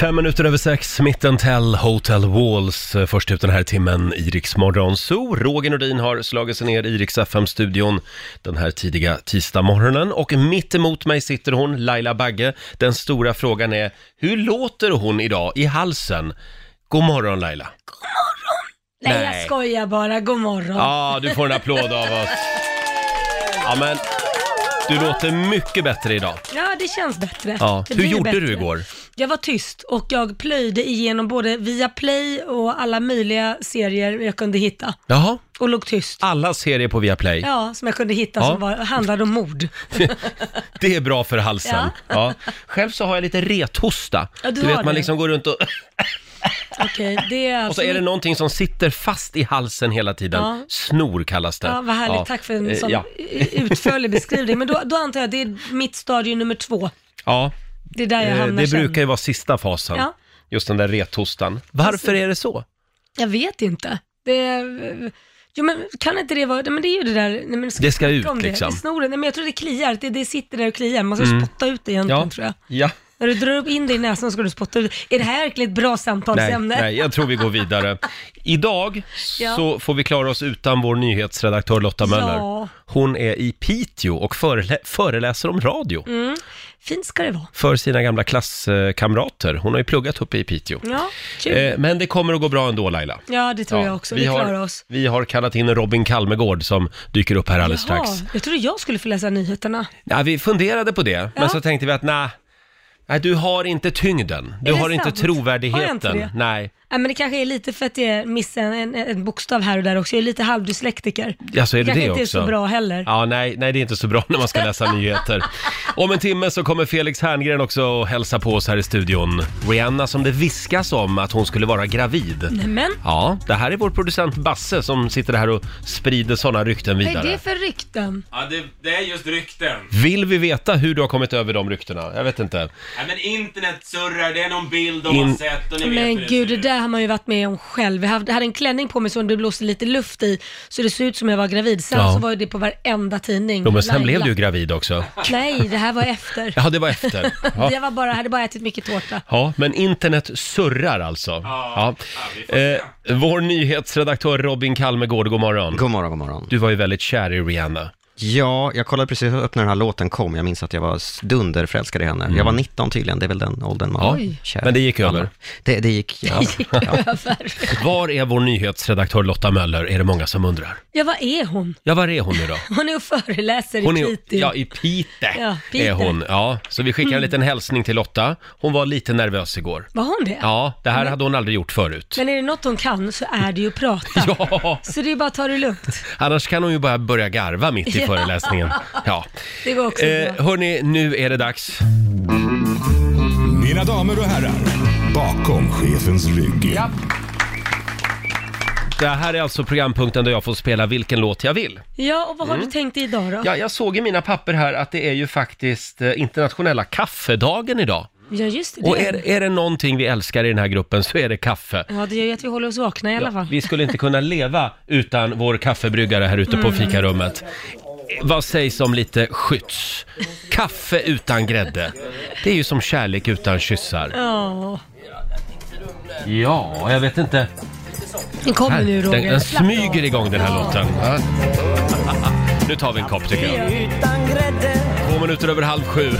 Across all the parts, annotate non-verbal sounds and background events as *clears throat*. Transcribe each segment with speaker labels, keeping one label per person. Speaker 1: Fem minuter över sex, Mitten Tell Hotel Walls. eh, Först ut den här timmen i Rix Morgon Zoo. Roger Nordin har slagit sig ner i Rix FM-studion den här tidiga tisdagmorgonen. Och mitt emot mig sitter hon, Laila Bagge. Den stora frågan är, hur låter hon idag i halsen? God morgon Laila!
Speaker 2: Nej,
Speaker 1: Nej.
Speaker 2: jag skojar bara. God morgon.
Speaker 1: Ja, du får en applåd av oss. Ja, men du låter mycket bättre idag.
Speaker 2: *laughs* Ja, det känns bättre.
Speaker 1: Ja.
Speaker 2: Det
Speaker 1: Hur
Speaker 2: blir
Speaker 1: gjorde
Speaker 2: bättre.
Speaker 1: du igår?
Speaker 2: Jag var tyst och jag plöjde igenom både via Play och alla möjliga serier jag kunde hitta.
Speaker 1: Jaha,
Speaker 2: Och låg tyst.
Speaker 1: alla serier på Viaplay.
Speaker 2: Ja, som jag kunde hitta
Speaker 1: Ja.
Speaker 2: som var, handlade om mord. *laughs*
Speaker 1: Det är bra för halsen. Ja.
Speaker 2: Ja.
Speaker 1: Själv så har jag lite rethosta.
Speaker 2: Ja,
Speaker 1: du
Speaker 2: du
Speaker 1: vet,
Speaker 2: har
Speaker 1: man
Speaker 2: det.
Speaker 1: liksom går runt och,
Speaker 2: Okej, det är
Speaker 1: och så är det någonting som sitter fast i halsen hela tiden.
Speaker 2: Ja.
Speaker 1: Snor kallas det.
Speaker 2: Ja, vad härligt.
Speaker 1: Ja.
Speaker 2: Tack för en
Speaker 1: Eh,
Speaker 2: sån
Speaker 1: Ja.
Speaker 2: *laughs* utförlig beskrivning. Men då, då antar jag att det är mitt stadium nummer två.
Speaker 1: ja.
Speaker 2: Det är där jag
Speaker 1: eh,
Speaker 2: hamnar
Speaker 1: Det
Speaker 2: sen.
Speaker 1: brukar ju vara sista fasen.
Speaker 2: Ja.
Speaker 1: Just den där rethostan. Varför är det så?
Speaker 2: Jag vet inte. Det är... Jo men kan inte det vara, nej, men det är ju det där, nej, men ska
Speaker 1: Det ska
Speaker 2: snacka
Speaker 1: ut,
Speaker 2: om det.
Speaker 1: liksom. Mm.
Speaker 2: Det snoren, nej, men jag tror det kliar, det, det sitter där och kliar, man ska spotta ut det egentligen tror jag.
Speaker 1: ja.
Speaker 2: När du drar upp in det i näsan ska du spotta ut Är det här verkligen ett bra
Speaker 1: Nej,
Speaker 2: samtalsämne?
Speaker 1: nej, jag tror vi går
Speaker 2: *laughs*
Speaker 1: vidare. Idag
Speaker 2: Ja.
Speaker 1: så får vi klara oss utan vår nyhetsredaktör Lotta Möller.
Speaker 2: Ja.
Speaker 1: Hon är i Piteå och förelä- föreläser om radio
Speaker 2: Mm. Fint ska det vara.
Speaker 1: för sina gamla klasskamrater. Hon har ju pluggat uppe i Piteå.
Speaker 2: Ja, Mm, kul.
Speaker 1: Eh, Men det kommer att gå bra ändå Laila.
Speaker 2: ja det tror
Speaker 1: Ja,
Speaker 2: jag också, vi, klarar
Speaker 1: har,
Speaker 2: oss.
Speaker 1: Vi har kallat in Robin Kalmegård som dyker upp här alldeles strax.
Speaker 2: jag trodde jag skulle få läsa nyheterna.
Speaker 1: Ja, vi funderade på det, men
Speaker 2: Ja.
Speaker 1: så tänkte vi att nej, nej, du har inte tyngden. Du
Speaker 2: Är det
Speaker 1: har inte
Speaker 2: sant? Har jag inte
Speaker 1: trovärdigheten.
Speaker 2: det?
Speaker 1: nej,
Speaker 2: Nej, men det kanske är lite för att jag missar en, en bokstav här och där också, jag är lite halvdyslektiker.
Speaker 1: ja, så är det
Speaker 2: kanske
Speaker 1: det
Speaker 2: inte
Speaker 1: också.
Speaker 2: är så bra heller.
Speaker 1: Ja, nej, nej, det är inte så bra *laughs* när man ska läsa nyheter. Om en timme så kommer Felix Herngren också och hälsa på oss här i studion. Rihanna som det viskas om att hon skulle vara gravid.
Speaker 2: Men,
Speaker 1: Ja, det här är vår producent Basse som sitter här och sprider sådana rykten
Speaker 2: vad är det
Speaker 1: vidare.
Speaker 2: för rykten?
Speaker 3: Ja, det, det är just rykten.
Speaker 1: Vill vi veta hur du har kommit över de ryktena? Jag vet inte.
Speaker 3: Nej, men internet surrar, det är någon bild de
Speaker 1: In-
Speaker 3: har sett och ni vet hur
Speaker 2: Men
Speaker 3: det
Speaker 2: gud,
Speaker 3: ser
Speaker 2: det
Speaker 3: ut.
Speaker 2: där har man ju varit med om själv. Jag hade hade en klänning på mig som det blåste lite luft i, så det såg ut som jag var gravid. Sen
Speaker 1: Ja.
Speaker 2: så var ju det på varenda tidning.
Speaker 1: Jo, men sen
Speaker 2: Laila.
Speaker 1: blev du ju gravid också.
Speaker 2: Nej, det här var efter.
Speaker 1: Ja, det var
Speaker 2: *laughs*
Speaker 1: efter. Ja.
Speaker 2: Jag var bara, hade bara ätit mycket tårta. *laughs*
Speaker 1: Ja, men internet surrar alltså.
Speaker 3: Ja, vi får
Speaker 1: Eh, vår nyhetsredaktör Robin Kalmegård, god morgon.
Speaker 4: God morgon, god morgon.
Speaker 1: Du var ju väldigt kär i Rihanna.
Speaker 4: Ja, jag kollade precis upp när den här låten kom. Jag minns att jag var dunderförälskad i henne. Jag var 19 tydligen, det är väl den åldern man
Speaker 1: Mm. Ja,
Speaker 4: är kär.
Speaker 1: men det gick
Speaker 4: Alla.
Speaker 1: över.
Speaker 4: Det, det gick, ja. ja.
Speaker 2: Över.
Speaker 1: Var är vår nyhetsredaktör Lotta Möller, är det många som undrar.
Speaker 2: Ja, vad är hon?
Speaker 1: Ja, var är hon nu då?
Speaker 2: Hon är och föreläser
Speaker 1: Hon
Speaker 2: *laughs* i
Speaker 1: är,
Speaker 2: Piteå.
Speaker 1: ja, i Pite
Speaker 2: Ja, Pite.
Speaker 1: är hon. Ja, så vi skickar en liten hälsning till Lotta. Hon var lite nervös igår.
Speaker 2: Var hon det? Mm.
Speaker 1: Ja, det här hade hon aldrig gjort förut.
Speaker 2: Men är det något hon kan så är det ju att prata.
Speaker 1: *laughs* Ja,
Speaker 2: Så det är bara att ta det lugnt.
Speaker 1: annars kan hon ju bara börja garva mitt i
Speaker 2: *laughs* Ja.
Speaker 1: föreläsningen. Ja.
Speaker 2: Det går också
Speaker 1: Eh,
Speaker 2: bra.
Speaker 1: hörni, nu är det dags.
Speaker 5: Mina damer och herrar, bakom chefens rygg.
Speaker 1: Det här är alltså programpunkten där jag får spela vilken låt jag vill.
Speaker 2: Ja, och vad har du tänkt dig idag då?
Speaker 1: mm. Ja, jag såg i mina papper här att det är ju faktiskt eh, internationella kaffedagen idag.
Speaker 2: Ja, just det.
Speaker 1: Och är, är det någonting vi älskar i den här gruppen så är det kaffe.
Speaker 2: Ja, det gör ju att vi håller oss vakna i alla fall.
Speaker 1: Vi skulle inte kunna leva utan vår kaffebryggare här ute
Speaker 2: Mm.
Speaker 1: på fikarummet. Eh, Vad sägs om lite skjuts? Kaffe utan grädde. Det är ju som kärlek utan kyssar.
Speaker 2: *laughs* Ja.
Speaker 1: Ja, jag vet inte.
Speaker 2: Den kommer nu
Speaker 1: Den,
Speaker 2: Roger.
Speaker 1: den
Speaker 2: Slappna av.
Speaker 1: smyger igång den här låten. Ja. *laughs* Nu tar vi en kopp tycker jag. Två minuter över halv sju.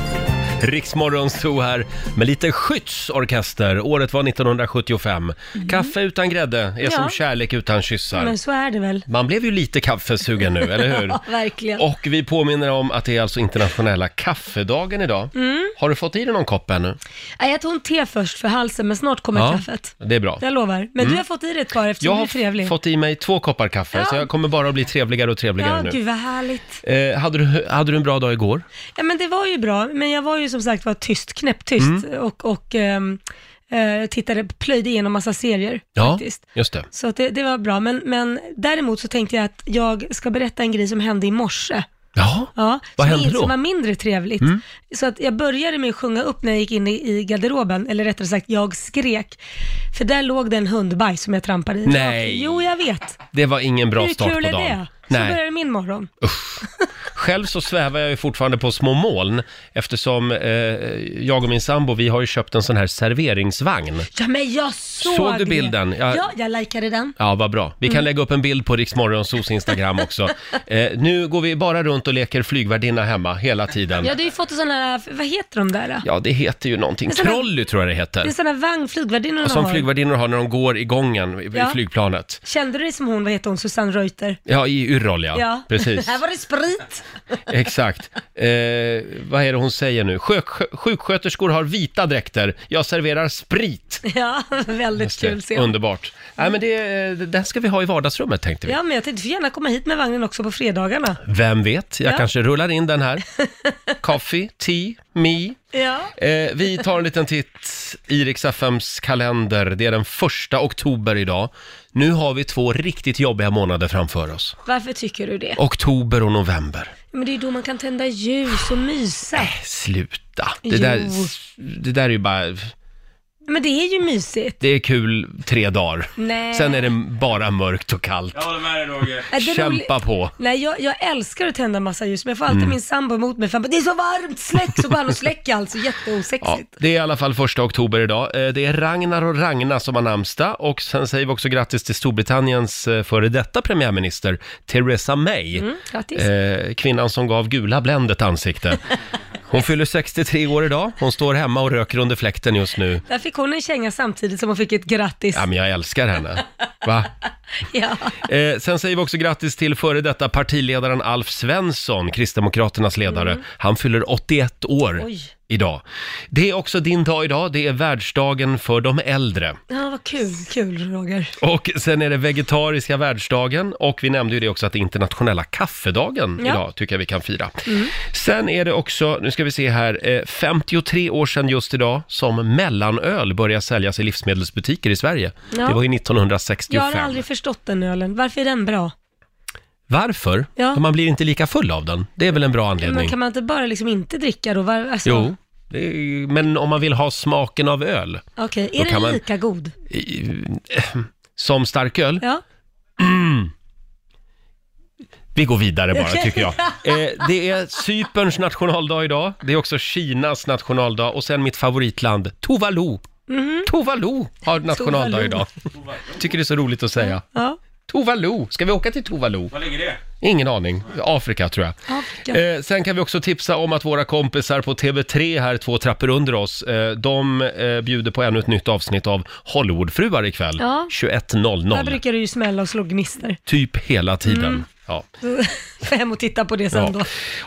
Speaker 1: Riksmorgon stod här med lite skyddsorkester. Året var 1975. Kaffe utan grädde är som
Speaker 2: Mm. Ja.
Speaker 1: kärlek utan kyssar.
Speaker 2: Men så är det väl.
Speaker 1: Man blev ju lite kaffesugen nu, eller hur?
Speaker 2: *laughs* Ja, verkligen.
Speaker 1: Och vi påminner om att det är alltså internationella kaffedagen idag.
Speaker 2: Mm.
Speaker 1: Har du fått i dig någon kopp ännu?
Speaker 2: Nej, jag tog en te först för halsen, men snart kommer kaffet.
Speaker 1: det är bra.
Speaker 2: Jag lovar. Men du har fått i dig ett par eftersom
Speaker 1: Mm. Jag
Speaker 2: du är
Speaker 1: har
Speaker 2: trevlig.
Speaker 1: fått i mig två koppar kaffe,
Speaker 2: Ja.
Speaker 1: så jag kommer bara att bli trevligare och trevligare
Speaker 2: Ja,
Speaker 1: nu.
Speaker 2: gud vad härligt.
Speaker 1: Eh, hade, du, hade du en bra dag igår?
Speaker 2: Ja, men det var ju bra. Men jag var ju som sagt var tyst, knäpptyst
Speaker 1: Mm.
Speaker 2: och, och ehm, eh, tittade, plöjde igenom massa serier faktiskt.
Speaker 1: just det.
Speaker 2: Så att det, det var bra. Men, men däremot så tänkte jag att jag ska berätta en grej som hände i morse.
Speaker 1: Ja.
Speaker 2: Ja,
Speaker 1: Vad
Speaker 2: som,
Speaker 1: hände
Speaker 2: in-
Speaker 1: då? Mm.
Speaker 2: som var mindre trevligt. Så att jag började med att sjunga upp när jag gick in i, i garderoben, eller rättare sagt, jag skrek. För där låg det en hundbajs som jag trampade i.
Speaker 1: Nej.
Speaker 2: Jo, jag vet.
Speaker 1: Det var ingen bra
Speaker 2: Hur
Speaker 1: start
Speaker 2: kul
Speaker 1: på
Speaker 2: är
Speaker 1: dagen.
Speaker 2: det? Så
Speaker 1: Nej,
Speaker 2: började min morgon.
Speaker 1: Själv så svävar jag ju fortfarande på små moln eftersom eh, jag och min sambo, vi har ju köpt en sån här serveringsvagn.
Speaker 2: Ja, men jag såg
Speaker 1: Såg du
Speaker 2: det.
Speaker 1: bilden? Jag-
Speaker 2: Ja, jag likade den.
Speaker 1: Ja, vad bra. Vi kan
Speaker 2: Mm.
Speaker 1: lägga upp en bild på Riksmorgonsos
Speaker 2: *laughs*
Speaker 1: Instagram också. Eh, nu går vi bara runt och leker flygvärdinna hemma hela tiden.
Speaker 2: Ja, du har ju fått sådana här, vad heter de där? då?
Speaker 1: Ja, det heter ju någonting.
Speaker 2: Det är såna-
Speaker 1: Trolley tror jag det
Speaker 2: Det är
Speaker 1: heter.
Speaker 2: sådana vagn flygvärdinnorna
Speaker 1: Som
Speaker 2: har.
Speaker 1: flygvärdinnor har när de går i gången i
Speaker 2: Ja.
Speaker 1: flygplanet.
Speaker 2: Kände du dig som hon, vad heter hon, Susanne Reuter?
Speaker 1: Ja, i Yrrol ja.
Speaker 2: *laughs*
Speaker 1: Precis,
Speaker 2: här var det sprit.
Speaker 1: exakt. Eh, vad är det hon säger nu? Sjök, sjuksköterskor har vita dräkter. Jag serverar sprit.
Speaker 2: *laughs* Ja, väldigt
Speaker 1: Just det.
Speaker 2: kul scen.
Speaker 1: Underbart. Nej, men det, eh, den ska vi ha i vardagsrummet tänkte vi.
Speaker 2: Ja, men jag tänkte, du får gärna komma hit med vagnen också på fredagarna.
Speaker 1: Vem vet, jag
Speaker 2: Ja.
Speaker 1: kanske rullar in den
Speaker 2: *laughs*
Speaker 1: här. Coffee, tea, me.
Speaker 2: Ja.
Speaker 1: Eh, vi tar en liten titt i Rix FMs kalender. Det är den första oktober idag. Nu har vi två riktigt jobbiga månader framför oss.
Speaker 2: Varför tycker du det?
Speaker 1: Oktober och november.
Speaker 2: Men det är då man kan tända ljus och mysa.
Speaker 1: Äh. Sluta.
Speaker 2: Jo.
Speaker 1: Det, där, det där är ju bara...
Speaker 2: Men det är ju mysigt.
Speaker 1: Det är kul tre dagar.
Speaker 2: Nej.
Speaker 1: Sen är det bara mörkt och kallt.
Speaker 3: Jag håller med dig Roger.
Speaker 2: Är det
Speaker 1: Kämpa
Speaker 2: roligt?
Speaker 1: på.
Speaker 2: Nej, jag, jag älskar att tända massa ljus, men jag får alltid
Speaker 1: Mm.
Speaker 2: min sambo emot mig för han bara, det är så varmt, släck! Så bara han och släcker alltså,
Speaker 1: Ja,
Speaker 2: jätteosexigt.
Speaker 1: det är i alla fall första oktober idag. Eh, Det är Ragnar och Ragna som har namnsdag och sen säger vi också grattis till Storbritanniens eh, före detta premiärminister Theresa May.
Speaker 2: Mm, grattis.
Speaker 1: Eh, kvinnan som gav gula Blend ett
Speaker 2: *laughs*
Speaker 1: ansikte. Hon fyller 63 år idag. Hon står hemma och röker under fläkten just nu.
Speaker 2: Där fick hon en känga samtidigt som hon fick ett grattis.
Speaker 1: Ja, men jag älskar henne. Va?
Speaker 2: *laughs* Ja.
Speaker 1: Eh, sen säger vi också grattis till före detta partiledaren Alf Svensson, Kristdemokraternas ledare. Han fyller 81 år
Speaker 2: Mm. Oj.
Speaker 1: idag. Det är också din dag idag. Det är världsdagen för de äldre.
Speaker 2: ja, vad kul, kul Roger.
Speaker 1: Och sen är det vegetariska världsdagen och vi nämnde ju det också att det är internationella kaffedagen
Speaker 2: Ja.
Speaker 1: idag tycker jag vi kan fira.
Speaker 2: Mm.
Speaker 1: Sen är det också, nu ska vi se här, eh, 53 år sedan just idag som mellanöl började säljas i livsmedelsbutiker i Sverige.
Speaker 2: Ja.
Speaker 1: Det var ju
Speaker 2: Jag
Speaker 1: 1965.
Speaker 2: har aldrig förstått den ölen. Varför är den bra?
Speaker 1: Varför?
Speaker 2: Ja.
Speaker 1: För man blir inte lika full av den. Det är väl en bra
Speaker 2: Men
Speaker 1: anledning?
Speaker 2: kan man inte bara liksom inte dricka då? Var, alltså,
Speaker 1: Jo, det är, ju- men om man vill ha smaken av öl,
Speaker 2: Okej,
Speaker 1: Då
Speaker 2: är
Speaker 1: kan
Speaker 2: den
Speaker 1: man-
Speaker 2: lika god?
Speaker 1: i- som starköl,
Speaker 2: Ja.
Speaker 1: *clears throat* Vi går vidare bara,
Speaker 2: Okej. *laughs*
Speaker 1: tycker jag. Eh, det är Cyperns nationaldag idag. Det är också Kinas nationaldag och sen mitt favoritland, Tuvalu.
Speaker 2: Mhm.
Speaker 1: Tuvalu har nationaldag
Speaker 3: Tuvalu.
Speaker 1: idag. Tycker det är så roligt att säga.
Speaker 2: Ja.
Speaker 1: Tuvalu, ska vi åka till Tuvalu?
Speaker 3: Var ligger det?
Speaker 1: Ingen aning. Afrika tror jag. Eh, sen kan vi också tipsa om att våra kompisar på TV3 här två trappor under oss, eh, de eh, bjuder på ännu ett nytt avsnitt av Hollywoodfruar ikväll.
Speaker 2: Ja.
Speaker 1: 21.00.
Speaker 2: Där brukar du ju smälla och slå gnistor. *laughs*
Speaker 1: Typ hela tiden.
Speaker 2: Mm.
Speaker 1: Ja.
Speaker 2: Så får jag hem och titta på det sen
Speaker 1: Ja.
Speaker 2: då.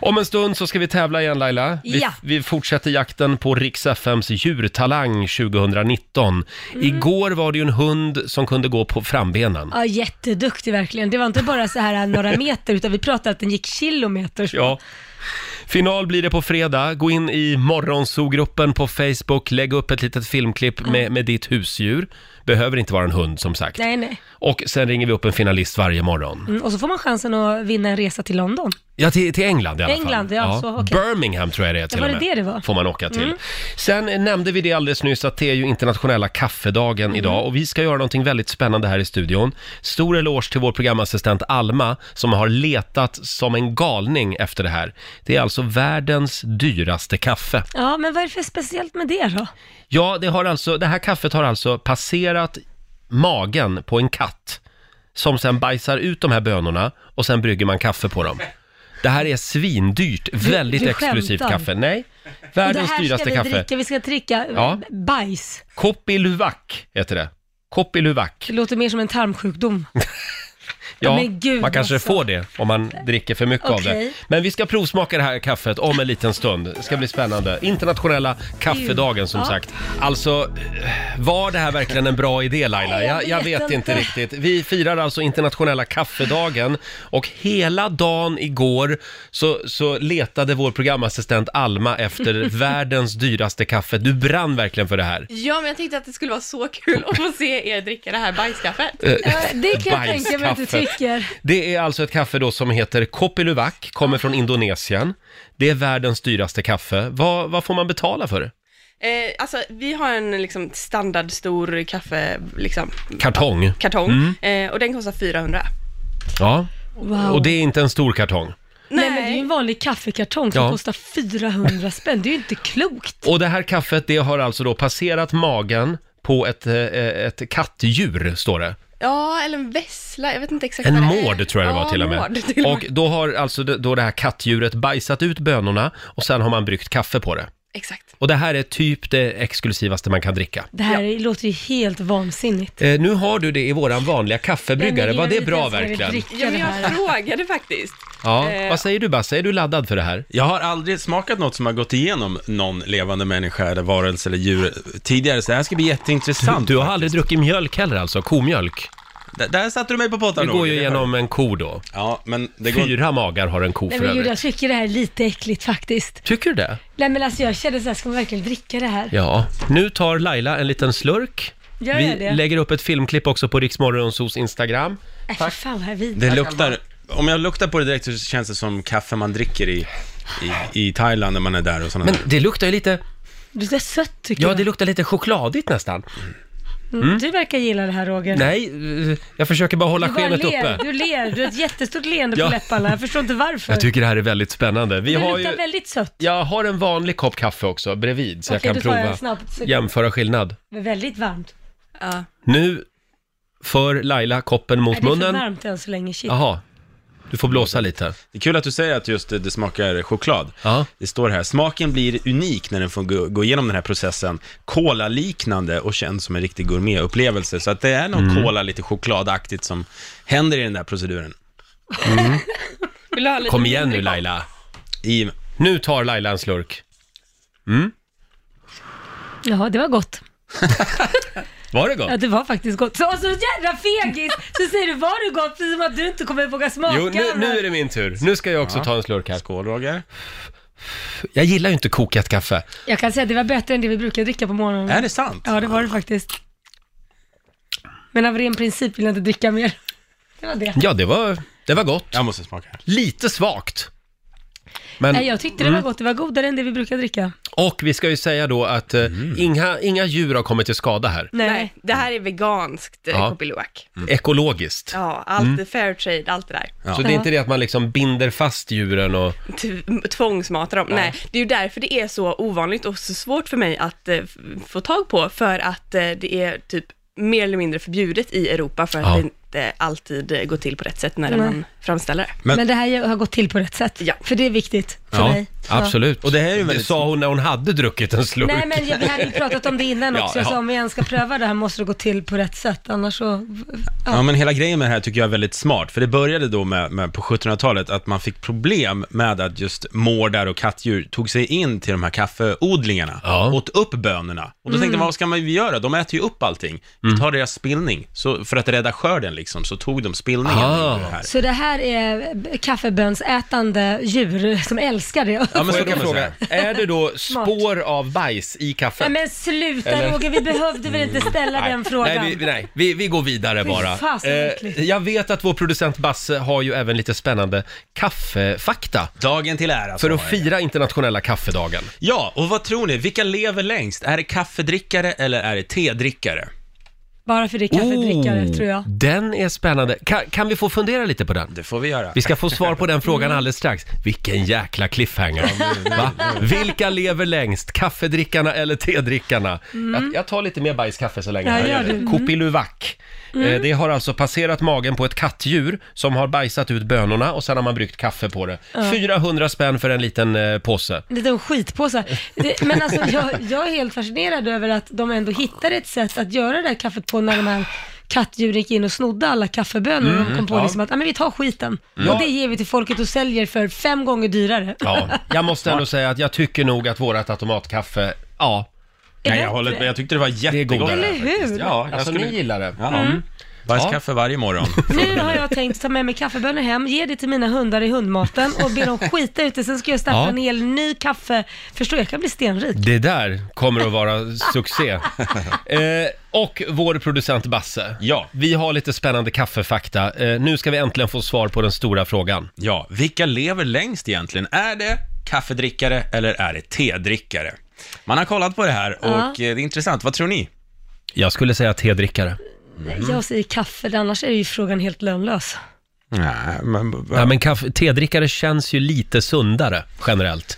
Speaker 1: Om en stund så ska vi tävla igen Laila. Vi,
Speaker 2: Ja.
Speaker 1: vi fortsätter jakten på Rix FMs djurtalang 2019.
Speaker 2: Mm.
Speaker 1: Igår var det ju en hund som kunde gå på frambenen.
Speaker 2: Ja, jätteduktig verkligen. Det var inte bara så här *laughs* några meter, utan vi pratade att den gick kilometer. så.
Speaker 1: Ja. Final blir det på fredag. Gå in i Morgonzoo-gruppen på Facebook. Lägg upp ett litet filmklipp med, med ditt husdjur. Behöver inte vara en hund som sagt.
Speaker 2: Nej, nej.
Speaker 1: Och sen ringer vi upp en finalist varje morgon.
Speaker 2: Mm, och så får man chansen att vinna en resa till London.
Speaker 1: Ja, till, till England i alla
Speaker 2: England,
Speaker 1: fall.
Speaker 2: ja, så, okej.
Speaker 1: Birmingham tror jag det är till
Speaker 2: var
Speaker 1: och
Speaker 2: det
Speaker 1: med.
Speaker 2: det det var?
Speaker 1: Får man åka till.
Speaker 2: Mm.
Speaker 1: Sen nämnde vi det alldeles nyss att det är ju internationella kaffedagen
Speaker 2: Mm.
Speaker 1: idag och vi ska göra någonting väldigt spännande här i studion. Stor eloge till vår programassistent Alma som har letat som en galning efter det här. Det är alltså världens dyraste kaffe.
Speaker 2: Ja, men vad är det för speciellt med det då?
Speaker 1: Ja, det, har alltså, det här kaffet har alltså passerat magen på en katt som sen bajsar ut de här bönorna och sen brygger man kaffe på dem. Det här är svindyrt, väldigt
Speaker 2: du
Speaker 1: exklusivt
Speaker 2: skämtar.
Speaker 1: kaffe. Nej,
Speaker 2: det
Speaker 1: världens
Speaker 2: här ska
Speaker 1: dyraste
Speaker 2: vi
Speaker 1: kaffe.
Speaker 2: dricka, vi ska dricka
Speaker 1: Ja.
Speaker 2: ja. bajs.
Speaker 1: Koppiluvac heter det. Koppiluvac.
Speaker 2: Det låter mer som
Speaker 1: *laughs*
Speaker 2: en tarmsjukdom.
Speaker 1: Ja,
Speaker 2: Men gud,
Speaker 1: man kanske
Speaker 2: alltså.
Speaker 1: får det om man dricker för mycket av det.
Speaker 2: Okej.
Speaker 1: Men vi ska provsmaka det här kaffet om en liten stund. Det ska bli spännande. Internationella kaffedagen som
Speaker 2: Ja.
Speaker 1: sagt. Alltså, var det här verkligen en bra idé Laila?
Speaker 2: Nej, jag
Speaker 1: Jag, jag
Speaker 2: vet
Speaker 1: vet inte
Speaker 2: inte.
Speaker 1: riktigt. Vi firar alltså internationella kaffedagen och hela dagen igår så, så letade vår programassistent Alma efter
Speaker 2: *laughs*
Speaker 1: världens dyraste kaffe. Du brann verkligen för det här.
Speaker 6: Ja, men jag tänkte att det skulle vara så kul att få se er dricka det här bajskaffet.
Speaker 1: Eh,
Speaker 2: Det kan jag tänka mig att du
Speaker 1: Bajskaffe.
Speaker 2: tycker.
Speaker 1: Det är alltså ett kaffe då som heter Kopiluvac, kommer från Indonesien. Det är världens dyraste kaffe. Vad, vad får man betala för det?
Speaker 6: Eh, alltså, vi har en liksom, standardstor kaffe, liksom,
Speaker 1: Kartong.
Speaker 6: kartong,
Speaker 1: Mm.
Speaker 6: eh, och den kostar 400.
Speaker 1: Ja,
Speaker 2: Wow.
Speaker 1: och det är inte en stor kartong.
Speaker 2: Nej. men det är ju en vanlig kaffekartong som
Speaker 1: Ja.
Speaker 2: kostar 400 spänn. Det är ju inte klokt.
Speaker 1: Och det här kaffet, det har alltså då passerat magen på ett, eh, ett kattdjur, står det.
Speaker 6: Ja, eller en vessla. Jag vet inte exakt
Speaker 1: En
Speaker 6: vad det är.
Speaker 1: mård tror jag det var
Speaker 6: ja,
Speaker 1: till och
Speaker 6: mård
Speaker 1: med.
Speaker 6: till och
Speaker 1: Och
Speaker 6: med.
Speaker 1: då har alltså det- då det här kattdjuret bajsat ut bönorna och sen har man bryggt kaffe på det.
Speaker 6: Exakt.
Speaker 1: Och det här är typ det exklusivaste man kan dricka.
Speaker 2: Det här låter ju helt vansinnigt.
Speaker 1: Eh, nu har du det i våran vanliga kaffebryggare,
Speaker 2: Nej, men
Speaker 1: var
Speaker 2: jag
Speaker 1: det
Speaker 2: vet
Speaker 1: bra
Speaker 2: inte ens
Speaker 1: verkligen?
Speaker 2: vad det dricker.
Speaker 6: Ja, men jag frågade faktiskt.
Speaker 1: Ja,
Speaker 6: Eh,
Speaker 1: vad säger du Basse, är du laddad för det här?
Speaker 3: Jag har aldrig smakat något som har gått igenom någon levande människa eller varelse eller djur tidigare, så det här ska bli jätteintressant.
Speaker 1: Du har aldrig druckit mjölk heller alltså, komjölk?
Speaker 3: D- där satte du mig på pottan
Speaker 1: Det går ju
Speaker 3: Roger.
Speaker 1: genom en ko då.
Speaker 3: Ja, men det går...
Speaker 1: Fyra magar har en ko
Speaker 2: Nej
Speaker 1: för
Speaker 2: men Julia,
Speaker 1: övrigt.
Speaker 2: jag tycker det här är lite äckligt faktiskt.
Speaker 1: Tycker du det?
Speaker 2: Nej men alltså jag känner så här, ska man verkligen dricka det här?
Speaker 1: Ja. Nu tar Laila en liten slurk.
Speaker 2: Gör
Speaker 1: Vi
Speaker 2: jag det?
Speaker 1: lägger upp ett filmklipp också på Riksmorgonsos Instagram.
Speaker 2: Nej för fan vad här vidrigt.
Speaker 3: Det luktar... Om jag luktar på det direkt så känns det som kaffe man dricker i, i, i Thailand när man är där och sådana
Speaker 1: Men det luktar ju lite,
Speaker 2: Det är sött tycker
Speaker 1: ja
Speaker 2: jag.
Speaker 1: det luktar lite chokladigt nästan.
Speaker 2: Mm. Du verkar gilla det här Roger.
Speaker 1: Nej, eh, jag försöker bara hålla
Speaker 2: du bara
Speaker 1: skenet
Speaker 2: ler,
Speaker 1: uppe.
Speaker 2: du ler, du har ett jättestort leende
Speaker 1: Ja.
Speaker 2: på läpparna. Jag förstår inte varför.
Speaker 1: Jag tycker det här är väldigt spännande. Vi
Speaker 2: det
Speaker 1: har
Speaker 2: luktar
Speaker 1: ju,
Speaker 2: väldigt sött,
Speaker 1: jag har en vanlig kopp kaffe också bredvid så jag
Speaker 2: Okej,
Speaker 1: kan
Speaker 2: då tar jag
Speaker 1: prova
Speaker 2: en snabb sekund.
Speaker 1: jämföra skillnad.
Speaker 2: men väldigt varmt.
Speaker 6: Ja.
Speaker 1: Nu för Laila koppen
Speaker 2: Är
Speaker 1: mot
Speaker 2: det är för
Speaker 1: munnen.
Speaker 2: varmt än så länge? Shit.
Speaker 1: Jaha, du får blåsa lite.
Speaker 3: Det är kul att du säger att just det, det smakar choklad.
Speaker 1: Ja.
Speaker 3: Det står här, smaken blir unik när den får gå, gå igenom den här processen. Cola-liknande och känns som en riktig gourmetupplevelse. Så att det är någon
Speaker 1: Mm.
Speaker 3: cola, lite chokladaktigt som händer i den där proceduren.
Speaker 6: Vill du ha lite
Speaker 1: Mm. Kom igen nu
Speaker 6: mindre kopp?
Speaker 1: Laila.
Speaker 3: I,
Speaker 1: Nu tar Laila en slurk. Mm.
Speaker 2: Jaha, det var gott.
Speaker 1: Var det
Speaker 2: Ja,
Speaker 1: gott?
Speaker 2: det var faktiskt gott. Så, så jävla fegis! Så säger du, var det gott? Precis som att du inte kommer våga smaka.
Speaker 1: Jo, nu, nu är det min tur. Nu ska jag också ta en slurk här.
Speaker 3: skål Roger.
Speaker 1: Jag gillar ju inte kokat kaffe.
Speaker 2: Jag kan säga att det var bättre än det vi brukar dricka på morgonen.
Speaker 3: Är det sant?
Speaker 2: Ja, det var det faktiskt. Men av ren princip vill jag inte dricka mer. *laughs* Det var det.
Speaker 1: Ja, det var, det var gott.
Speaker 3: Jag måste smaka.
Speaker 1: Lite svagt. Men, Mm.
Speaker 2: Nej, jag tyckte det
Speaker 3: Mm.
Speaker 2: var gott. Det var godare än det vi brukar dricka.
Speaker 1: och vi ska ju säga då att eh,
Speaker 3: Mm.
Speaker 1: inga, inga djur har kommit till skada här.
Speaker 2: Nej.
Speaker 6: Nej, det här är veganskt
Speaker 1: Ja.
Speaker 6: ja. Kopilowak.
Speaker 3: Mm.
Speaker 1: Ekologiskt.
Speaker 6: Ja, allt är fair trade, allt det där.
Speaker 1: Så det är inte det att man liksom binder fast djuren och...
Speaker 6: T- tvångsmatar dem. Nej, det är ju därför det är så ovanligt och så svårt för mig att eh, f- få tag på, för att eh, det är typ mer eller mindre förbjudet i Europa för att
Speaker 1: Ja.
Speaker 6: det inte alltid eh, går till på rätt sätt när
Speaker 2: Nej.
Speaker 6: man framställer det.
Speaker 2: Men det här har gått till på rätt sätt.
Speaker 6: Ja.
Speaker 2: För det är viktigt för mig. Ja.
Speaker 1: absolut. Och det här är ju väldigt...
Speaker 3: väldigt-
Speaker 1: sa hon när hon hade druckit en slurk.
Speaker 2: Nej men jag- vi hade ju pratat om
Speaker 3: *laughs*
Speaker 2: det innan
Speaker 1: Ja,
Speaker 2: också, så
Speaker 1: ja.
Speaker 2: om vi ens ska pröva det här måste det gå till på rätt sätt, annars så...
Speaker 3: Ja, men hela grejen med det här tycker jag är väldigt smart, för det började då med, med på 1700-talet att man fick problem med att just mårdar och kattdjur tog sig in till de här kaffeodlingarna,
Speaker 1: Ja.
Speaker 3: åt upp bönorna. Och då tänkte
Speaker 2: Mm.
Speaker 3: man, vad ska man göra? De äter ju upp allting. Vi
Speaker 1: Mm.
Speaker 3: tar deras spillning. Så för att rädda skörden liksom, så tog de spillningen.
Speaker 1: Ah.
Speaker 3: och gjorde det här.
Speaker 2: Så det här är b- kaffebönsätande djur som älskar det.
Speaker 3: Ja, men
Speaker 1: Får
Speaker 3: så
Speaker 1: jag
Speaker 3: kan man
Speaker 1: fråga,
Speaker 3: säga.
Speaker 1: är det då spår av bajs i kaffet?
Speaker 2: Nej men sluta
Speaker 1: Eller-
Speaker 2: Roger, vi behövde väl inte ställa den frågan.
Speaker 1: Nej, vi, nej vi, vi går vidare
Speaker 2: Fy
Speaker 1: bara. Eh,
Speaker 2: fan, så äckligt.
Speaker 1: jag vet att vår producent Basse har ju även lite spännande kaffefakta.
Speaker 3: Dagen till ära.
Speaker 1: För
Speaker 3: sa
Speaker 1: att
Speaker 3: jag.
Speaker 1: fira internationella kaffedagen.
Speaker 3: Ja, och vad tror ni? Vilka lever längst? Är det kaffedrickare eller är det tedrickare?
Speaker 2: Bara för det är kaffedrickare
Speaker 3: Oh.
Speaker 2: tror jag.
Speaker 1: Den är spännande. Kan, kan vi få fundera lite på den?
Speaker 3: Det får vi göra.
Speaker 1: Vi ska få svar på
Speaker 2: *laughs*
Speaker 1: den
Speaker 2: Mm.
Speaker 1: frågan alldeles strax. Vilken jäkla cliffhanger! Va? Vilka lever längst? Kaffedrickarna eller tedrickarna? Jag, jag tar lite mer bajskaffe så länge.
Speaker 2: Mm. Ja,
Speaker 1: här.
Speaker 2: gör det. Mm.
Speaker 1: Kopiluvak. Eh, Det har alltså passerat magen på ett kattdjur som har bajsat ut bönorna och sen har man bryggt kaffe på det. 400 spänn för en liten eh, påse.
Speaker 2: En liten skitpåse. Det, men alltså jag, jag är helt fascinerad över att de ändå hittade ett sätt att göra det här kaffet på när de här kattdjuren gick in och snodde alla kaffebönor och de kom på
Speaker 1: Mm, ja. Mm.
Speaker 2: liksom att "Ah, men vi tar skiten
Speaker 1: Ja.
Speaker 2: och det ger vi till folket och säljer för fem gånger dyrare.
Speaker 1: Ja, jag måste ändå säga att jag tycker nog att vårat automatkaffe, ja,
Speaker 3: Nej, jag
Speaker 2: bättre.
Speaker 3: håller med. Jag tyckte det var jättegott.
Speaker 1: godare.
Speaker 2: Eller hur?
Speaker 3: Ja, jag
Speaker 1: alltså
Speaker 3: skulle...
Speaker 1: ni gillar det.
Speaker 3: Ja.
Speaker 2: Mm.
Speaker 3: Bajskaffe varje
Speaker 1: *laughs*
Speaker 3: morgon.
Speaker 2: Nu har jag tänkt ta med mig kaffebönor hem, ge det till mina hundar i hundmaten och be dem skita ut det. Sen ska jag starta
Speaker 1: Ja.
Speaker 2: en hel ny kaffe. Förstår jag kan bli stenrik.
Speaker 1: Det där kommer att vara
Speaker 3: *laughs*
Speaker 1: succé. Eh, och vår producent Basse.
Speaker 3: Ja.
Speaker 1: Vi har lite spännande kaffefakta. Eh, nu ska vi äntligen få svar på den stora frågan.
Speaker 3: Ja, vilka lever längst egentligen? Är det kaffedrickare eller är det tedrickare? Man har kollat på det här och
Speaker 2: Ja.
Speaker 3: eh, det är intressant. Vad tror ni?
Speaker 1: Jag skulle säga tedrickare. Mm.
Speaker 2: Jag säger kaffe, annars är ju frågan helt lönlös.
Speaker 3: Nej, men...
Speaker 1: Nej, men kaffe, tedrickare känns ju lite sundare generellt.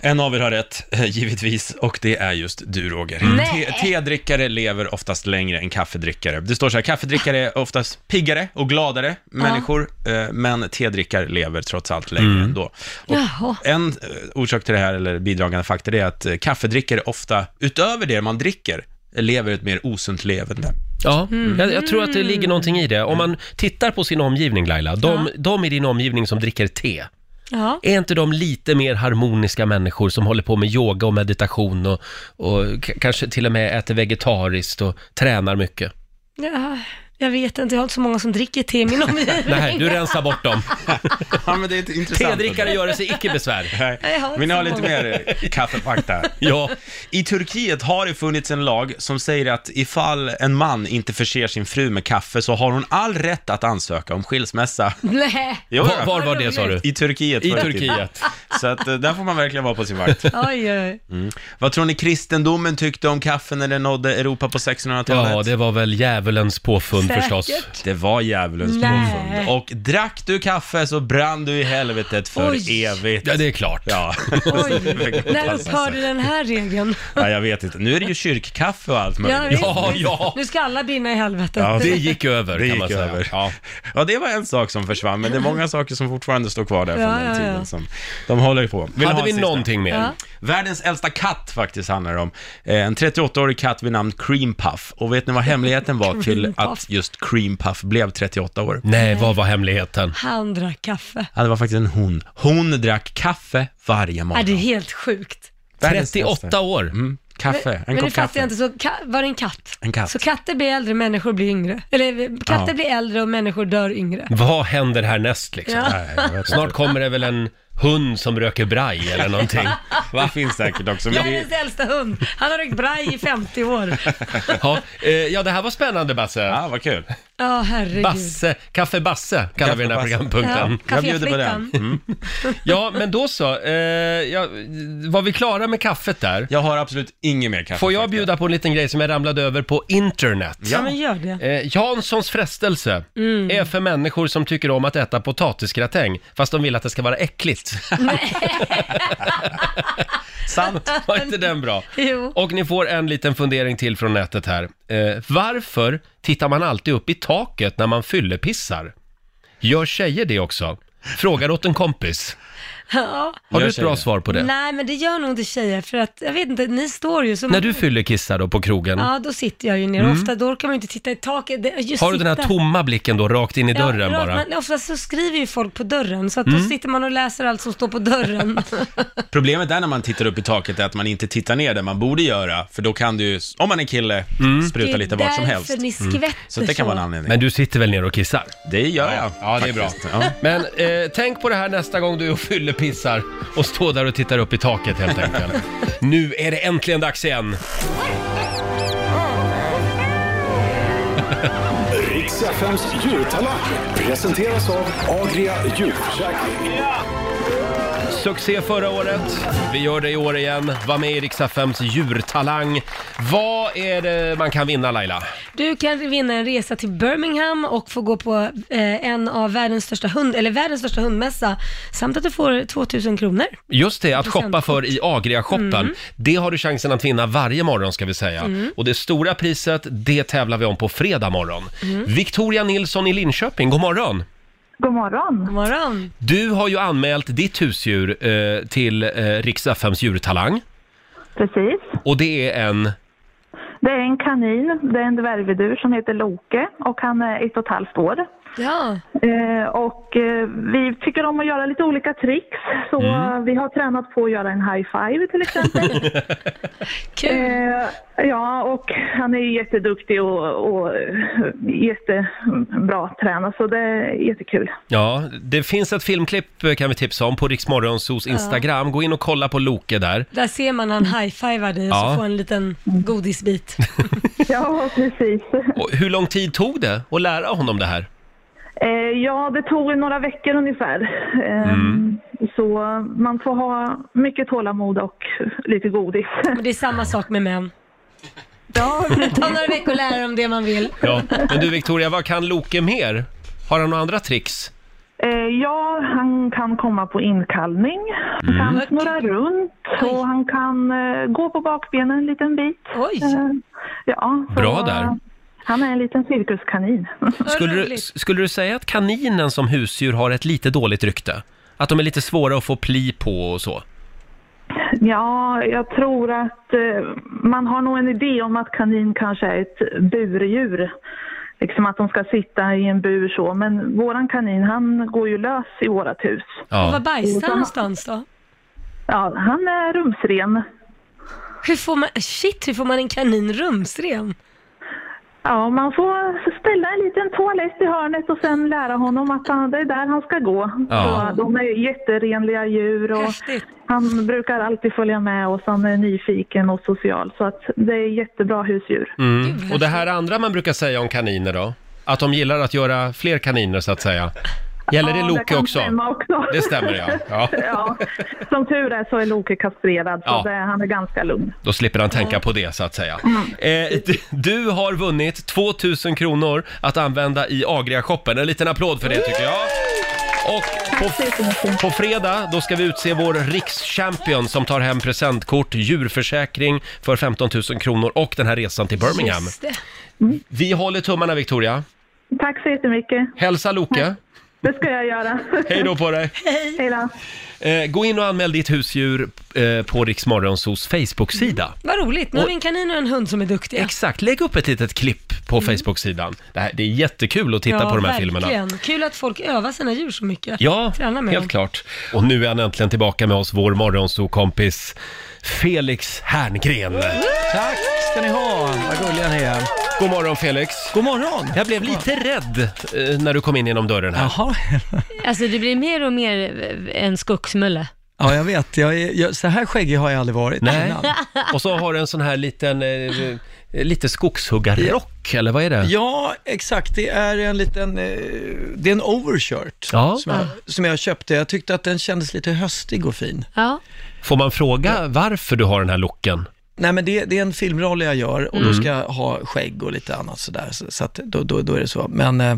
Speaker 3: En av er har rätt, *laughs* eh, givetvis, och det är just du Roger. Te- Tedrickare lever oftast längre än kaffedrickare. Det står så här, kaffedrickare är oftast piggare och gladare människor, eh, men tedrickare lever trots allt längre ändå. Och
Speaker 2: Jaha.
Speaker 3: en eh, orsak till det här, eller bidragande faktor, det är att eh, kaffedrickare ofta, utöver det man dricker, lever ett mer osunt levande.
Speaker 1: Ja, jag, jag tror att det ligger någonting i det. Om
Speaker 3: Mm.
Speaker 1: man tittar på sin omgivning Laila, de, de i din omgivning som dricker te,
Speaker 2: Ja.
Speaker 1: är inte de lite mer harmoniska människor som håller på med yoga och meditation och, och k- kanske till och med äter vegetariskt och tränar mycket?
Speaker 2: ja. Jag vet inte, jag har inte så många som dricker te
Speaker 1: *laughs*
Speaker 2: i min omgivning.
Speaker 1: Nej, du rensar bort dem.
Speaker 3: *laughs* Ja, men det är intressant.
Speaker 1: Tedrickare gör sig icke besvär.
Speaker 2: Jag har
Speaker 3: Nej,
Speaker 2: inte
Speaker 3: vill ni ha
Speaker 2: så
Speaker 3: lite
Speaker 2: många.
Speaker 3: mer eh, kaffefakta?
Speaker 1: *laughs* Ja,
Speaker 3: I Turkiet har det funnits en lag som säger att ifall en man inte förser sin fru med kaffe så har hon all rätt att ansöka om skilsmässa.
Speaker 2: Nej.
Speaker 3: Jo,
Speaker 1: var var, var det sa du?
Speaker 3: I Turkiet.
Speaker 1: I
Speaker 3: förr tiden.
Speaker 1: Turkiet.
Speaker 3: Så att, eh, där får man verkligen vara på sin vakt.
Speaker 2: Oj, oj, oj.
Speaker 3: Mm. Vad tror ni kristendomen tyckte om kaffe när den nådde Europa på 1600-talet?
Speaker 1: Ja, det var väl djävulens påfund
Speaker 2: Säkert.
Speaker 1: förstås.
Speaker 3: Det var djävulens
Speaker 2: Nej.
Speaker 3: påfund. Och drack du kaffe så brann du i helvetet för
Speaker 2: Oj.
Speaker 3: evigt.
Speaker 1: Ja, det är klart.
Speaker 3: Ja. *laughs*
Speaker 2: Oj.
Speaker 3: Fick man
Speaker 2: När
Speaker 3: passa sig.
Speaker 2: upphörde den här regeln?
Speaker 3: Ja, jag vet inte. Nu är det ju kyrkkaffe och allt möjligt.
Speaker 2: Jag vet.
Speaker 1: Ja, ja.
Speaker 2: Nu ska alla brinna i helvetet.
Speaker 3: Ja,
Speaker 1: Det gick över
Speaker 3: Det
Speaker 1: kan
Speaker 3: gick
Speaker 1: man säga.
Speaker 3: över.
Speaker 1: Ja.
Speaker 3: *laughs* Ja, det var en sak som försvann, men det är många saker som fortfarande står kvar där från
Speaker 2: Ja,
Speaker 3: den
Speaker 2: ja,
Speaker 3: tiden.
Speaker 2: ja.
Speaker 3: Som de håller ju på. Vill ni ha
Speaker 1: Hade
Speaker 3: en
Speaker 1: vi
Speaker 3: sista?
Speaker 1: någonting mer?
Speaker 2: Ja.
Speaker 3: Världens äldsta katt faktiskt handlar det om. Eh, En 38-årig katt vid namn Cream Puff. Och vet ni vad hemligheten var till
Speaker 2: Cream Puff.
Speaker 3: att just Cream Puff blev 38 år?
Speaker 1: Nej, vad var hemligheten?
Speaker 2: Han drack kaffe.
Speaker 3: Ja, det var faktiskt en hon. Hon drack kaffe varje
Speaker 2: Ja, det är
Speaker 3: morgon.
Speaker 2: helt sjukt.
Speaker 3: Världens äldsta.
Speaker 1: 38 år.
Speaker 3: Mm, kaffe, en
Speaker 2: Men nu
Speaker 3: kopp
Speaker 2: fattar
Speaker 3: kaffe.
Speaker 2: jag inte, så ka- var det en katt?
Speaker 3: En katt.
Speaker 2: Så katter blir äldre, människor blir yngre. Eller katter
Speaker 3: Ja.
Speaker 2: blir äldre och människor dör yngre.
Speaker 1: Vad händer härnäst liksom?
Speaker 2: Ja.
Speaker 3: Nej, jag vet inte.
Speaker 1: Snart kommer det väl en hund som röker braj eller någonting.
Speaker 3: *laughs* Det finns säkert också. Men det...
Speaker 2: Världens äldsta hund. Han har rökt braj i 50 år.
Speaker 1: *laughs* Ja, eh, ja, det här var spännande Basse.
Speaker 3: Ja, vad kul.
Speaker 2: Ja, herregud.
Speaker 1: Basse, Kaffe Basse kallar vi den här
Speaker 3: Kaffe Basse.
Speaker 1: programpunkten.
Speaker 2: Ja.
Speaker 3: Jag bjuder på
Speaker 2: Kaféflickan.
Speaker 3: den. Mm.
Speaker 1: Ja, men då så. Eh, ja, var vi klara med kaffet där?
Speaker 3: Jag har absolut inget mer kaffe.
Speaker 1: Får jag
Speaker 3: faktiskt.
Speaker 1: bjuda på en liten grej som jag ramlade över på internet?
Speaker 2: Ja, men gör Mm. det.
Speaker 1: Eh, Janssons frestelse är för människor som tycker om att äta potatisgratäng, fast de vill att det ska vara äckligt. *laughs*
Speaker 3: Sant.
Speaker 1: Var inte den bra?
Speaker 2: Jo.
Speaker 1: Och ni får en liten fundering till från nätet här. Eh, varför tittar man alltid upp i taket när man fyllepissar? Gör tjejer det också? Frågar åt en kompis.
Speaker 2: Ja.
Speaker 1: Har
Speaker 3: Gör
Speaker 1: du ett bra
Speaker 3: tjejer.
Speaker 1: svar på det?
Speaker 2: Nej, men det gör nog inte tjejer för att, jag vet inte, ni står ju så...
Speaker 1: När du fyllekissar då på krogen,
Speaker 2: Ja, då sitter jag ju ner. Ofta då kan man ju inte titta i taket. Det- Just
Speaker 1: har du den här
Speaker 2: sitta.
Speaker 1: tomma blicken då rakt in i
Speaker 2: Ja,
Speaker 1: dörren
Speaker 2: bra,
Speaker 1: bara? Mm.
Speaker 2: Men oftast så skriver ju folk på dörren, så att då sitter man och läser allt som står
Speaker 1: *laughs*
Speaker 2: på dörren.
Speaker 3: Problemet där när man tittar upp i taket är att man inte tittar ner där man borde göra, för då kan du ju, om man är kille, spruta lite vart som helst. Mm.
Speaker 2: Det är därför ni skvätter
Speaker 3: Så det kan vara en anledning.
Speaker 1: Mm. Men du sitter väl ner och kissar?
Speaker 3: det gör jag.
Speaker 1: Ja, det är bra.
Speaker 3: faktiskt. Ja.
Speaker 1: Men eh, tänk på det här nästa gång du *laughs* är och fyllepissar och står där och tittar upp i taket helt enkelt.
Speaker 3: *laughs*
Speaker 1: nu är det äntligen dags igen.
Speaker 5: Riks FMs djurtalang presenteras av Agria djurförsäkring.
Speaker 1: Succé förra året. Vi gör det i år igen. Var med i Rix FMs djurtalang. Vad är det man kan vinna Laila?
Speaker 2: Du kan vinna en resa till Birmingham och få gå på eh, en av världens största hund, eller världens största hundmässa, samt att du får 2000 kronor.
Speaker 1: Just det, att shoppa
Speaker 2: Presentkort.
Speaker 1: för i Agria-shoppen. Det har du chansen att vinna varje morgon ska vi säga. Och det stora priset, det tävlar vi om på fredag morgon. Victoria Nilsson i Linköping, god morgon!
Speaker 7: God morgon.
Speaker 2: God morgon.
Speaker 1: Du har ju anmält ditt husdjur eh, till eh, Rix FMs djurtalang.
Speaker 7: Precis.
Speaker 1: Och det är en...
Speaker 7: Det är en kanin, det är en dvärgvidur som heter Loke och han är ett och ett halvt år.
Speaker 2: Ja,
Speaker 7: Eh, och eh, vi tycker om att göra lite olika tricks. Så
Speaker 1: Mm.
Speaker 7: eh, vi har tränat på att göra en high five till exempel.
Speaker 1: *laughs*
Speaker 2: kul.
Speaker 7: eh, ja, och han är ju jätteduktig och, och eh, jättebra tränad så det är jättekul.
Speaker 1: Ja, det finns ett filmklipp eh, kan vi tipsa om på Rix Morgonzos Instagram. Gå in och kolla på Loke där.
Speaker 2: Där ser man han high-fivar dig och
Speaker 1: Ja.
Speaker 2: så får en liten godisbit.
Speaker 7: Ja, precis.
Speaker 1: Och hur lång tid tog det att lära honom det här?
Speaker 7: Eh, ja, det tog några veckor ungefär. Eh,
Speaker 1: Mm.
Speaker 7: Så man får ha mycket tålamod och lite godis.
Speaker 2: Men det är samma sak med män.
Speaker 7: Ja,
Speaker 2: Ta några veckor och lära dem det man vill.
Speaker 1: Ja. Men du Victoria, vad kan Loke mer? Har han några andra tricks?
Speaker 7: Eh, ja, han kan komma på inkallning, han
Speaker 1: Mm.
Speaker 7: kan snurra runt
Speaker 2: Oj.
Speaker 7: och han kan eh, gå på bakbenen en liten bit.
Speaker 2: Oj.
Speaker 7: Eh, ja, så,
Speaker 1: Bra där.
Speaker 7: Han är en liten cirkuskanin.
Speaker 2: Vad
Speaker 1: Skulle du,
Speaker 2: roligt.
Speaker 1: skulle du säga att kaninen som husdjur har ett lite dåligt rykte? Att de är lite svåra att få pli på och så?
Speaker 7: Ja, jag tror att eh, man har nog en idé om att kanin kanske är ett burdjur. Liksom att de ska sitta i en bur så, men våran kanin han går ju lös i vårat hus.
Speaker 2: Och var
Speaker 1: Ja.
Speaker 2: bajsar han någonstans då?
Speaker 7: Ja, han är rumsren.
Speaker 2: Hur får man, shit, hur får man en kanin rumsren?
Speaker 7: Ja, man får ställa en liten toalett i hörnet och sen lära honom att han, det är där han ska gå.
Speaker 1: Ja.
Speaker 7: Så de är jätterenliga djur och
Speaker 2: Häftigt.
Speaker 7: han brukar alltid följa med oss. Han är nyfiken och social så att det är jättebra husdjur.
Speaker 1: Mm. Och det här andra man brukar säga om kaniner då? Att de gillar att göra fler kaniner så att säga. Gäller det
Speaker 7: Ja,
Speaker 1: Loke
Speaker 7: kan
Speaker 1: också?
Speaker 7: stämma också.
Speaker 1: Det stämmer ja.
Speaker 7: *laughs*
Speaker 1: *laughs* ja.
Speaker 7: Ja, som tur är så är Loke kastrerad, så
Speaker 1: Ja.
Speaker 7: det, han är ganska lugn.
Speaker 1: Då slipper han tänka på det så att säga. Eh, d- du har vunnit 2000 kronor att använda i Agria-shoppen. En liten applåd för det tycker jag. Och på, på fredag då ska vi utse vår rikschampion som tar hem presentkort, djurförsäkring för 15 000 kronor och den här resan till Birmingham.
Speaker 2: Just det.
Speaker 1: Vi håller tummarna Victoria.
Speaker 7: Tack så jättemycket.
Speaker 1: Hälsa Loke.
Speaker 7: Det ska jag göra.
Speaker 1: Hej då på dig.
Speaker 7: *laughs* Hej då.
Speaker 1: Eh, gå in och anmäl ditt husdjur eh, på Riksmorgonsos Facebook-sida.
Speaker 2: Vad roligt, nu har vi en kanin och en hund som är duktiga.
Speaker 1: Exakt, lägg upp ett litet klipp på Facebook-sidan. Det, här, det är jättekul att titta
Speaker 2: Mm. ja,
Speaker 1: på de här filmerna.
Speaker 2: verkligen. Kul att folk övar sina djur så mycket.
Speaker 1: Ja,
Speaker 2: *laughs* Träna med
Speaker 1: helt
Speaker 2: dem.
Speaker 1: klart. Och nu är han äntligen tillbaka med oss, vår morgonsokompis Felix Herngren.
Speaker 8: Tack ska ni ha, vad gulliga ni är.
Speaker 1: God morgon Felix!
Speaker 8: God morgon!
Speaker 1: Jag blev lite rädd eh, när du kom in genom dörren här.
Speaker 8: Jaha,
Speaker 9: Alltså det blir mer och mer eh, en skogsmulle.
Speaker 8: ja jag vet. Jag, är- jag, så här skäggig har jag aldrig varit
Speaker 1: Nej.
Speaker 8: innan.
Speaker 1: *laughs* Och så har du en sån här liten, eh, lite skogshuggarrock, eller vad är det?
Speaker 8: Ja, exakt. Det är en liten, eh, det är en overshirt
Speaker 1: Ja.
Speaker 8: som, jag, som jag köpte. Jag tyckte att den kändes lite höstig och fin.
Speaker 9: Ja.
Speaker 1: Får man fråga varför du har den här looken? Mm.
Speaker 8: Nej, men det, det är en filmroll jag gör och då ska jag ha skägg och lite annat sådär. Så, så att då, då, då är det så. Men eh,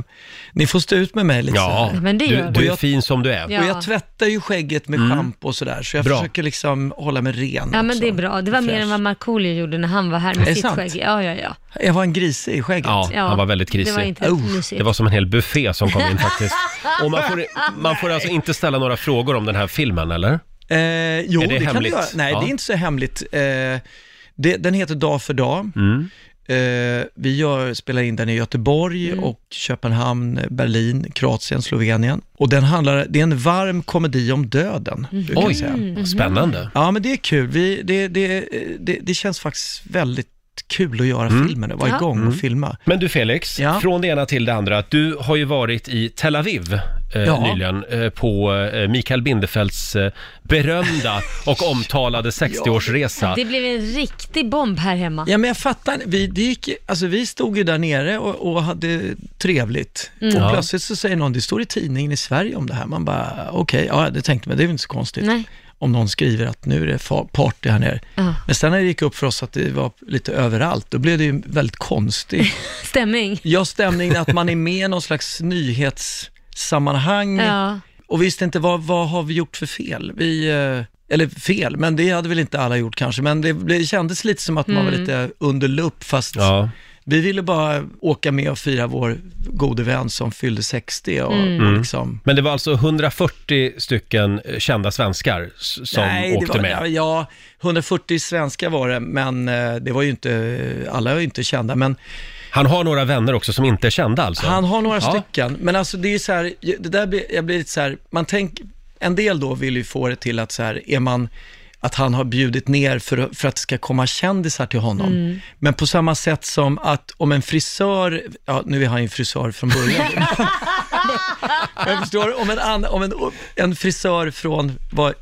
Speaker 8: ni får stå ut med mig lite. så
Speaker 1: Ja,
Speaker 8: här.
Speaker 9: Men det gör
Speaker 1: du,
Speaker 9: vi.
Speaker 1: du är
Speaker 8: jag-
Speaker 1: fin som du är. Mm.
Speaker 9: Ja.
Speaker 8: Och jag tvättar ju skägget med schampo och sådär, så jag
Speaker 1: Bra.
Speaker 8: försöker liksom hålla mig ren
Speaker 9: ja, men
Speaker 8: också.
Speaker 9: det är bra. Det var mer
Speaker 8: Fräsch.
Speaker 9: än vad Markoolio gjorde när han var här
Speaker 8: Är det
Speaker 9: med sitt
Speaker 8: sant?
Speaker 9: skägg. Ja, ja, ja.
Speaker 8: Jag var en grise i skägget.
Speaker 1: Ja,
Speaker 9: ja.
Speaker 1: han var väldigt
Speaker 9: Det var
Speaker 1: grisig.
Speaker 9: inte
Speaker 8: Usch,
Speaker 9: mysigt.
Speaker 1: Det var som en hel buffé som kom
Speaker 9: *laughs*
Speaker 1: in faktiskt. Och man får, man får alltså inte ställa några frågor om den här filmen, eller?
Speaker 8: Eh, jo,
Speaker 1: Är det
Speaker 8: det, kan du
Speaker 1: hemligt?
Speaker 8: göra. Nej,
Speaker 1: Ja.
Speaker 8: det är inte så hemligt. Eh, det, den heter Dag för dag.
Speaker 1: Mm.
Speaker 8: Eh, vi gör, spelar in den i Göteborg
Speaker 1: Mm.
Speaker 8: och Köpenhamn, Berlin, Kroatien, Slovenien. Och den handlar, det är en varm komedi om döden. brukar jag
Speaker 1: Oj,
Speaker 8: säga.
Speaker 1: spännande.
Speaker 8: Ja, men det är kul. Vi, det, det, det, det känns faktiskt väldigt kul att göra
Speaker 1: Mm.
Speaker 8: filmen, att vara
Speaker 9: Ja.
Speaker 8: igång och filma.
Speaker 1: Men du Felix,
Speaker 8: Ja.
Speaker 1: från det ena till det andra. Du har ju varit i Tel Aviv eh,
Speaker 8: Ja.
Speaker 1: nyligen eh, på eh, Mikael Bindefelds eh, berömda och
Speaker 8: *laughs*
Speaker 1: omtalade 60-årsresa.
Speaker 9: Det blev en riktig bomb här hemma.
Speaker 8: Ja, men jag fattar. Vi, det gick, alltså, vi stod ju där nere och, och hade trevligt.
Speaker 9: Mm.
Speaker 8: Och
Speaker 1: Ja.
Speaker 8: plötsligt så säger någon, det står i tidningen i Sverige om det här. Man bara, okej, ja, det tänkte man, det är väl inte så konstigt.
Speaker 9: Nej.
Speaker 8: Om någon skriver att nu är det fa- party här nere.
Speaker 9: Ja.
Speaker 8: Men sen när det gick upp för oss att det var lite överallt, då blev det ju väldigt konstigt. *laughs*
Speaker 9: Stämning.
Speaker 8: Jag stämningen att man är med i någon slags nyhetssammanhang
Speaker 9: Ja.
Speaker 8: och visste inte vad, vad har vi gjort för fel. Vi, eh, eller fel, men det hade väl inte alla gjort kanske, men det, blev- det kändes lite som att man
Speaker 9: Mm.
Speaker 8: var lite under lupp, fast
Speaker 1: Ja.
Speaker 8: vi ville bara åka med och fira vår gode vän som fyllde 60 och,
Speaker 9: Mm.
Speaker 8: och liksom...
Speaker 1: Men det var alltså 140 stycken eh, kända svenskar s- som
Speaker 8: det
Speaker 1: åkte
Speaker 8: var,
Speaker 1: med.
Speaker 8: ja, Ja, 140 svenskar var det, men eh, det var ju inte, alla var ju inte kända, men
Speaker 1: Han har några vänner också som inte är kända alltså.
Speaker 8: Han har några
Speaker 1: Ja.
Speaker 8: stycken, men alltså det är ju så här, det där blir, jag blir lite så här, man tänk, en del då vill ju få det till att så här, är man, att han har bjudit ner för, för att det ska komma kändisar till honom. Men på samma sätt som att om en frisör, ja nu är han ju frisör från början. men, men jag förstår, om, en, ann- om en, en frisör från vad,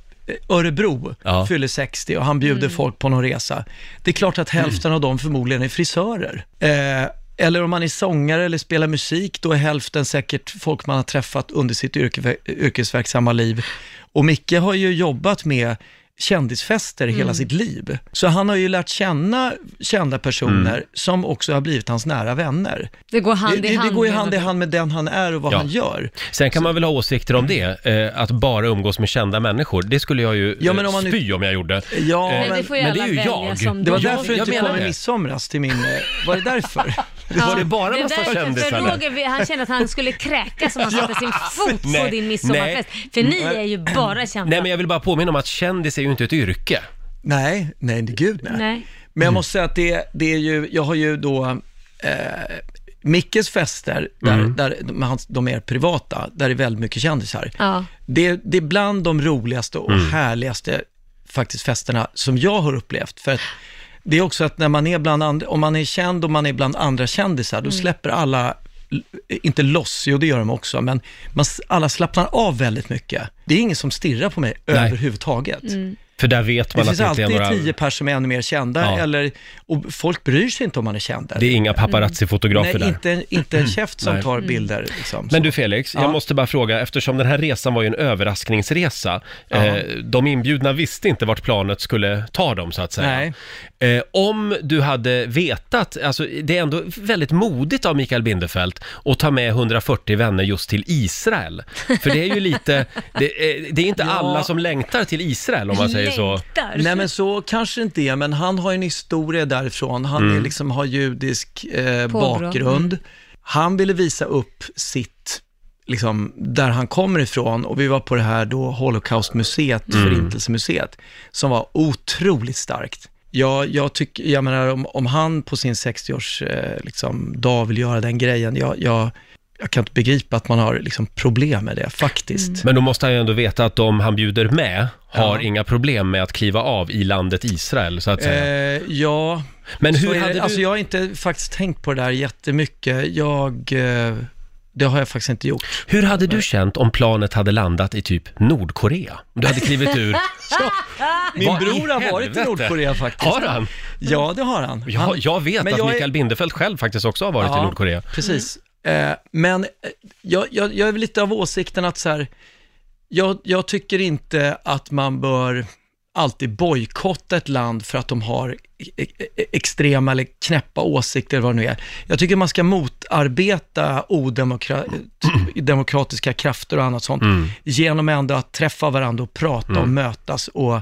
Speaker 8: Örebro
Speaker 1: Ja.
Speaker 8: fyller 60 och han
Speaker 9: Mm.
Speaker 8: bjuder folk på någon resa. Det är klart
Speaker 1: Mm.
Speaker 8: att hälften av dem förmodligen är frisörer. Eh, eller om man är sångare eller spelar musik, då är hälften säkert folk man har träffat under sitt yrke, yrkesverksamma liv. Och Micke har ju jobbat med kändisfester
Speaker 1: Mm.
Speaker 8: hela sitt liv. Så han har ju lärt känna kända personer
Speaker 1: Mm.
Speaker 8: som också har blivit hans nära vänner.
Speaker 9: Det går hand
Speaker 8: det,
Speaker 9: i
Speaker 8: det,
Speaker 9: hand.
Speaker 8: det går ju
Speaker 9: menar
Speaker 8: hand i
Speaker 9: du?
Speaker 8: hand med den han är och vad
Speaker 1: Ja.
Speaker 8: han gör. Mm.
Speaker 1: Sen kan man väl ha åsikter om det, eh, att bara umgås med kända människor. Det skulle jag ju
Speaker 8: Ja, men
Speaker 1: eh,
Speaker 8: om man nu-
Speaker 1: spy om jag gjorde.
Speaker 8: Ja,
Speaker 1: Eh,
Speaker 9: Nej,
Speaker 8: men
Speaker 9: det får ju
Speaker 1: men
Speaker 9: alla
Speaker 1: det är ju
Speaker 9: välja
Speaker 1: jag.
Speaker 9: som
Speaker 8: det var
Speaker 9: de
Speaker 8: därför
Speaker 9: vill.
Speaker 8: du
Speaker 1: jag
Speaker 8: inte
Speaker 1: menar
Speaker 8: kom i
Speaker 1: det.
Speaker 8: midsomras till min... eh, Var det därför?
Speaker 9: Ja.
Speaker 1: Var det bara
Speaker 9: Det är
Speaker 1: massa
Speaker 9: därför-
Speaker 1: kändisar
Speaker 9: För
Speaker 1: där?
Speaker 9: Roger, vi- han kände att han skulle kräkas om han satte sin fot på
Speaker 1: Nej,
Speaker 9: din midsommarfest. För ni är ju bara kända.
Speaker 1: Nej, men jag vill bara påminna om att kändis är ju inte ett yrke.
Speaker 8: Nej, nej, gud nej.
Speaker 9: Nej.
Speaker 8: Men jag måste säga att det, det är ju, jag har ju då eh, Mickes fester, där, där de, hans- de är privata, där det är väldigt mycket kändisar.
Speaker 9: Ja.
Speaker 8: Det, det är bland de roligaste och
Speaker 1: Mm.
Speaker 8: härligaste faktiskt festerna som jag har upplevt. För att det är också att när man är bland andra, om man är känd och man är bland andra kändisar, då släpper alla, l- inte loss, jo det gör de också, men man, s- alla slappnar av väldigt mycket. Det är ingen som stirrar på mig överhuvudtaget.
Speaker 1: För där vet man
Speaker 8: Det finns
Speaker 1: att det inte
Speaker 8: alltid
Speaker 1: är några...
Speaker 8: tio personer som är ännu mer kända,
Speaker 1: Ja.
Speaker 8: eller, och folk bryr sig inte om man är känd.
Speaker 1: Det är inga
Speaker 8: Nej,
Speaker 1: paparazzi-fotografer där.
Speaker 8: inte, en- inte
Speaker 1: *clears throat*
Speaker 8: en käft som
Speaker 1: Nej.
Speaker 8: tar bilder. Liksom,
Speaker 1: Men
Speaker 8: så.
Speaker 1: du Felix, jag
Speaker 8: Ja.
Speaker 1: måste bara fråga, eftersom den här resan var ju en överraskningsresa. Eh, de inbjudna visste inte vart planet skulle ta dem så att säga. Eh, om du hade vetat, alltså det är ändå väldigt modigt av Mikael Bindefeld att ta med 140 vänner just till Israel. För det är ju
Speaker 8: *laughs*
Speaker 1: lite, det, eh, det är inte alla som längtar till Israel om man säger så.
Speaker 9: Längtar.
Speaker 8: Nej men så kanske inte är, men han har ju en historia därifrån. Han
Speaker 1: Mm.
Speaker 8: är liksom, har judisk eh,
Speaker 9: Påbrå.
Speaker 8: bakgrund. Han ville visa upp sitt, liksom, där han kommer ifrån. Och vi var på det här då Holocaustmuseet,
Speaker 1: Mm.
Speaker 8: Förintelsemuseet, som var otroligt starkt. Jag, jag, tycker, jag menar, om, om han på sin 60-års eh, liksom, dag vill göra den grejen, jag, jag, jag kan inte begripa att man har liksom, problem med det, faktiskt.
Speaker 1: Men då måste han ju ändå veta att de han bjuder med har
Speaker 8: Ja.
Speaker 1: inga problem med att kliva av i landet Israel så att säga.
Speaker 8: Eh, ja,
Speaker 1: Men
Speaker 8: Så
Speaker 1: hur
Speaker 8: är
Speaker 1: hade
Speaker 8: det,
Speaker 1: du...
Speaker 8: alltså jag har inte faktiskt tänkt på det där jättemycket. Jag, eh, det har jag faktiskt inte gjort.
Speaker 1: Hur hade du känt om planet hade landat i typ Nordkorea? Om du hade
Speaker 9: *laughs*
Speaker 1: klivit ur...
Speaker 8: *laughs* Min
Speaker 1: Vad i
Speaker 8: bror har varit i
Speaker 1: helvete?
Speaker 8: Nordkorea faktiskt.
Speaker 1: Har han?
Speaker 8: Ja, det har han.
Speaker 1: Ja,
Speaker 8: han
Speaker 1: jag vet
Speaker 8: Men
Speaker 1: att
Speaker 8: jag är-
Speaker 1: Mikael Bindefeld själv faktiskt också har varit
Speaker 8: Ja.
Speaker 1: i Nordkorea.
Speaker 8: Precis. Eh, men eh, jag, jag, jag är väl lite av åsikten att så här, jag, jag tycker inte att man bör alltid bojkotta ett land för att de har e- e- extrema eller knäppa åsikter eller vad det nu är. Jag tycker man ska motarbeta
Speaker 1: *clears throat*
Speaker 8: odemokratiska krafter och annat sånt
Speaker 1: Mm.
Speaker 8: genom ändå att träffa varandra och prata och mötas och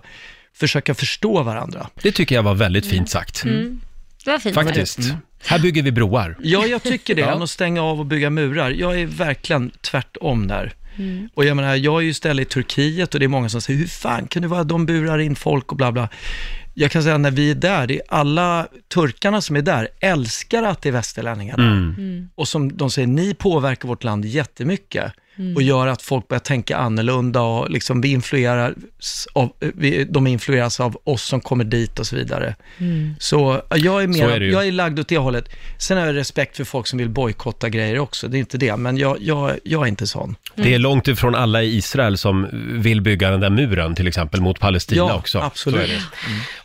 Speaker 8: försöka förstå varandra.
Speaker 1: Det tycker jag var väldigt fint sagt.
Speaker 9: Mm. Det var fint.
Speaker 1: Faktiskt.
Speaker 8: Mm.
Speaker 1: Här bygger vi broar.
Speaker 8: Ja, jag tycker det. Än att stänga av och bygga murar. Jag är verkligen tvärtom där. Och jag menar, jag är ju istället i Turkiet och det är många som säger, hur fan kan det vara, de burar in folk och bla bla. Jag kan säga när vi är där, det är alla turkarna som är där älskar att det är västerlänningar där.
Speaker 3: Mm.
Speaker 8: Och som de säger, ni påverkar vårt land jättemycket
Speaker 9: Mm.
Speaker 8: och gör att folk börjar tänka annorlunda och liksom vi influeras av, eh, vi, de influeras av oss som kommer dit och så vidare.
Speaker 9: Mm.
Speaker 8: Så ja, jag är, mer,
Speaker 1: Så är det ju.
Speaker 8: jag är lagd åt det hållet. Sen har jag respekt för folk som vill bojkotta grejer också, det är inte det, men jag, jag, jag är
Speaker 9: *laughs*
Speaker 8: inte sån.
Speaker 1: Det är långt ifrån alla i Israel som vill bygga den där muren till exempel mot Palestina
Speaker 8: ja,
Speaker 1: också.
Speaker 8: absolut. Mm.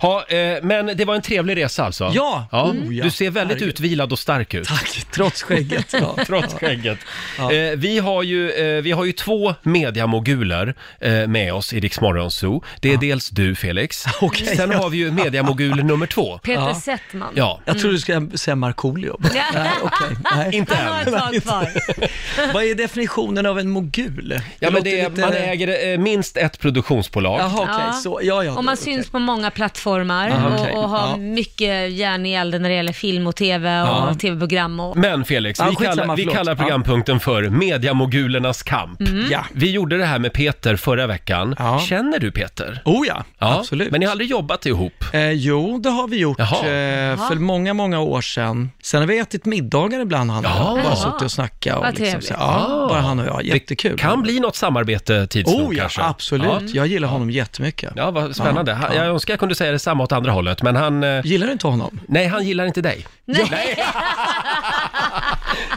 Speaker 1: Så är det. Ha, eh, men det var en trevlig resa alltså?
Speaker 8: Ja.
Speaker 1: ja.
Speaker 8: Mm.
Speaker 1: Du ser väldigt utvilad och stark ut.
Speaker 8: Tack,
Speaker 1: *laughs*
Speaker 8: trots skägget. Ja.
Speaker 1: Trots skägget. Eh, vi, har ju, eh, vi har ju två mediamoguler eh, med oss i Rix Morgon Zoo. Det är dels du Felix,
Speaker 8: *laughs* Okej.
Speaker 1: sen har vi ju mediamogul nummer två.
Speaker 9: Peter Mm.
Speaker 8: Ja.
Speaker 9: Settman.
Speaker 1: Ja,
Speaker 8: Jag trodde du skulle säga Markoolio. Nej, okej. Nej.
Speaker 1: inte
Speaker 9: Han har
Speaker 1: än.
Speaker 9: ett tag kvar.
Speaker 8: *laughs* Vad är definitionen av en mogul? Det
Speaker 1: Ja, men
Speaker 8: låter
Speaker 1: det är,
Speaker 8: lite-
Speaker 1: man äger eh, minst ett produktionsbolag.
Speaker 8: Jaha, okej.
Speaker 9: Ja.
Speaker 8: Så, ja, ja.
Speaker 9: Om man
Speaker 8: okej.
Speaker 9: syns på många plattformar
Speaker 8: Ja, okej.
Speaker 9: och, och har
Speaker 8: Ja.
Speaker 9: mycket järn i elden när det gäller film och tv och
Speaker 8: Ja.
Speaker 9: tv-program. Och...
Speaker 1: Men Felix,
Speaker 8: Ja,
Speaker 1: vi,
Speaker 8: skitsamma,
Speaker 1: kallar, vi
Speaker 8: förlåt.
Speaker 1: kallar
Speaker 8: Ja.
Speaker 1: programpunkten för Mediamogulernas kamp.
Speaker 9: Mm.
Speaker 8: Ja.
Speaker 1: Vi gjorde det här med Peter förra veckan.
Speaker 8: Ja.
Speaker 1: Känner du Peter?
Speaker 8: Oh ja,
Speaker 1: Ja,
Speaker 8: absolut.
Speaker 1: Men ni har aldrig jobbat ihop?
Speaker 8: eh, jo, det har vi gjort eh,
Speaker 1: Jaha.
Speaker 8: för många, många år sedan. Sen har vi ätit middagar ibland, han och jag.
Speaker 1: Jaha.
Speaker 8: Bara suttit och snackat. Och
Speaker 9: Vad
Speaker 8: liksom,
Speaker 9: trevligt.
Speaker 8: så, ja, bara han och jag. Jättekul.
Speaker 1: Kan bli något samarbete tids nog
Speaker 8: Oh ja,
Speaker 1: kanske?
Speaker 8: absolut.
Speaker 1: Ja.
Speaker 8: Jag gillar honom jättemycket.
Speaker 1: Ja, vad spännande. Han- Jag önskar jag kunde säga detsamma åt andra hållet, men han... eh,
Speaker 8: Gillar du inte honom?
Speaker 1: Nej, han gillar inte dig.
Speaker 9: Nej.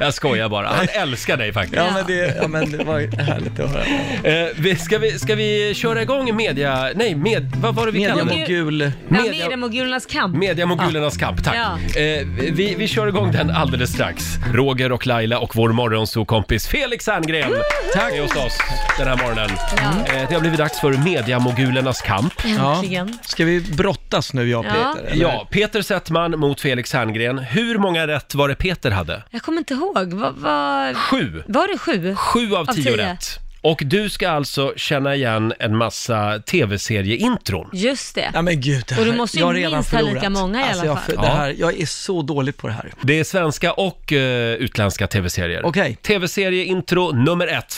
Speaker 1: Jag skojar bara. Han älskar dig faktiskt.
Speaker 8: Ja, men det, ja, men det var härligt att höra.
Speaker 1: Eh, vi, ska, vi, ska vi köra igång media... Nej, med, vad var det vi kallade det?
Speaker 8: Mediamogul.
Speaker 9: Ja,
Speaker 1: Media-
Speaker 9: Mediamogulernas kamp.
Speaker 1: Mediamogulernas kamp, tack.
Speaker 9: Ja.
Speaker 1: Eh, vi, vi kör igång den alldeles strax. Roger och Laila och vår morgonsokompis Felix Herngren tack. är hos oss den här morgonen. Eh, det har blivit dags för Mediamogulernas kamp.
Speaker 9: Äntligen.
Speaker 8: Ska vi brottas nu, jag och
Speaker 9: Ja.
Speaker 8: Peter? eller?
Speaker 1: Ja, Peter Settman mot Felix Herngren. Hur många rätt var det Peter hade?
Speaker 9: Jag kommer inte ihåg. Vad vad-
Speaker 1: Sju.
Speaker 9: var det sju?
Speaker 1: Sju av
Speaker 9: Av
Speaker 1: tio
Speaker 9: tio.
Speaker 1: rätt. Och du ska alltså känna igen en massa tv-serieintron.
Speaker 9: Just det.
Speaker 8: Ja, men gud, det här,
Speaker 9: Och du måste ju
Speaker 8: jag har redan
Speaker 9: minst ha lika
Speaker 8: förlorat.
Speaker 9: många i alla
Speaker 8: alltså, jag,
Speaker 9: fall.
Speaker 8: det här, jag är så dålig på det här.
Speaker 1: Det är svenska och eh, utländska tv-serier.
Speaker 8: Okej.
Speaker 1: Tv-serieintro nummer ett.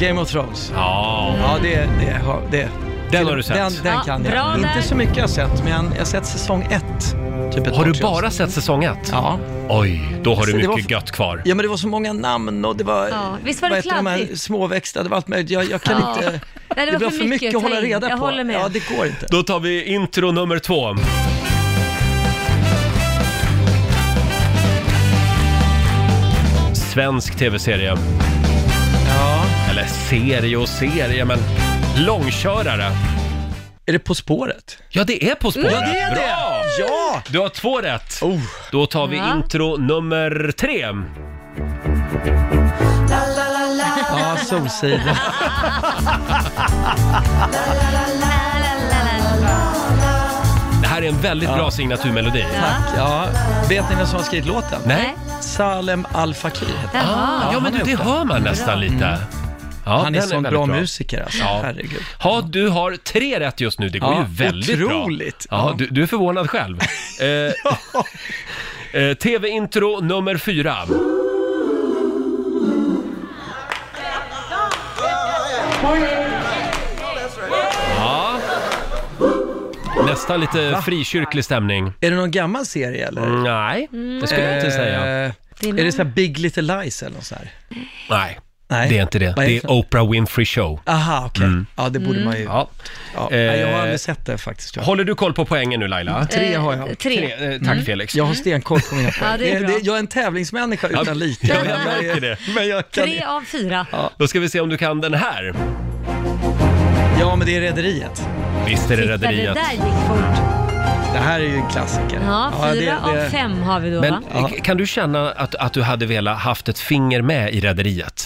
Speaker 8: Game of Thrones.
Speaker 1: Ja.
Speaker 8: Ja, det, det, har- det.
Speaker 1: Den har du sett.
Speaker 8: Den, den
Speaker 9: Ja,
Speaker 8: kan jag.
Speaker 9: bra där.
Speaker 8: Inte så mycket jag har sett, men jag har sett säsong ett. Typ ett
Speaker 1: Har du
Speaker 8: kort
Speaker 1: bara sett säsong ett?
Speaker 8: Ja.
Speaker 1: Oj, då har du
Speaker 8: Så
Speaker 1: mycket
Speaker 8: det var-
Speaker 1: gött kvar.
Speaker 8: ja, men det var så många namn och det var...
Speaker 9: Ja, visst var det
Speaker 8: vad heter de här
Speaker 9: kladdigt?
Speaker 8: Småväxta, det var allt möjligt. Jag, jag kan
Speaker 9: Ja.
Speaker 8: inte...
Speaker 9: Nej,
Speaker 8: det var för mycket, att
Speaker 9: ta
Speaker 8: hålla
Speaker 9: in.
Speaker 8: reda
Speaker 9: Jag
Speaker 8: på.
Speaker 9: håller med.
Speaker 8: Ja, det går inte.
Speaker 1: Då tar vi intro nummer två. Svensk tv-serie.
Speaker 8: Ja.
Speaker 1: Eller serie och serie, men långkörare.
Speaker 8: Är det På spåret? Mm.
Speaker 1: Ja, det är På spåret. Bra!
Speaker 8: Ja!
Speaker 1: Du har två rätt.
Speaker 8: Oh.
Speaker 1: Då tar vi
Speaker 9: Ja.
Speaker 1: intro nummer tre.
Speaker 8: Ja, Solsidan.
Speaker 1: Det här är en väldigt bra signaturmelodi.
Speaker 8: Tack. Ja. Vet ni vem som har skrivit låten?
Speaker 1: Nej?
Speaker 8: Salem Al Fakir heter han.
Speaker 9: Jaha.
Speaker 1: Ah, Ja, men du, det hör man nästan
Speaker 8: Mm.
Speaker 1: lite. Ja,
Speaker 8: Han är
Speaker 1: den
Speaker 8: sån
Speaker 1: väldigt
Speaker 8: bra, musiker alltså.
Speaker 1: Ja.
Speaker 8: Herregud.
Speaker 1: Ja, du har tre rätt just nu. Det går
Speaker 8: Ja,
Speaker 1: ju väldigt bra.
Speaker 8: otroligt.
Speaker 1: Ja,
Speaker 8: Ja.
Speaker 1: du, du är förvånad
Speaker 8: *laughs*
Speaker 1: själv. Eh, eh, TV-intro nummer fyra. Ja. Nästan lite frikyrklig stämning. Mm,
Speaker 8: Är det någon gammal serie eller?
Speaker 1: Nej,
Speaker 8: Mm.
Speaker 1: det skulle jag inte säga.
Speaker 8: Eh,
Speaker 9: Mm. Det är
Speaker 8: är det så här Big Little Lies eller något så här?
Speaker 1: Nej,
Speaker 8: Nej.
Speaker 1: det är inte det.
Speaker 8: Vad är
Speaker 1: Det
Speaker 8: för
Speaker 1: är Oprah Winfrey Show.
Speaker 8: Aha, okej. Ja, det
Speaker 9: Mm.
Speaker 8: borde man ju... Ja.
Speaker 1: Mm. Ja.
Speaker 8: Nej, jag har
Speaker 1: Eh,
Speaker 8: aldrig sett det faktiskt. Jag.
Speaker 1: Håller du koll på poängen nu Laila?
Speaker 8: Eh, Tre Mm. har jag.
Speaker 9: Tre. Mm.
Speaker 1: Tre, eh, Tack Felix.
Speaker 8: Jag har stenkoll på mina
Speaker 9: *laughs* Ja, det är bra.
Speaker 8: Jag är en tävlingsmänniska utan
Speaker 1: Ja,
Speaker 8: like.
Speaker 1: ja, jag
Speaker 8: Men är-
Speaker 1: märker det.
Speaker 8: Men jag kan
Speaker 9: Tre av fyra.
Speaker 1: Då ska vi se om du kan den här.
Speaker 8: Ja, men det är Rederiet.
Speaker 1: Visst är det
Speaker 9: Titta, det
Speaker 1: Rederiet.
Speaker 9: där gick fort.
Speaker 8: Det här är ju en klassiker.
Speaker 9: Ja, fyra
Speaker 8: det, det,
Speaker 9: av fem har vi då, va?
Speaker 1: Men eh, kan du känna att, att du hade velat haft ett finger med i Rederiet?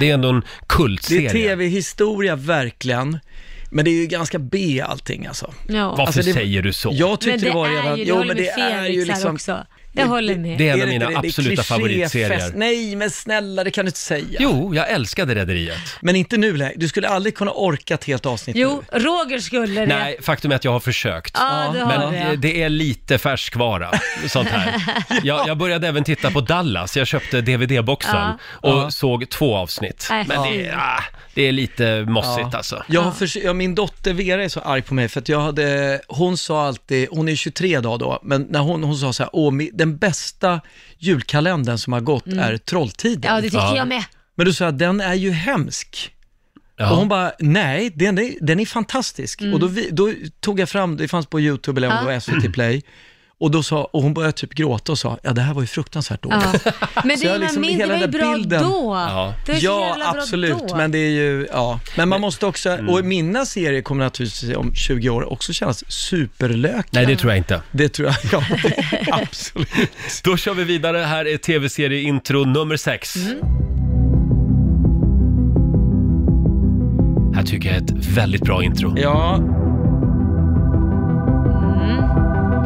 Speaker 1: Det är ändå en
Speaker 8: Det är
Speaker 1: kultserie.
Speaker 8: tv-historia verkligen, men det är ju ganska B allting alltså.
Speaker 9: Ja.
Speaker 1: Varför
Speaker 8: Alltså, det-
Speaker 1: säger du så?
Speaker 8: Jag tyckte
Speaker 9: Men det
Speaker 8: det, var
Speaker 9: är
Speaker 8: redan...
Speaker 9: ju, du håller med Felix här också. Jag håller
Speaker 1: det
Speaker 9: med.
Speaker 1: är en av
Speaker 8: det inte
Speaker 1: mina
Speaker 8: det? Det är
Speaker 1: absoluta
Speaker 8: klichéfest.
Speaker 1: favoritserier.
Speaker 8: Nej, men snälla, det kan du inte säga.
Speaker 1: Jo, jag älskade Rederiet.
Speaker 8: Men inte nu längre. Du skulle aldrig kunna orka ett helt avsnitt
Speaker 9: Jo,
Speaker 8: nu.
Speaker 9: Roger skulle det.
Speaker 1: Nej, faktum är att jag har försökt.
Speaker 9: Ja, du har
Speaker 1: Men eh,
Speaker 9: det.
Speaker 1: det är lite färskvara,
Speaker 9: *laughs*
Speaker 1: sånt här. Jag, jag började även titta på Dallas, jag köpte DVD-boxen
Speaker 9: Ja.
Speaker 1: och såg två avsnitt.
Speaker 9: Nej,
Speaker 1: Men
Speaker 9: fy.
Speaker 1: det, är- ah, det är lite mossigt alltså.
Speaker 8: Jag har förs- ja, min dotter Vera är så arg på mig för att jag hade, hon sa alltid, hon är 23 idag då, men när hon, hon sa så här, Åh, mi- den bästa julkalendern som har gått är Trolltiden.
Speaker 9: Mm. Ja, det tycker
Speaker 1: Ja.
Speaker 9: jag med.
Speaker 8: Men du sa jag, den är ju hemsk.
Speaker 1: Ja.
Speaker 8: Och hon bara, nej, den är, den är fantastisk.
Speaker 9: Mm.
Speaker 8: Och då, vi, då tog jag fram, det fanns på YouTube eller om det var SVT Play, och, då sa, och hon började typ gråta och sa, ja det här var ju fruktansvärt dåligt.
Speaker 9: Ja. Men det,
Speaker 8: jag
Speaker 9: är man
Speaker 8: liksom-
Speaker 9: minns, det
Speaker 8: hela
Speaker 9: var ju
Speaker 8: den
Speaker 9: bra
Speaker 8: bilden-
Speaker 9: då.
Speaker 1: Ja.
Speaker 9: Det var ju så
Speaker 8: Ja,
Speaker 9: jävla bra
Speaker 8: absolut,
Speaker 9: då.
Speaker 8: men det är ju, ja. Men man måste också,
Speaker 1: Mm.
Speaker 8: och mina serier kommer naturligtvis om 20 år också kännas superlökiga.
Speaker 1: Nej, det tror jag inte.
Speaker 8: Det tror jag,
Speaker 9: *laughs*
Speaker 8: ja, det, absolut.
Speaker 1: Då kör vi vidare. Här är tv-serieintro nummer 6.
Speaker 8: Mm.
Speaker 1: Här tycker jag är ett väldigt bra intro. Mm.
Speaker 8: Ja,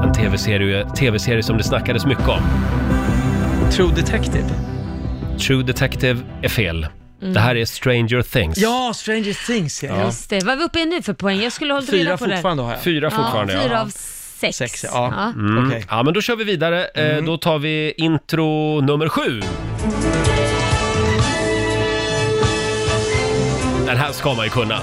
Speaker 1: En tv-serie TV-serie som det snackades mycket om.
Speaker 8: True Detective. Mm.
Speaker 1: True Detective är fel. Det här är Stranger Things.
Speaker 8: Ja, Stranger Things ja.
Speaker 9: Just det. Vad är vi uppe i nu för poäng? Jag skulle ha hållit reda
Speaker 8: Fyra
Speaker 9: på det.
Speaker 8: fortfarande har jag.
Speaker 1: Fyra fortfarande.
Speaker 9: Ja, fyra
Speaker 1: ja.
Speaker 9: av sex.
Speaker 8: Sex, ja. Mm. Okej. Mm.
Speaker 1: Ja, men då kör vi vidare. Eh, Då tar vi intro nummer sju. Den här ska man ju kunna.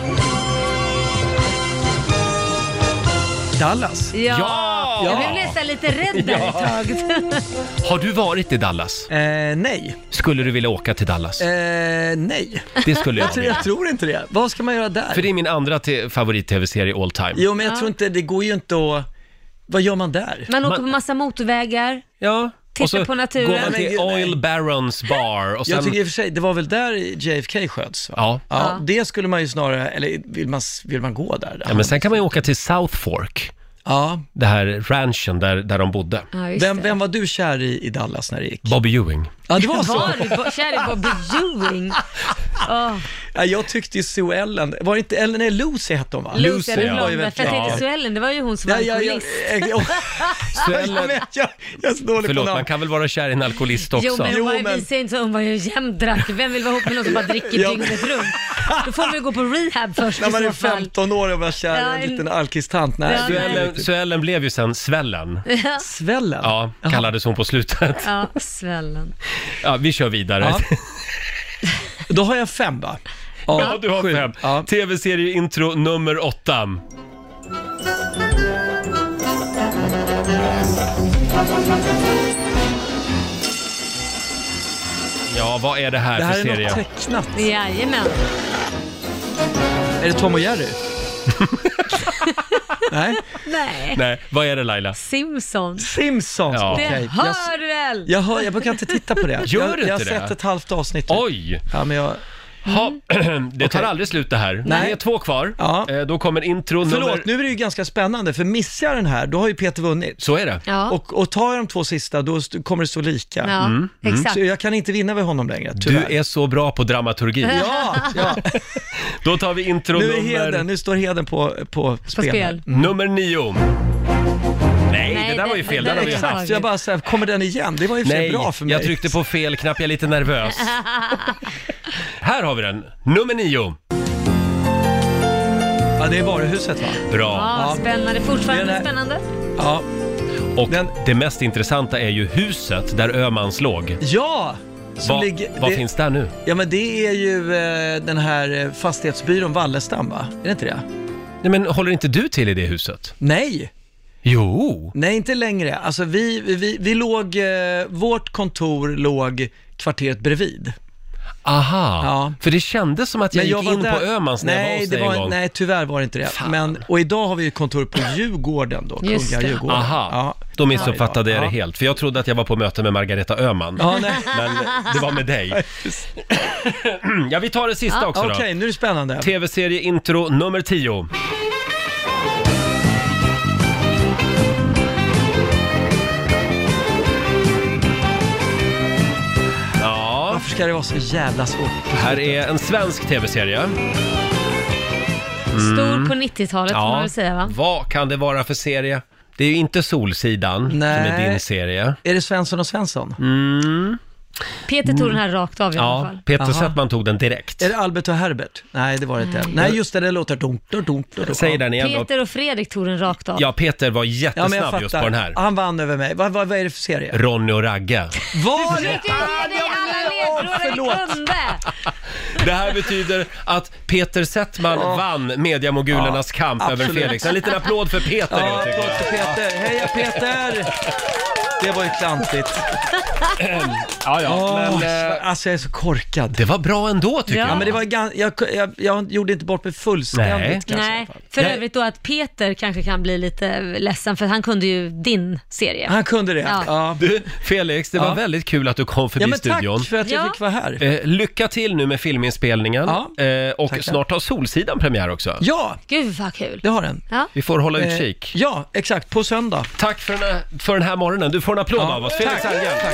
Speaker 8: Dallas.
Speaker 9: Ja.
Speaker 1: Ja!
Speaker 9: Jag blev nästan lite rädd där ett tag.
Speaker 1: *laughs* Har du varit i Dallas?
Speaker 8: Eh, nej,
Speaker 1: Skulle du vilja åka till Dallas?
Speaker 8: eh, nej.
Speaker 1: Det skulle jag
Speaker 8: Jag tror,
Speaker 1: vilja.
Speaker 8: jag tror inte det. Vad ska man göra där?
Speaker 1: För det är min andra te- favorit-tv-serie all time.
Speaker 8: Jo, men jag tror inte, det går ju inte att... vad gör man där?
Speaker 9: Man åker
Speaker 1: Man-
Speaker 9: på massa motorvägar.
Speaker 1: Ja.
Speaker 9: Titta
Speaker 1: och så
Speaker 9: på naturen.
Speaker 1: går man
Speaker 8: Men
Speaker 1: till
Speaker 8: gud, nej.
Speaker 1: Oil Barons bar och
Speaker 8: Jag
Speaker 1: sen...
Speaker 8: tycker i och för sig, det var väl där JFK sköts? Va?
Speaker 1: Ja.
Speaker 9: Ja.
Speaker 8: Det skulle man ju snarare, eller vill man, vill man gå där?
Speaker 1: ja, men sen kan man ju åka till South Fork,
Speaker 8: Ja.
Speaker 1: det här ranchen där, där de bodde.
Speaker 9: Ja, just
Speaker 8: Vem,
Speaker 9: det.
Speaker 8: vem var du kär i i Dallas när det gick?
Speaker 1: Bobby Ewing.
Speaker 8: Ja, det var så.
Speaker 9: Var du på, kär i
Speaker 1: *laughs*
Speaker 9: Bobby Ewing? Oh,
Speaker 8: Ja, jag tyckte ju Sue Ellen, var det inte, eller nej, Lucy hette hon va?
Speaker 9: Lucy,
Speaker 1: Lucy,
Speaker 9: Lucy
Speaker 1: ja.
Speaker 9: ja.
Speaker 8: Var ju
Speaker 9: Blonde. För jag
Speaker 8: väldigt-
Speaker 9: tänkte
Speaker 8: Ja.
Speaker 9: Sue Ellen, det var ju hon som var
Speaker 8: Nej, jag, jag,
Speaker 9: alkoholist.
Speaker 1: *laughs*
Speaker 8: *laughs* jag, jag,
Speaker 1: Sue
Speaker 8: jag,
Speaker 1: Ellen-
Speaker 8: jag, jag är så dålig
Speaker 1: Förlåt,
Speaker 8: på namn.
Speaker 1: man kan väl vara kär i en alkoholist också?
Speaker 9: Jo men
Speaker 8: Jo,
Speaker 9: hon var ju
Speaker 8: men-
Speaker 9: visar inte så, hon var ju jämndrack. Vem vill vara ihop med någon som bara dricker
Speaker 8: Ja, men-
Speaker 9: dygnet runt? Då får vi gå på rehab först
Speaker 8: När man
Speaker 9: i
Speaker 8: är
Speaker 9: så fall.
Speaker 8: 15 år och var kär
Speaker 9: Ja,
Speaker 8: i en
Speaker 9: en-
Speaker 8: liten alkistant. Nej,
Speaker 9: Ja,
Speaker 8: det är
Speaker 9: nej.
Speaker 8: inte
Speaker 1: Suellen,
Speaker 8: riktigt.
Speaker 1: Suellen blev ju sen Svällen.
Speaker 8: Svällen?
Speaker 1: Ja, kallades hon på slutet.
Speaker 9: Ja, svällen.
Speaker 1: Ja, vi kör vidare.
Speaker 8: Ja. Då har jag fem va?
Speaker 1: Ja, du har
Speaker 8: sju.
Speaker 1: fem.
Speaker 8: Ja.
Speaker 1: Tv-serieintro nummer åtta. Ja, vad är det här,
Speaker 8: Det här
Speaker 1: för
Speaker 8: är
Speaker 1: serie?
Speaker 8: något tecknat.
Speaker 9: Jajamän.
Speaker 8: Är det Tom och Jerry? Nej?
Speaker 9: Nej.
Speaker 1: Nej, vad är det Laila?
Speaker 9: Simpsons.
Speaker 8: Simpsons,
Speaker 1: Ja.
Speaker 9: Det
Speaker 8: okej. Jag,
Speaker 9: hör du väl?
Speaker 8: jag, hör, jag brukar inte titta på det.
Speaker 1: Gör
Speaker 8: jag,
Speaker 1: du
Speaker 8: jag har
Speaker 1: inte det?
Speaker 8: sett ett halvt avsnitt. typ.
Speaker 1: Oj!
Speaker 8: Ja, men jag, Mm.
Speaker 1: Ha, *clears throat* det tar
Speaker 8: Okej.
Speaker 1: aldrig slut det här.
Speaker 8: Nej.
Speaker 1: Det är två kvar.
Speaker 8: Ja.
Speaker 1: Eh, Då kommer intro nummer...
Speaker 8: förlåt, nu är det ju ganska spännande, för missar jag den här, då har ju Peter vunnit.
Speaker 1: Så är det.
Speaker 9: Ja,
Speaker 8: Och, och tar jag de två sista, då st- kommer det stå lika.
Speaker 9: ja exakt.
Speaker 8: Så jag kan inte vinna med honom längre,
Speaker 1: Mm, Du
Speaker 8: tyvärr.
Speaker 1: är så bra på dramaturgi.
Speaker 8: Ja, ja.
Speaker 1: Då tar vi intro
Speaker 8: Nu, är
Speaker 1: nummer...
Speaker 8: heden, nu står heden på, på spel.
Speaker 9: På
Speaker 8: här. Mm.
Speaker 9: spel.
Speaker 1: Nummer nio. Nej,
Speaker 9: Nej,
Speaker 1: det där var ju
Speaker 9: det-
Speaker 1: fel.
Speaker 9: det
Speaker 1: Den har
Speaker 9: där
Speaker 1: vi
Speaker 9: är
Speaker 1: haft.
Speaker 9: klart.
Speaker 8: Så jag bara så här, kommer den igen? Det var ju för sig
Speaker 1: Nej,
Speaker 8: bra för mig.
Speaker 1: jag tryckte på fel knapp. Jag är lite
Speaker 8: *laughs*
Speaker 1: nervös. Här har vi den. Nummer nio.
Speaker 8: Ja, det är varuhuset va?
Speaker 1: Bra.
Speaker 9: Ja,
Speaker 8: Ja.
Speaker 9: spännande. Fortfarande
Speaker 8: Det är det-
Speaker 9: spännande.
Speaker 8: Ja.
Speaker 1: Och
Speaker 8: Den-
Speaker 1: det mest intressanta är ju huset där Ömans låg.
Speaker 8: Ja! Som
Speaker 1: Va,
Speaker 8: ligger,
Speaker 1: vad
Speaker 8: det,
Speaker 1: finns där nu?
Speaker 8: Ja men det är ju eh, den här eh, fastighetsbyrån Wallestam va? Är det inte det?
Speaker 1: Nej, men håller inte du till i det huset?
Speaker 8: Nej,
Speaker 1: Jo.
Speaker 8: nej inte längre. Alltså vi, vi, vi låg, eh, vårt kontor låg kvarteret bredvid.
Speaker 1: Aha.
Speaker 8: Ja.
Speaker 1: För det kändes som att jag, gick in på Ömans när jag var
Speaker 8: nej,
Speaker 1: hos dig
Speaker 8: det var,
Speaker 1: en gång.
Speaker 8: nej, tyvärr var det inte det.
Speaker 1: Fan.
Speaker 8: Men, och idag har vi ju kontor på Djurgården då,
Speaker 9: Just
Speaker 8: Kungliga
Speaker 9: det.
Speaker 8: Djurgården.
Speaker 1: Aha,
Speaker 8: Ja.
Speaker 1: då missuppfattade jag det
Speaker 8: Ja.
Speaker 1: helt. För jag trodde att jag var på möte med Margareta Öhman.
Speaker 8: Ja, nej.
Speaker 1: Men det var med
Speaker 8: *laughs*
Speaker 1: dig. *clears throat* ja, vi tar det sista också
Speaker 8: Okej,
Speaker 1: då.
Speaker 8: nu är det spännande.
Speaker 1: TV-serie intro nummer 10. Ja,
Speaker 8: Varför ska det vara så jävla svårt?
Speaker 1: här är en svensk TV-serie. Mm.
Speaker 9: Stor på 90-talet får man väl säga va?
Speaker 1: vad kan det vara för serie? Det är ju inte Solsidan
Speaker 8: Nej.
Speaker 1: som är din serie. Mm.
Speaker 8: Är det Svensson och Svensson?
Speaker 9: Peter tog den här rakt av i alla
Speaker 1: Ja,
Speaker 9: fall.
Speaker 1: Peter
Speaker 8: Aha.
Speaker 9: *laughs*
Speaker 1: Settman tog den direkt.
Speaker 8: Är det Albert och Herbert? Nej, det var det inte. Nej, just det, det låter dumt, dumt, dumt. dumt.
Speaker 1: Säg den igen då.
Speaker 9: Mm. Peter och Fredrik tog den rakt av.
Speaker 1: Ja, Peter var
Speaker 8: Ja,
Speaker 1: jättesnabb
Speaker 8: men jag fattar. Ah,
Speaker 1: just på den här.
Speaker 8: Han vann över mig. Vad, vad, vad är det för serie?
Speaker 1: Ronny och Ragge.
Speaker 8: Var
Speaker 9: Du
Speaker 8: det?
Speaker 9: fick ju med dig alla ledtrådar du
Speaker 8: förlåt.
Speaker 9: kunde.
Speaker 1: Det här betyder att Peter Settman vann mediamogulernas kamp över
Speaker 8: absolut.
Speaker 1: Felix. En liten applåd för Peter
Speaker 8: Ja,
Speaker 1: då, tycker
Speaker 8: applåd till
Speaker 1: jag.
Speaker 8: Peter. Heja Peter!
Speaker 9: *laughs*
Speaker 8: Det var ju klantigt.
Speaker 1: Ja, ja.
Speaker 8: Åh,
Speaker 1: Men, eh,
Speaker 8: alltså jag är så korkad.
Speaker 1: det var bra ändå tycker
Speaker 9: Ja.
Speaker 1: jag.
Speaker 8: Ja, men det var gan- jag, jag, jag gjorde inte bort mig fullständigt
Speaker 1: Nej.
Speaker 8: kanske. i alla
Speaker 9: Nej,
Speaker 8: fall.
Speaker 9: för
Speaker 1: Nej.
Speaker 9: övrigt då att Peter kanske kan bli lite ledsen för han kunde ju din serie.
Speaker 8: Han kunde det.
Speaker 9: Ja.
Speaker 8: Ja. Ja.
Speaker 1: Du, Felix, det var
Speaker 8: Ja.
Speaker 1: väldigt kul att du kom förbi
Speaker 8: men
Speaker 1: studion.
Speaker 8: tack för att jag
Speaker 9: Ja.
Speaker 8: fick vara här.
Speaker 1: Eh, lycka till nu med filminspelningen
Speaker 8: Ja.
Speaker 1: eh, och
Speaker 8: Tackar.
Speaker 1: snart har Solsidan premiär också.
Speaker 8: Ja,
Speaker 9: Gud vad kul.
Speaker 8: det har den.
Speaker 9: Ja.
Speaker 1: Vi får hålla
Speaker 8: Eh,
Speaker 1: utkik.
Speaker 8: Ja, exakt. På söndag.
Speaker 1: Tack för den, här, för den här morgonen. Du får en applåd
Speaker 8: Ja.
Speaker 1: av oss, Felix
Speaker 8: Tack.
Speaker 1: Herngren.
Speaker 8: Tack.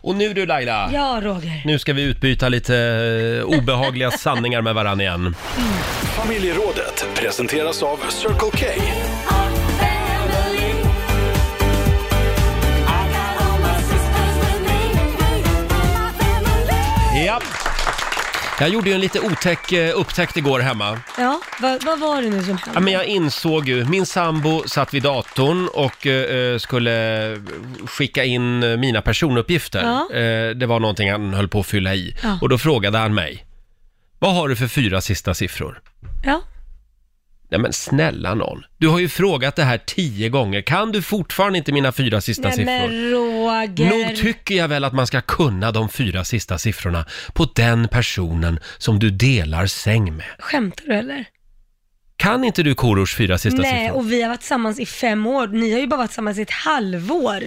Speaker 1: Och nu du Laila.
Speaker 9: Ja, Roger.
Speaker 1: Nu ska vi utbyta lite eh,
Speaker 9: *laughs*
Speaker 1: obehagliga sanningar med varandra igen.
Speaker 5: Familjerådet presenteras av Circle K.
Speaker 1: Ja. Jag gjorde ju en lite otäck eh, upptäckt igår hemma.
Speaker 2: Ja, vad, vad var det nu som
Speaker 1: Ja,
Speaker 2: hände?
Speaker 1: men jag insåg ju, min sambo satt vid datorn och eh, skulle skicka in eh, mina personuppgifter.
Speaker 2: Ja.
Speaker 1: Eh, det var någonting han höll på att fylla i.
Speaker 2: Ja.
Speaker 1: Och då frågade han mig, vad har du för fyra sista siffror?
Speaker 2: Ja.
Speaker 1: Nej men snälla någon, du har ju frågat det här tio gånger. Kan du fortfarande inte mina fyra sista
Speaker 2: Nej
Speaker 1: siffror?
Speaker 2: men Roger.
Speaker 1: Nog tycker jag väl att man ska kunna de fyra sista siffrorna på den personen som du delar säng med.
Speaker 2: Skämtar du eller?
Speaker 1: Kan inte du Korosh fyra sista
Speaker 2: Nej,
Speaker 1: siffror?
Speaker 2: och vi har varit tillsammans i fem år. Ni har ju bara varit tillsammans i ett halvår.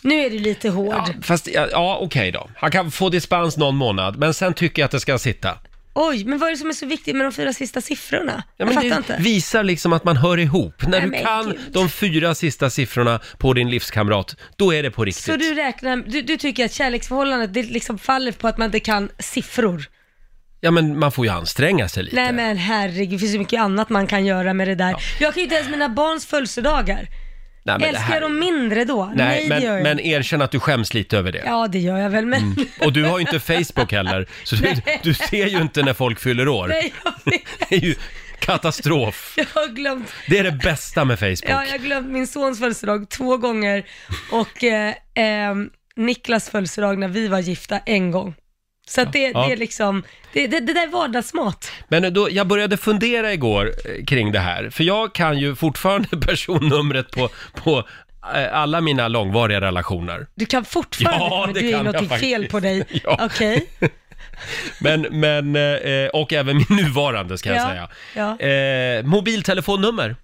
Speaker 2: Nu är du lite hård.
Speaker 1: Fast, ja, ja okej då. Han kan få dispens någon månad, men sen tycker jag att det ska sitta.
Speaker 2: Oj, men vad är det som är så viktigt med de fyra sista siffrorna?
Speaker 1: Ja,
Speaker 2: jag
Speaker 1: men
Speaker 2: fattar
Speaker 1: det
Speaker 2: inte.
Speaker 1: visar liksom att man hör ihop. När
Speaker 2: Nej,
Speaker 1: du
Speaker 2: men
Speaker 1: kan
Speaker 2: gud.
Speaker 1: de fyra sista siffrorna på din livskamrat, då är det på riktigt.
Speaker 2: Så du räknar, du, du tycker att kärleksförhållandet, det liksom faller på att man inte kan siffror?
Speaker 1: Ja, men man får ju anstränga sig lite.
Speaker 2: Nej men herregud, det finns ju mycket annat man kan göra med det där. Jag kan ju inte ens mina barns födelsedagar.
Speaker 1: Nej, men det
Speaker 2: Älskar
Speaker 1: här-
Speaker 2: jag dem mindre då? Nej,
Speaker 1: Nej,
Speaker 2: det gör
Speaker 1: men,
Speaker 2: jag
Speaker 1: men Mm.
Speaker 2: inte.
Speaker 1: erkänn att du skäms lite över det.
Speaker 2: Ja, det gör jag väl, men... *laughs*
Speaker 1: Och du har ju inte Facebook heller, så du,
Speaker 2: Nej.
Speaker 1: du ser ju inte när folk fyller år.
Speaker 2: Nej, jag,
Speaker 1: *laughs* Det är ju katastrof.
Speaker 2: jag har glömt...
Speaker 1: Det är det bästa med Facebook.
Speaker 2: Ja, jag har glömt min sons födelsedag två gånger och eh, eh, Niklas födelsedag när vi var gifta en gång. Så att det,
Speaker 1: Ja.
Speaker 2: det är liksom, det, det, det där är vardagsmat.
Speaker 1: Men då, jag började fundera igår eh, kring det här, för jag kan ju fortfarande *laughs* personnumret på, på eh, alla mina långvariga relationer. *laughs*
Speaker 2: Du kan fortfarande,
Speaker 1: Ja,
Speaker 2: men
Speaker 1: det
Speaker 2: du är
Speaker 1: kan
Speaker 2: ju
Speaker 1: jag
Speaker 2: något fel
Speaker 1: faktiskt.
Speaker 2: på dig.
Speaker 1: *laughs* Ja.
Speaker 2: Okej,
Speaker 1: Men, men, eh, och även min nuvarande ska jag
Speaker 2: Ja,
Speaker 1: säga.
Speaker 2: ja.
Speaker 1: Eh, mobiltelefonnummer.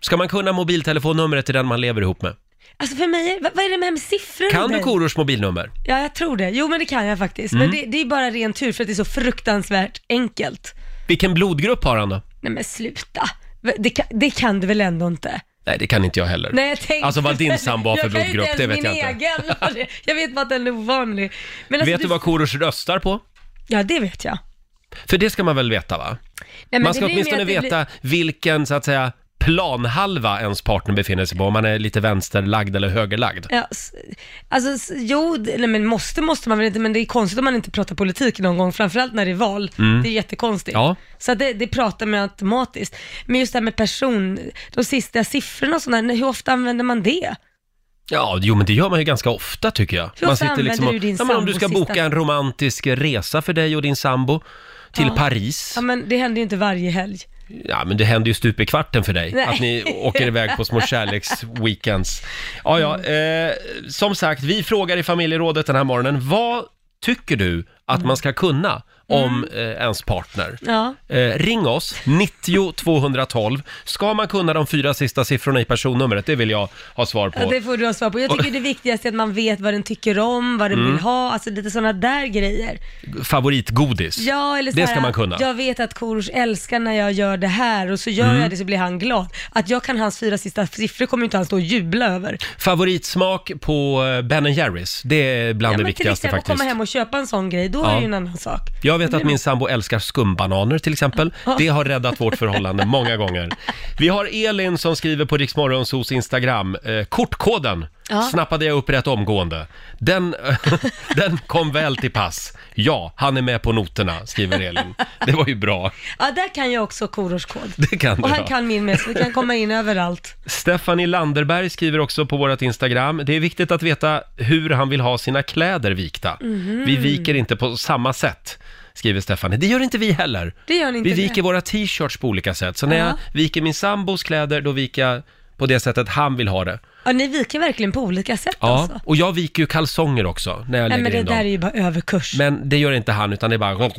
Speaker 1: Ska man kunna mobiltelefonnumret till den man lever ihop med?
Speaker 2: Alltså för mig, är- vad, vad är det med, med siffror?
Speaker 1: Kan du
Speaker 2: med?
Speaker 1: Korosh mobilnummer?
Speaker 2: Ja, jag tror det. Jo, men det kan jag faktiskt.
Speaker 1: Mm.
Speaker 2: Men det, det är bara ren tur för att det är så fruktansvärt enkelt.
Speaker 1: Vilken blodgrupp har han då?
Speaker 2: Nej men sluta. Va- Det kan, det kan du väl ändå inte?
Speaker 1: Nej, det kan inte jag heller.
Speaker 2: Nej, jag tänkte,
Speaker 1: Alltså vad din sambo har för
Speaker 2: Jag kan ju
Speaker 1: blodgrupp, det vet
Speaker 2: inte.
Speaker 1: jag
Speaker 2: ens
Speaker 1: inte.
Speaker 2: min egen. vad det- Jag vet bara att den är ovanlig. Men alltså,
Speaker 1: Vet du vad Korosh röstar på?
Speaker 2: Ja, det vet jag.
Speaker 1: För det ska man väl veta va?
Speaker 2: Nej, men
Speaker 1: man
Speaker 2: det
Speaker 1: ska
Speaker 2: blir mer
Speaker 1: åtminstone
Speaker 2: att det
Speaker 1: veta vilken, så att säga, planhalva ens partner befinner sig på, om man är lite vänsterlagd eller högerlagd.
Speaker 2: Ja, s- alltså, s- jo, d- nej, men måste måste man väl inte, men det är konstigt om man inte pratar politik någon gång, framförallt när det är val.
Speaker 1: Mm.
Speaker 2: Det är jättekonstigt.
Speaker 1: Ja.
Speaker 2: Så att det, det pratar man automatiskt. Men just det här med person, de sista siffrorna och sådana, hur ofta använder man det?
Speaker 1: Ja, jo men det gör man ju ganska ofta tycker jag.
Speaker 2: Hur
Speaker 1: man liksom
Speaker 2: ofta använder
Speaker 1: och,
Speaker 2: du din
Speaker 1: ja, men om du ska
Speaker 2: sambos
Speaker 1: boka
Speaker 2: sista-
Speaker 1: en romantisk resa för dig och din sambo till
Speaker 2: Ja.
Speaker 1: Paris.
Speaker 2: Ja, men det händer ju inte varje helg.
Speaker 1: Ja, men det händer ju stup i kvarten för dig,
Speaker 2: Nej.
Speaker 1: att ni åker iväg på små kärleksweekends. Ja, ja,
Speaker 2: Mm.
Speaker 1: eh, som sagt, vi frågar i familjerådet den här morgonen, vad tycker du att man ska kunna om eh, ens partner?
Speaker 2: Mm. Ja.
Speaker 1: Eh, ring oss, 90 212. Ska man kunna de fyra sista siffrorna i personnumret? Det vill jag ha svar på.
Speaker 2: Ja, det får du ha svar på. Jag tycker det viktigaste är att man vet vad den tycker om, vad den
Speaker 1: Mm.
Speaker 2: vill ha, alltså lite sådana där grejer.
Speaker 1: Favoritgodis.
Speaker 2: Ja, eller så
Speaker 1: det
Speaker 2: här,
Speaker 1: ska man kunna.
Speaker 2: Jag vet att Korosh älskar när jag gör det här och så gör
Speaker 1: Mm.
Speaker 2: jag det så blir han glad. Att jag kan hans fyra sista siffror kommer ju inte han stå och jubla över.
Speaker 1: Favoritsmak på eh, Ben Jerrys, det är bland det
Speaker 2: men till
Speaker 1: viktigaste
Speaker 2: exempel
Speaker 1: faktiskt.
Speaker 2: komma hem och köpa en sån grej, då
Speaker 1: Ja.
Speaker 2: är det ju en annan sak.
Speaker 1: Jag vet att min sambo älskar skumbananer till exempel. Det har räddat vårt förhållande
Speaker 2: *laughs*
Speaker 1: många gånger. Vi har Elin som skriver på Riksmorgonsos Instagram. Eh, kortkoden
Speaker 10: Ja.
Speaker 1: snappade jag upp rätt omgående. Den, *laughs* den kom väl till pass. Ja, han är med på noterna, skriver Elin. Det var ju bra.
Speaker 2: Ja, där kan jag också Korosh kod.
Speaker 1: Det kan du
Speaker 2: Och han
Speaker 1: ha.
Speaker 2: kan min med, så det kan komma in överallt.
Speaker 1: Stephanie Landerberg skriver också på vårt Instagram. Det är viktigt att veta hur han vill ha sina kläder vikta.
Speaker 2: Mhm.
Speaker 1: Vi viker inte på samma sätt, skriver Stephanie. Det gör inte vi heller.
Speaker 2: Det gör ni inte
Speaker 1: vi viker
Speaker 2: det.
Speaker 1: våra t-shirts på olika sätt. Så när
Speaker 2: Ja.
Speaker 1: jag viker min sambos kläder, då viker jag på det sättet han vill ha det.
Speaker 2: Ja, ni viker verkligen på olika sätt
Speaker 1: Ja,
Speaker 2: alltså.
Speaker 1: och jag viker ju kalsonger också när jag
Speaker 2: Nej,
Speaker 1: lägger
Speaker 2: men det
Speaker 1: in
Speaker 2: där är
Speaker 1: dem.
Speaker 2: ju bara överkurs.
Speaker 1: Men det gör inte han, utan det är bara...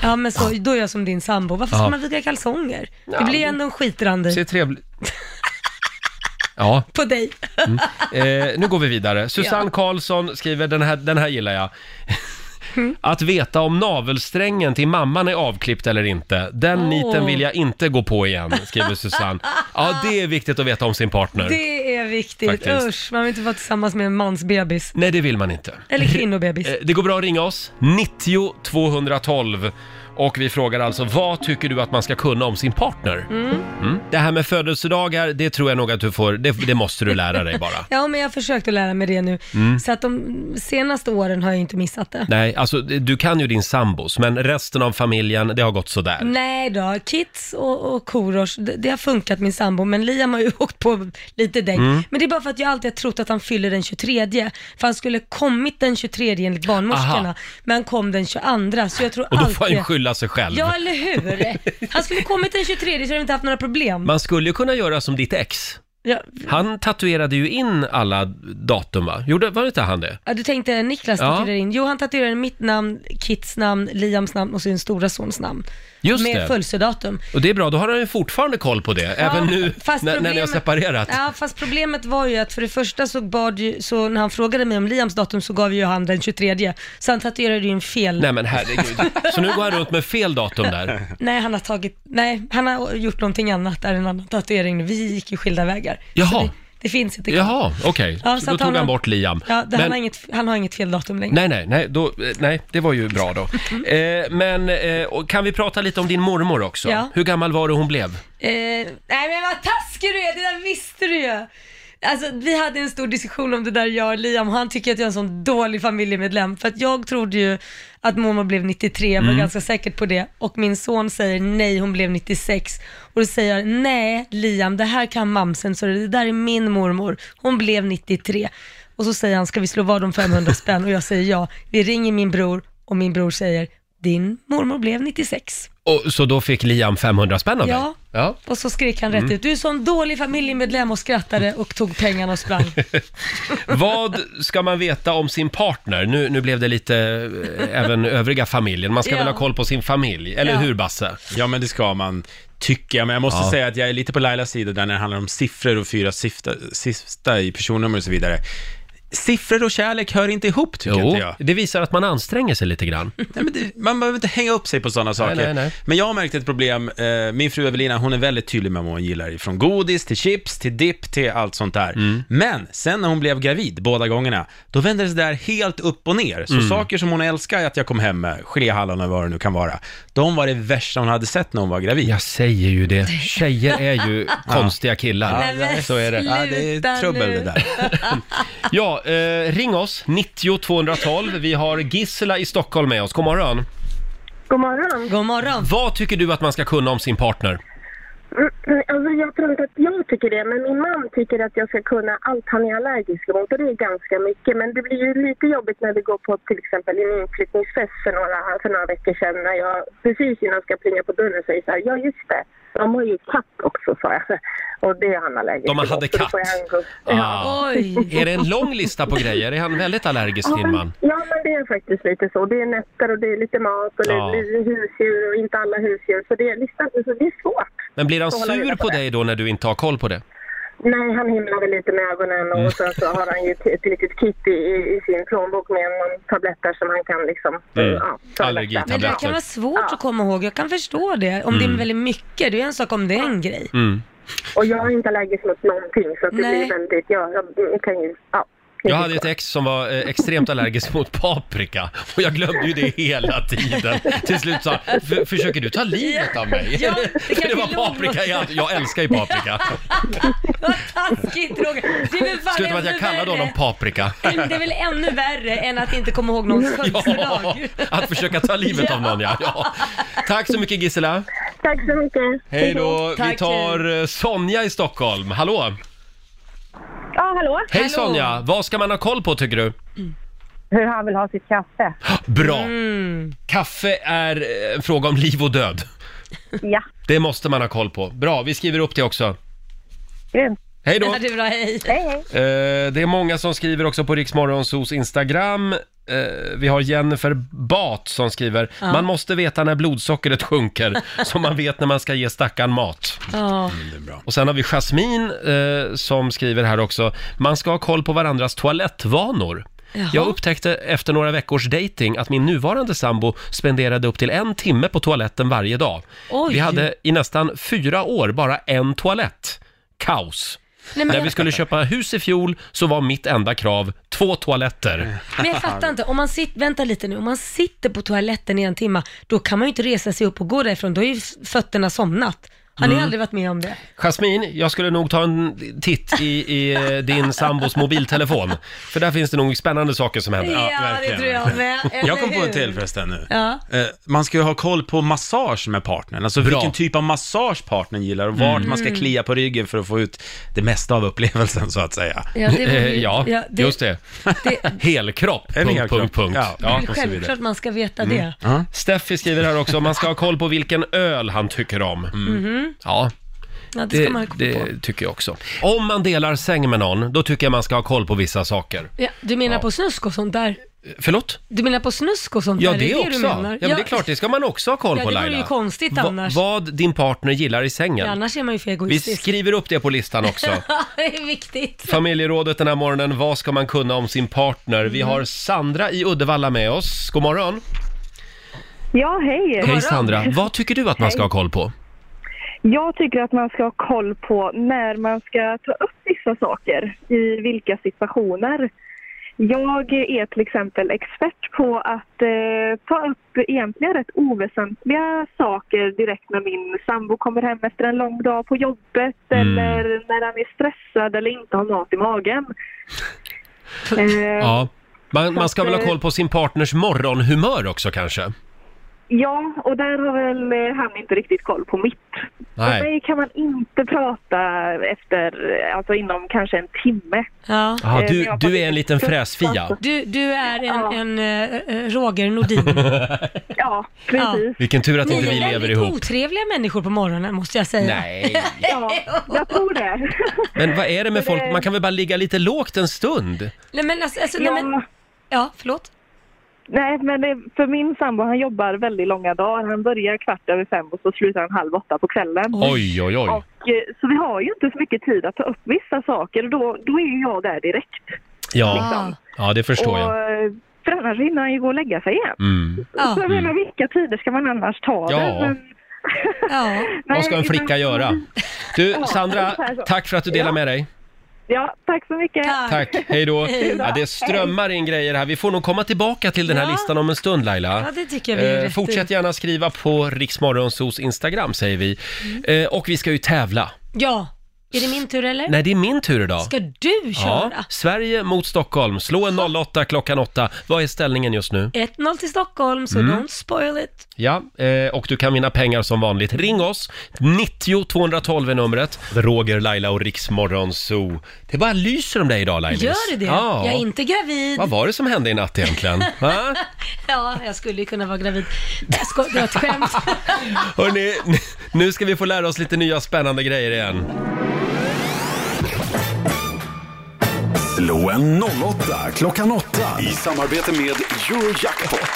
Speaker 2: Ja, men så, då är jag som din sambo. Varför ska
Speaker 1: Ja.
Speaker 2: man vika kalsonger?
Speaker 1: Ja,
Speaker 2: Det blir ju ändå en
Speaker 1: Ser
Speaker 2: skitrandig.
Speaker 1: trevligt... Ja,
Speaker 2: På dig.
Speaker 1: Mm. Eh, nu går vi vidare. Susanne
Speaker 2: Ja.
Speaker 1: Karlsson skriver, den här, den här gillar jag.
Speaker 2: Mm.
Speaker 1: *laughs* Att veta om navelsträngen till mamman är avklippt eller inte, den
Speaker 2: Åh.
Speaker 1: niten vill jag inte gå på igen, skriver Susanne. Ja, det är viktigt att veta om sin partner.
Speaker 2: Det är viktigt.
Speaker 1: Faktiskt.
Speaker 2: Usch, man vill inte vara tillsammans med en mans bebis.
Speaker 1: Nej, det vill man inte.
Speaker 2: Eller kvinnobebis.
Speaker 1: Eh, det går bra att ringa oss, 90 212. Och vi frågar alltså, vad tycker du att man ska kunna om sin partner?
Speaker 2: Mm.
Speaker 1: Mm. Det här med födelsedagar, det tror jag nog att du får, det, det måste du lära dig bara.
Speaker 2: *laughs* Ja, men jag har försökt att lära mig det nu.
Speaker 1: Mm.
Speaker 2: Så att de senaste åren har jag inte missat det.
Speaker 1: Nej, alltså du kan ju din sambos, men resten av familjen, det har gått sådär.
Speaker 2: Nej då, Kits och, och Korosh, det, det har funkat min sambo, men Liam har ju *laughs* åkt på lite däck.
Speaker 1: Mm.
Speaker 2: Men det är bara för att jag alltid har trott att han fyller den 23, för han skulle kommit den 23 enligt
Speaker 1: Aha.
Speaker 2: barnmorskorna, men han kom den 22, så jag tror
Speaker 1: Och då
Speaker 2: alltid...
Speaker 1: får han ju skylla sig själv. *laughs*
Speaker 2: Ja, eller hur? Han skulle kommit den 23 så hade vi inte haft några problem.
Speaker 1: Man skulle ju kunna göra som ditt ex.
Speaker 2: Ja,
Speaker 1: Han tatuerade ju in alla datum va? Gjorde, var det inte han det?
Speaker 2: ja, du tänkte Niklas
Speaker 1: Ja.
Speaker 2: tatuerade in. Jo, han tatuerade mitt namn, Kits namn, Liams namn och sin stora sons namn.
Speaker 1: Just
Speaker 2: med
Speaker 1: det.
Speaker 2: födelsedatum.
Speaker 1: Och det är bra, då har han ju fortfarande koll på det, även nu
Speaker 2: fast
Speaker 1: när, när ni har
Speaker 2: problemet-
Speaker 1: separerat.
Speaker 2: Ja, fast problemet var ju att för det första så bad ju, så när han frågade mig om Liams datum så gav ju han den 23. Så han tatuerade ju en fel.
Speaker 1: Nej men herregud. Så nu går han runt med fel datum där.
Speaker 2: *laughs* Nej, han har tagit, nej, han har gjort någonting annat där, en annan tatuering. nu. Vi gick ju skilda vägar.
Speaker 1: Jaha.
Speaker 2: Det, det finns inte kvar.
Speaker 1: Jaha, okej.
Speaker 2: Ja,
Speaker 1: Så
Speaker 2: så
Speaker 1: då
Speaker 2: att
Speaker 1: tog
Speaker 2: han
Speaker 1: han
Speaker 2: har-
Speaker 1: bort Liam.
Speaker 2: Ja, det, han,
Speaker 1: Men-
Speaker 2: har inget, han har inget fel datum längre.
Speaker 1: Nej, nej, nej, då, eh, nej, det var ju bra då. Eh, men eh, och kan vi prata lite om din mormor också?
Speaker 2: Ja.
Speaker 1: Hur gammal var det hon blev?
Speaker 2: Eh, nej men vad taskig du är, det där visste du ju! Alltså vi hade en stor diskussion om det där jag och Liam och han tycker att jag är en sån dålig familjemedlem för att jag trodde ju att mormor blev 93, jag var ganska säker på det och min son säger nej hon blev 96 och då säger jag nej Liam det här kan mamsen så det där är min mormor, hon blev 93 och så säger han ska vi slå vad om 500 spänn och jag säger ja, vi ringer min bror och min bror säger din mormor blev 96.
Speaker 1: Och, så då fick Liam 500 spänn av
Speaker 2: Ja.
Speaker 1: dig? Ja.
Speaker 2: Och så skrek han
Speaker 1: Mm.
Speaker 2: rätt ut, du är sån dålig familjemedlem och skrattade och tog pengarna
Speaker 1: *laughs*
Speaker 2: och sprang.
Speaker 1: Vad ska man veta om sin partner? Nu, nu blev det lite eh, även övriga familjen. Man ska
Speaker 2: Ja.
Speaker 1: väl ha koll på sin familj, eller
Speaker 2: Ja.
Speaker 1: hur Basse?
Speaker 3: Ja, men det ska man, tycker jag. Men jag måste
Speaker 1: Ja.
Speaker 3: säga att jag är lite på Lailas sida där när det handlar om siffror och fyra sifta, sista i personnummer och så vidare. Siffror och kärlek hör inte ihop, tycker
Speaker 1: Jo,
Speaker 3: inte jag.
Speaker 1: det visar att man anstränger sig lite grann.
Speaker 3: Nej, men det, man behöver inte hänga upp sig på sådana saker.
Speaker 1: nej, nej.
Speaker 3: Men jag har märkt ett problem. Eh, Min fru Evelina, hon är väldigt tydlig med vad hon gillar. Från godis till chips till dipp till allt sånt där.
Speaker 1: Mm.
Speaker 3: Men sen när hon blev gravid båda gångerna, då vände det sig där helt upp och ner. Så
Speaker 1: Mm.
Speaker 3: saker som hon älskar att jag kom hem med, geléhallon och vad det nu kan vara, de var det värsta hon hade sett när hon var gravid.
Speaker 1: Jag säger
Speaker 3: *laughs*
Speaker 1: ju det, tjejer är ju konstiga killar.
Speaker 2: Nej, men
Speaker 1: Så är det.
Speaker 3: Ja, det är
Speaker 2: sluta
Speaker 3: trubbel
Speaker 2: nu.
Speaker 3: det där.
Speaker 1: Ja, eh, ring oss, 90 212. Vi har Gisela i Stockholm med oss. God morgon.
Speaker 7: God morgon.
Speaker 2: God morgon.
Speaker 1: Vad tycker du att man ska kunna om sin partner?
Speaker 7: Alltså, jag tror inte att jag tycker det, men min man tycker att jag ska kunna allt han är allergisk mot och det är ganska mycket. Men det blir ju lite jobbigt när vi går på till exempel en inflyttningsfest för några, för några veckor sedan när jag precis innan jag ska plinga på dörren säger så här, ja just det, de har ju katt också sa jag. Och det är han allergisk
Speaker 1: De
Speaker 7: mot,
Speaker 1: hade
Speaker 7: så då
Speaker 1: katt.
Speaker 7: får jag en-
Speaker 1: Ah.
Speaker 2: Oj.
Speaker 1: Är det en lång lista på grejer? Är han väldigt allergisk, din man?
Speaker 7: Ja, men det är faktiskt lite så. Det är nätter och det är lite mat och det
Speaker 1: Ja.
Speaker 7: är husdjur och inte alla husdjur. Så det är, listan, så det är svårt.
Speaker 1: Men blir han
Speaker 7: Får hålla
Speaker 1: sur
Speaker 7: reda på
Speaker 1: på
Speaker 7: det.
Speaker 1: dig då när du inte har koll på det?
Speaker 7: Nej, han himlade lite med ögonen
Speaker 1: Mm.
Speaker 7: och sen så har han ju ett, ett litet kit i, i, i sin plånbok med någon tablett där som han kan liksom...
Speaker 1: Mm.
Speaker 7: Ja, tabletter.
Speaker 1: Allergitabletter.
Speaker 2: Men det där kan vara svårt att komma ihåg, jag kan förstå det. Om
Speaker 1: Mm.
Speaker 2: det är väldigt mycket, det är en sak om det är en grej.
Speaker 7: Och jag är inte allergisk mot någonting så att det
Speaker 2: Nej.
Speaker 7: blir väldigt... Ja, jag kan ju... Ja. det är
Speaker 1: Jag hade
Speaker 7: svårt.
Speaker 1: ett ex som var eh, extremt allergisk mot paprika och jag glömde ju det hela tiden. Till slut sa han, "För- försöker du ta livet av mig?
Speaker 2: Ja, det
Speaker 1: *laughs* För det
Speaker 2: kanske
Speaker 1: var
Speaker 2: är
Speaker 1: paprika,
Speaker 2: lugnt.
Speaker 1: jag, jag älskar ju paprika.
Speaker 2: *laughs* Vad taskigt Roger. Det är väl fan
Speaker 1: Slutade med att jag
Speaker 2: ännu
Speaker 1: kallade honom
Speaker 2: värre.
Speaker 1: paprika.
Speaker 2: Det är väl ännu värre än att inte komma ihåg någons
Speaker 1: *laughs* Ja,
Speaker 2: födelsedag.
Speaker 1: att försöka ta livet av någon ja. ja. Tack så mycket Gisela.
Speaker 7: Tack så mycket.
Speaker 1: Hej då. Vi
Speaker 2: Tack,
Speaker 1: tar eh, Sonja i Stockholm. Hallå!
Speaker 7: Ja, hallå?
Speaker 1: Hej
Speaker 2: Hallå.
Speaker 1: Sonja! Vad ska man ha koll på tycker du?
Speaker 7: Hur han vill ha sitt kaffe?
Speaker 1: Bra!
Speaker 2: Mm.
Speaker 1: Kaffe är eh, en fråga om liv och död.
Speaker 7: Ja,
Speaker 1: Det måste man ha koll på. Bra, vi skriver upp det också.
Speaker 7: grymt.
Speaker 1: Hej då!
Speaker 2: Ja, det är bra, hej.
Speaker 7: Hej, hej.
Speaker 1: Eh, det är många som skriver också på Riksmorgonsos Instagram. Eh, vi har Jennifer Bat som skriver, man måste veta när blodsockret sjunker, så man vet när man ska ge stackaren mat.
Speaker 2: Ja.
Speaker 1: Och sen har vi Jasmine eh, som skriver här också, man ska ha koll på varandras toalettvanor.
Speaker 2: Jaha.
Speaker 1: Jag upptäckte efter några veckors dating att min nuvarande sambo spenderade upp till en timme på toaletten varje dag.
Speaker 2: Oj.
Speaker 1: Vi hade i nästan fyra år bara en toalett. Kaos.
Speaker 2: Nej, men
Speaker 1: När
Speaker 2: jag
Speaker 1: vi skulle köpa hus i fjol så var mitt enda krav två toaletter.
Speaker 2: Men jag fattar inte, om man sitter, vänta lite nu, om man sitter på toaletten i en timme, då kan man ju inte resa sig upp och gå därifrån, då är ju f- fötterna somnat. Har
Speaker 1: Mm.
Speaker 2: ni aldrig varit med om det?
Speaker 1: Jasmine, jag skulle nog ta en titt i, i eh, din sambos mobiltelefon. För där finns det nog spännande saker som händer.
Speaker 3: Ja, verkligen.
Speaker 2: med.
Speaker 3: Jag kom
Speaker 2: eller
Speaker 3: på en
Speaker 2: hur?
Speaker 3: till förresten nu.
Speaker 1: Mm.
Speaker 2: Ja.
Speaker 3: Eh, Man ska ju ha koll på massage med partnern, alltså
Speaker 1: Bra.
Speaker 3: vilken typ av massage partnern gillar och vart man ska
Speaker 2: Mm.
Speaker 3: klia på ryggen för att få ut det mesta av upplevelsen så att säga.
Speaker 2: Ja, det var ju-
Speaker 1: Eh, ja, just det.
Speaker 2: det-
Speaker 1: *laughs* Helkropp,
Speaker 3: En
Speaker 1: punkt,
Speaker 3: helkropp.
Speaker 1: punkt, punkt.
Speaker 3: Ja.
Speaker 2: Det
Speaker 1: Ja.
Speaker 2: är
Speaker 3: och så vidare.
Speaker 2: självklart man ska veta
Speaker 1: Mm.
Speaker 2: det.
Speaker 1: Steffi skriver här också, man ska ha koll på vilken öl han tycker om. Mm. Ja.
Speaker 2: Mhm. Ja, det ska
Speaker 1: Det,
Speaker 2: man komma på.
Speaker 1: det tycker jag också. Om man delar säng med någon, då tycker jag man ska ha koll på vissa saker.
Speaker 2: Ja, du menar på snusk och sånt där?
Speaker 1: Förlåt?
Speaker 2: Du menar på snusk och sånt
Speaker 1: Ja,
Speaker 2: där?
Speaker 1: det,
Speaker 2: är
Speaker 1: också.
Speaker 2: Du menar?
Speaker 1: Ja, men det är klart, det ska man också ha koll
Speaker 2: Ja,
Speaker 1: på
Speaker 2: det
Speaker 1: Laila.
Speaker 2: vore ju konstigt
Speaker 1: Va-
Speaker 2: annars.
Speaker 1: vad din partner gillar i
Speaker 2: Ja,
Speaker 1: sängen.
Speaker 2: annars är man ju för
Speaker 1: Vi
Speaker 2: egoistisk.
Speaker 1: skriver upp det på listan
Speaker 2: *laughs*
Speaker 1: också.
Speaker 2: det är viktigt.
Speaker 1: Familjerådet den här morgonen, vad ska man kunna om sin partner? Vi
Speaker 2: Mm.
Speaker 1: har Sandra i Uddevalla med oss. God morgon!
Speaker 11: Ja, hej.
Speaker 1: Hej Sandra! Vad tycker du att man ska ha koll på?
Speaker 11: Jag tycker att man ska ha koll på när man ska ta upp vissa saker, i vilka situationer. Jag är till exempel expert på att eh, ta upp egentligen rätt oväsentliga saker direkt när min sambo kommer hem efter en lång dag på jobbet
Speaker 1: Mm.
Speaker 11: eller när han är stressad eller inte har mat i magen. eh,
Speaker 1: *laughs* Ja. Man, man ska väl ha koll på sin partners morgonhumör också kanske?
Speaker 11: Ja, och där har väl eh, han inte riktigt koll på mitt.
Speaker 1: Nej.
Speaker 11: Och mig kan man inte prata efter, eh, alltså inom kanske en timme.
Speaker 2: Ja.
Speaker 1: Aha,
Speaker 11: Eh, men
Speaker 1: du,
Speaker 11: jag
Speaker 1: du
Speaker 11: får-
Speaker 1: är en liten fräsfia.
Speaker 2: Du, du är en, en eh, eh,
Speaker 1: *laughs*
Speaker 2: Roger Nordin.
Speaker 11: Ja, precis.
Speaker 1: Vilken tur att
Speaker 2: Ni
Speaker 1: inte vi
Speaker 2: är
Speaker 1: lever
Speaker 2: väldigt
Speaker 1: ihop.
Speaker 2: otrevliga människor på morgonen måste jag säga. *laughs*
Speaker 1: Nej.
Speaker 11: Ja, jag tror det.
Speaker 1: Men vad är det med folk? Man kan väl bara ligga lite lågt en stund?
Speaker 2: Nej men alltså, alltså nej, men,
Speaker 11: Ja,
Speaker 2: ja förlåt.
Speaker 11: nej, men det, för min sambo han jobbar väldigt långa dagar. Han börjar kvart över fem och så slutar han halv åtta på kvällen.
Speaker 1: Oj, oj, oj.
Speaker 11: Och, eh, så vi har ju inte så mycket tid att ta upp vissa saker och då, då är jag där direkt.
Speaker 1: Ja, ja det förstår
Speaker 11: och,
Speaker 1: jag.
Speaker 11: eh, För annars hinner han ju gå och lägga sig igen.
Speaker 1: Mm.
Speaker 2: Ja.
Speaker 11: Så jag menar, vilka tider ska man annars ta
Speaker 1: Ja.
Speaker 11: det? Men, *laughs*
Speaker 2: Ja.
Speaker 11: nej,
Speaker 1: Vad ska en flicka
Speaker 11: men-
Speaker 1: göra? Du,
Speaker 11: Ja,
Speaker 1: Sandra,
Speaker 11: ungefär så.
Speaker 1: tack för att du delar
Speaker 11: Ja.
Speaker 1: med dig.
Speaker 11: Ja, tack så mycket.
Speaker 2: Tack.
Speaker 1: Tack, hej då.
Speaker 2: Hej då.
Speaker 1: Ja, det strömmar in grejer här. Vi får nog komma tillbaka till den här
Speaker 2: Ja.
Speaker 1: listan om en stund Laila.
Speaker 2: Ja, det tycker jag vi är rätt i.
Speaker 1: Eh, fortsätt gärna skriva på Riksmorgonsos Instagram säger vi.
Speaker 2: Mm.
Speaker 1: Eh, och vi ska ju tävla.
Speaker 2: Ja, är det min tur eller?
Speaker 1: Nej, det är min tur idag.
Speaker 2: Ska du
Speaker 1: ja,
Speaker 2: köra?
Speaker 1: Sverige mot Stockholm. Slå en 08 klockan 8. Vad är ställningen just
Speaker 2: Eh.
Speaker 1: nu?
Speaker 2: 1-0 till Stockholm, så
Speaker 1: Mm.
Speaker 2: don't spoil it.
Speaker 1: Ja, eh, och du kan vinna pengar som vanligt. Ring oss! 90 212 är numret. Roger, Laila och Riksmorgonso. Det bara lyser om dig idag Lailis.
Speaker 2: Gör det det?
Speaker 1: Ja.
Speaker 2: Jag är inte gravid.
Speaker 1: Vad var det som hände i natt
Speaker 2: *laughs*
Speaker 1: egentligen? Va?
Speaker 2: Ja, jag skulle ju kunna vara gravid. Jag ska, det var ett
Speaker 1: *laughs*
Speaker 2: skämt.
Speaker 1: Hörrni, nu ska vi få lära oss lite nya spännande grejer igen.
Speaker 12: Slå en 08 klockan 8 i samarbete med Eurojackpot.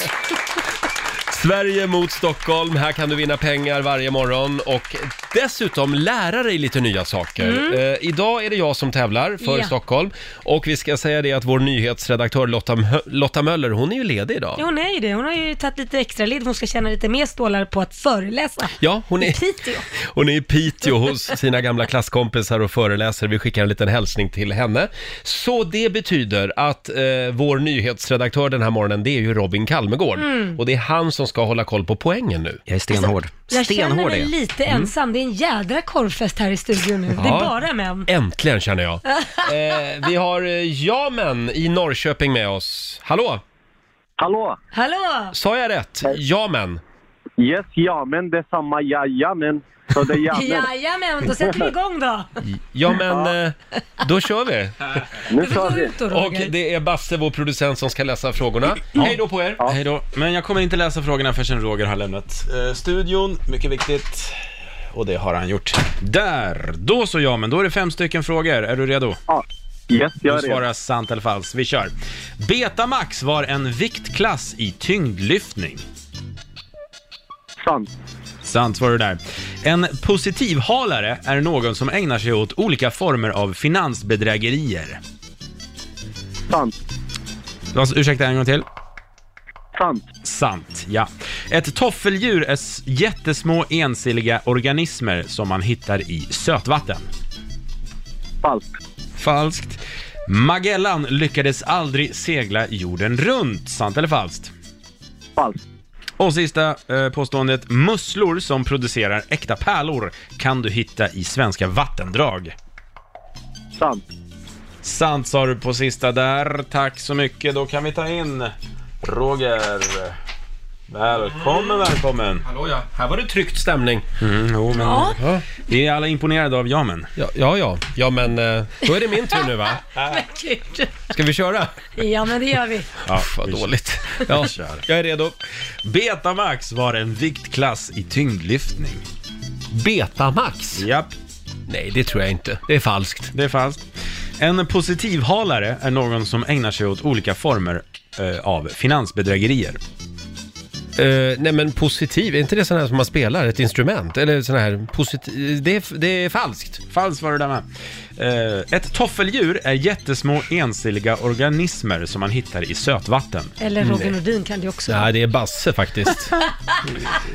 Speaker 1: Sverige mot Stockholm, här kan du vinna pengar varje morgon och dessutom lära dig lite nya saker. Eh, idag är det jag som tävlar för
Speaker 2: Mm. Ja.
Speaker 1: Stockholm och vi ska säga det att vår nyhetsredaktör Lotta, Mö- Lotta Möller, hon är ju ledig idag.
Speaker 2: Jo, hon är ju det. Hon har ju tagit lite extra ledigt. Hon ska tjäna lite mer stålar på att föreläsa.
Speaker 1: Ja, hon är,
Speaker 2: I Piteå.
Speaker 1: hon är i Piteå hos sina gamla klasskompisar och föreläser. Vi skickar en liten hälsning till henne. Så det betyder att eh, vår nyhetsredaktör den här morgonen, det är ju Robin Kalmegård.
Speaker 2: Mm.
Speaker 1: Och det är han som ska hålla koll på poängen nu.
Speaker 13: Jag är stenhård.
Speaker 2: Jag känner
Speaker 13: stenhård är
Speaker 2: mig
Speaker 13: jag.
Speaker 2: lite ensam. Det är en jädra korvfest här i studion nu. Det är
Speaker 1: Mm. Ja.
Speaker 2: bara män.
Speaker 1: Äntligen känner
Speaker 2: *laughs*
Speaker 1: jag. Eh, vi har eh, Jamen i Norrköping med oss. Hallå,
Speaker 14: Hallå!
Speaker 2: Hallå!
Speaker 1: sa jag rätt? Jamen.
Speaker 14: Yes, ja men det är samma jajamän. Så det är
Speaker 2: *laughs*
Speaker 14: jamen.
Speaker 2: Jajamän, då sätter vi igång då.
Speaker 1: *laughs* Ja men, eh, då kör vi.
Speaker 14: *laughs* Nu
Speaker 2: Vi
Speaker 14: kör
Speaker 2: går
Speaker 14: vi.
Speaker 2: ut då,
Speaker 1: Och
Speaker 2: Roger.
Speaker 1: det är Basse, vår producent, som ska läsa frågorna. Hej då på er!
Speaker 3: Hej då. Men jag kommer inte läsa frågorna förrän Roger har lämnat eh, studion. Mycket viktigt. Och det har han gjort. Där! Då så ja, men då är det fem stycken frågor. Är du redo?
Speaker 14: Ja. Yes, jag
Speaker 3: Du
Speaker 14: är redo.
Speaker 3: svarar sant eller falskt. Vi kör. Betamax var en viktklass i tyngdlyftning.
Speaker 14: Sant.
Speaker 3: Sant var det där. En positivhalare är någon som ägnar sig åt olika former av finansbedrägerier.
Speaker 14: Sant.
Speaker 3: Alltså, ursäkta en gång till.
Speaker 14: Sant.
Speaker 3: Sant, ja. Ett toffeldjur är s- jättesmå ensilliga organismer som man hittar i sötvatten.
Speaker 14: Falskt.
Speaker 3: Falskt. Magellan lyckades aldrig segla jorden runt. Sant eller falskt?
Speaker 14: Falskt.
Speaker 3: Och sista eh, påståendet. Musslor som producerar äkta pärlor kan du hitta i svenska vattendrag.
Speaker 14: Sant.
Speaker 3: Sant sa du på sista där. Tack så mycket. Då kan vi ta in Roger. Välkommen, välkommen.
Speaker 1: Hallå ja, här var det tryckt stämning.
Speaker 3: Mm, jo, men
Speaker 2: Ja.
Speaker 3: vi är alla imponerade av jamen.
Speaker 1: Ja, ja, ja. ja men eh, då är det min tur nu
Speaker 2: *laughs*
Speaker 1: va?
Speaker 2: Men gud.
Speaker 1: Ska vi köra?
Speaker 2: Ja, men det gör vi.
Speaker 3: Ja,
Speaker 1: Vad
Speaker 3: *laughs*
Speaker 1: dåligt. Ja,
Speaker 3: kör.
Speaker 1: jag är redo.
Speaker 3: Betamax var en viktklass i tyngdlyftning.
Speaker 1: Betamax.
Speaker 3: Japp.
Speaker 1: Nej, det tror jag inte. Det är falskt.
Speaker 3: Det är falskt. En positivhalare är någon som ägnar sig åt olika former eh, av finansbedrägerier.
Speaker 1: Eh, nej men positiv, är inte det sån här som man spelar, ett instrument? Eller sån här positiv, det är, det är falskt.
Speaker 3: Falskt var det där med. Eh, ett toffeldjur är jättesmå ensilliga organismer som man hittar i sötvatten. Mm.
Speaker 9: Eller Robin
Speaker 1: Nej.
Speaker 9: Nordin kan det ju också vara.
Speaker 1: Nej, det är Basse Mm.
Speaker 2: *laughs*
Speaker 1: faktiskt. Eh,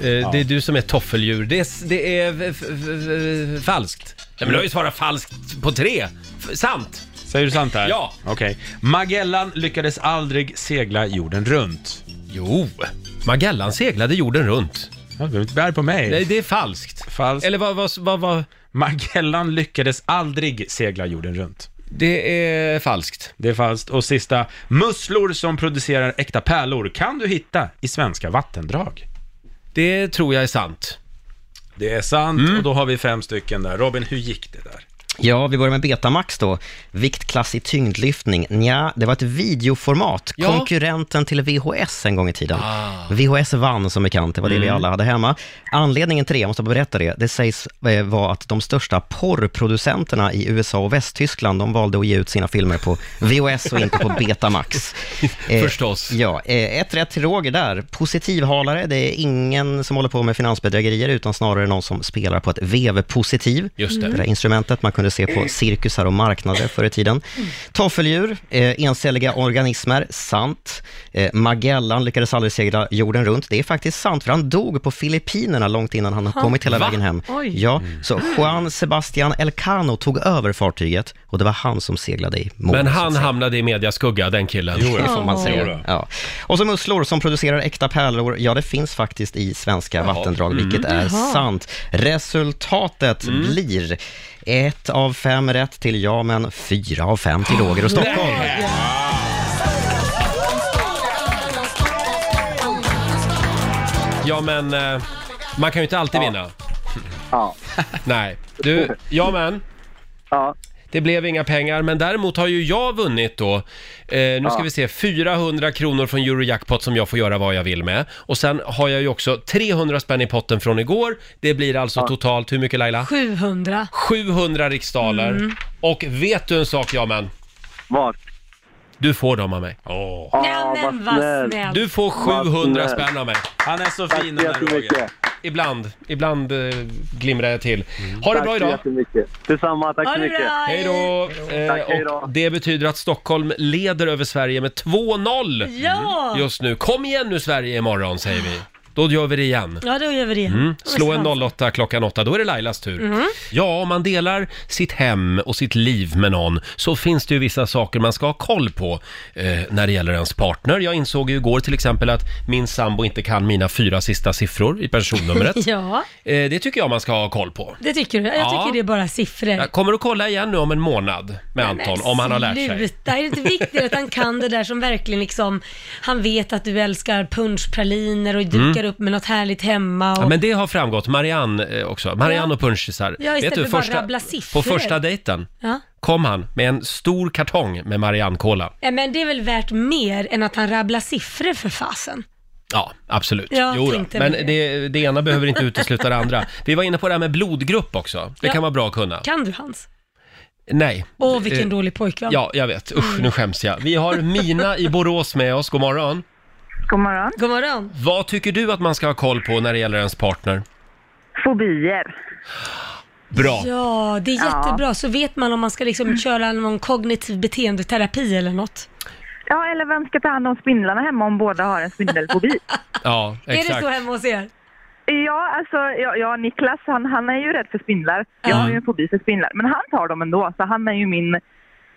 Speaker 1: Det är du som är toffeldjur. Det är, s- det är f- f- f- falskt. Nej men du har ju svarat falskt på tre. F- sant!
Speaker 3: Säger du sant här?
Speaker 1: Ja.
Speaker 3: Okej. Magellan lyckades aldrig segla jorden runt.
Speaker 1: Jo, Magellan seglade jorden runt.
Speaker 3: Du behöver inte bli arg på mig.
Speaker 1: Nej, det är falskt.
Speaker 3: Falskt.
Speaker 1: Eller vad, vad, vad, vad?
Speaker 3: Magellan lyckades aldrig segla jorden runt.
Speaker 1: Det är falskt.
Speaker 3: Det är falskt. Och sista, musslor som producerar äkta pärlor kan du hitta i svenska vattendrag.
Speaker 1: Det tror jag är sant. Mm.
Speaker 3: Det är sant och då har vi fem stycken där. Robin, hur gick det där?
Speaker 4: Ja, vi börjar med Betamax då. Viktklass i tyngdlyftning. Nja, det var ett videoformat.
Speaker 1: Ja. Ah.
Speaker 4: Konkurrenten till VHS en gång i tiden. VHS vann som bekant, det var det
Speaker 1: Mm.
Speaker 4: vi alla hade hemma. Anledningen till det, jag måste bara berätta det, det sägs eh, vara att de största porrproducenterna i USA och Västtyskland, de valde att ge ut sina filmer på VHS och inte på
Speaker 1: *laughs*
Speaker 4: Betamax.
Speaker 1: Förstås.
Speaker 4: Ja, eh, ett rätt till Roger där. Positivhalare, det är ingen som håller på med finansbedrägerier, utan snarare någon som spelar på ett vevpositiv.
Speaker 1: Just det.
Speaker 4: Det där instrumentet man kunde se på cirkusar och marknader förr i tiden. Toffeldjur, eh, encelliga organismer, sant. Eh, Magellan lyckades aldrig segla jorden runt. Det är faktiskt sant, för han dog på Filippinerna långt innan han
Speaker 9: Ha,
Speaker 4: har kommit hela
Speaker 9: va?
Speaker 4: vägen hem.
Speaker 9: Oj.
Speaker 4: Ja,
Speaker 1: Mm.
Speaker 4: så Juan Sebastian Elcano tog över fartyget och det var han som seglade i mål.
Speaker 1: Men
Speaker 4: så att
Speaker 1: han
Speaker 4: säga.
Speaker 1: hamnade i mediaskugga, den killen.
Speaker 4: Jo, det får man
Speaker 1: Jo då.
Speaker 4: säga. Ja. Och så musslor som producerar äkta pärlor. Ja, det finns faktiskt i svenska vattendrag, vilket är
Speaker 9: Jaha.
Speaker 4: sant. Resultatet blir ett av fem rätt till ja, men fyra av fem till Roger och Stockholm.
Speaker 1: Ja, men eh, man kan ju inte alltid vinna.
Speaker 11: Ja.
Speaker 1: *laughs* Nej. Du, ja men.
Speaker 11: Ja.
Speaker 1: Det blev inga pengar, men däremot har ju jag vunnit då. Eh, nu ska
Speaker 11: Ja.
Speaker 1: vi se, 400 kronor från Eurojackpot som jag får göra vad jag vill med. Och sen har jag ju också 300 spänn i potten från igår. Det blir alltså totalt, hur mycket Laila?
Speaker 2: 700.
Speaker 1: 700 riksdaler.
Speaker 2: Mm.
Speaker 1: Och vet du en sak, ja men?
Speaker 11: Vad?
Speaker 1: Du får dem av mig.
Speaker 2: Ja, men vad snällt.
Speaker 1: Du får
Speaker 11: Vad
Speaker 1: 700
Speaker 11: snällt.
Speaker 1: spänn av mig.
Speaker 3: Han är så fin
Speaker 11: Tack
Speaker 3: den här
Speaker 11: så
Speaker 3: Roger.
Speaker 11: jättemycket.
Speaker 1: Ibland, ibland eh, glimrar jag till. Ha
Speaker 11: Mm.
Speaker 1: det
Speaker 11: Tack
Speaker 1: bra
Speaker 11: så
Speaker 1: idag!
Speaker 11: jättemycket. Detsamma, tack
Speaker 2: Ha
Speaker 11: så
Speaker 2: det
Speaker 11: mycket.
Speaker 2: bra.
Speaker 1: Hej då!
Speaker 11: Tack, hej
Speaker 1: Eh,
Speaker 11: då.
Speaker 1: och det betyder att Stockholm leder över Sverige med 2-0
Speaker 2: Ja!
Speaker 1: Mm, just nu. Kom igen nu Sverige imorgon säger vi. Då gör vi det igen.
Speaker 2: Ja, då gör vi det.
Speaker 1: Mm. Slå en
Speaker 2: Vad
Speaker 1: 08 klockan 8, då är det Lailas tur.
Speaker 2: Mm.
Speaker 1: Ja, om man delar sitt hem och sitt liv med någon så finns det ju vissa saker man ska ha koll på eh, när det gäller ens partner. Jag insåg ju igår till exempel att min sambo inte kan mina fyra sista siffror i personnumret.
Speaker 2: *laughs* Ja,
Speaker 1: eh, det tycker jag man ska ha koll på.
Speaker 2: det tycker du. Jag
Speaker 1: Ja.
Speaker 2: tycker det är bara siffror.
Speaker 1: Jag kommer att kolla igen nu om en månad med Anton, om han har lärt sig.
Speaker 2: Sluta, är det inte viktigt att han kan det där som verkligen liksom, han vet att du älskar punschpraliner och dukar upp med något härligt hemma och...
Speaker 1: Mm. Ja, men det har framgått, Marianne eh, också. Marianne
Speaker 2: Ja.
Speaker 1: och punchisar.
Speaker 2: Ja, istället för bara rabbla
Speaker 1: på
Speaker 2: siffror.
Speaker 1: första dejten
Speaker 2: Ja.
Speaker 1: kom han med en stor kartong med Marianne-cola.
Speaker 2: Ja, men det är väl värt mer än att han rabblar siffror för fasen.
Speaker 1: Ja, absolut.
Speaker 2: Jag
Speaker 1: Jo då.
Speaker 2: tänkte
Speaker 1: Men
Speaker 2: väl
Speaker 1: det, det ena behöver inte utesluta det
Speaker 2: *laughs*
Speaker 1: andra. Vi var inne på det här med blodgrupp också. Det
Speaker 2: Ja.
Speaker 1: kan vara bra att kunna.
Speaker 2: Kan du hans?
Speaker 1: Nej.
Speaker 2: Åh, vilken
Speaker 1: Eh,
Speaker 2: dålig Mm. pojkvän.
Speaker 1: Ja, jag vet. Usch, nu skäms jag. Vi har Mina i Borås med oss. God morgon.
Speaker 10: God morgon.
Speaker 2: God morgon.
Speaker 1: Vad tycker du att man ska ha koll på när det gäller ens partner?
Speaker 10: Fobier.
Speaker 1: Bra.
Speaker 2: Ja, det är
Speaker 10: Ja.
Speaker 2: jättebra. Så vet man om man ska liksom köra någon kognitiv beteendeterapi eller något.
Speaker 10: Ja, eller vem ska ta hand om spindlarna hemma om båda har en spindelfobi?
Speaker 1: Ja, exakt.
Speaker 2: *laughs* Är det så hemma hos er?
Speaker 10: ja, alltså, ja, ja Niklas han, han är ju rädd för spindlar. Jag har ju en fobi för spindlar. Men han tar dem ändå, så han är ju min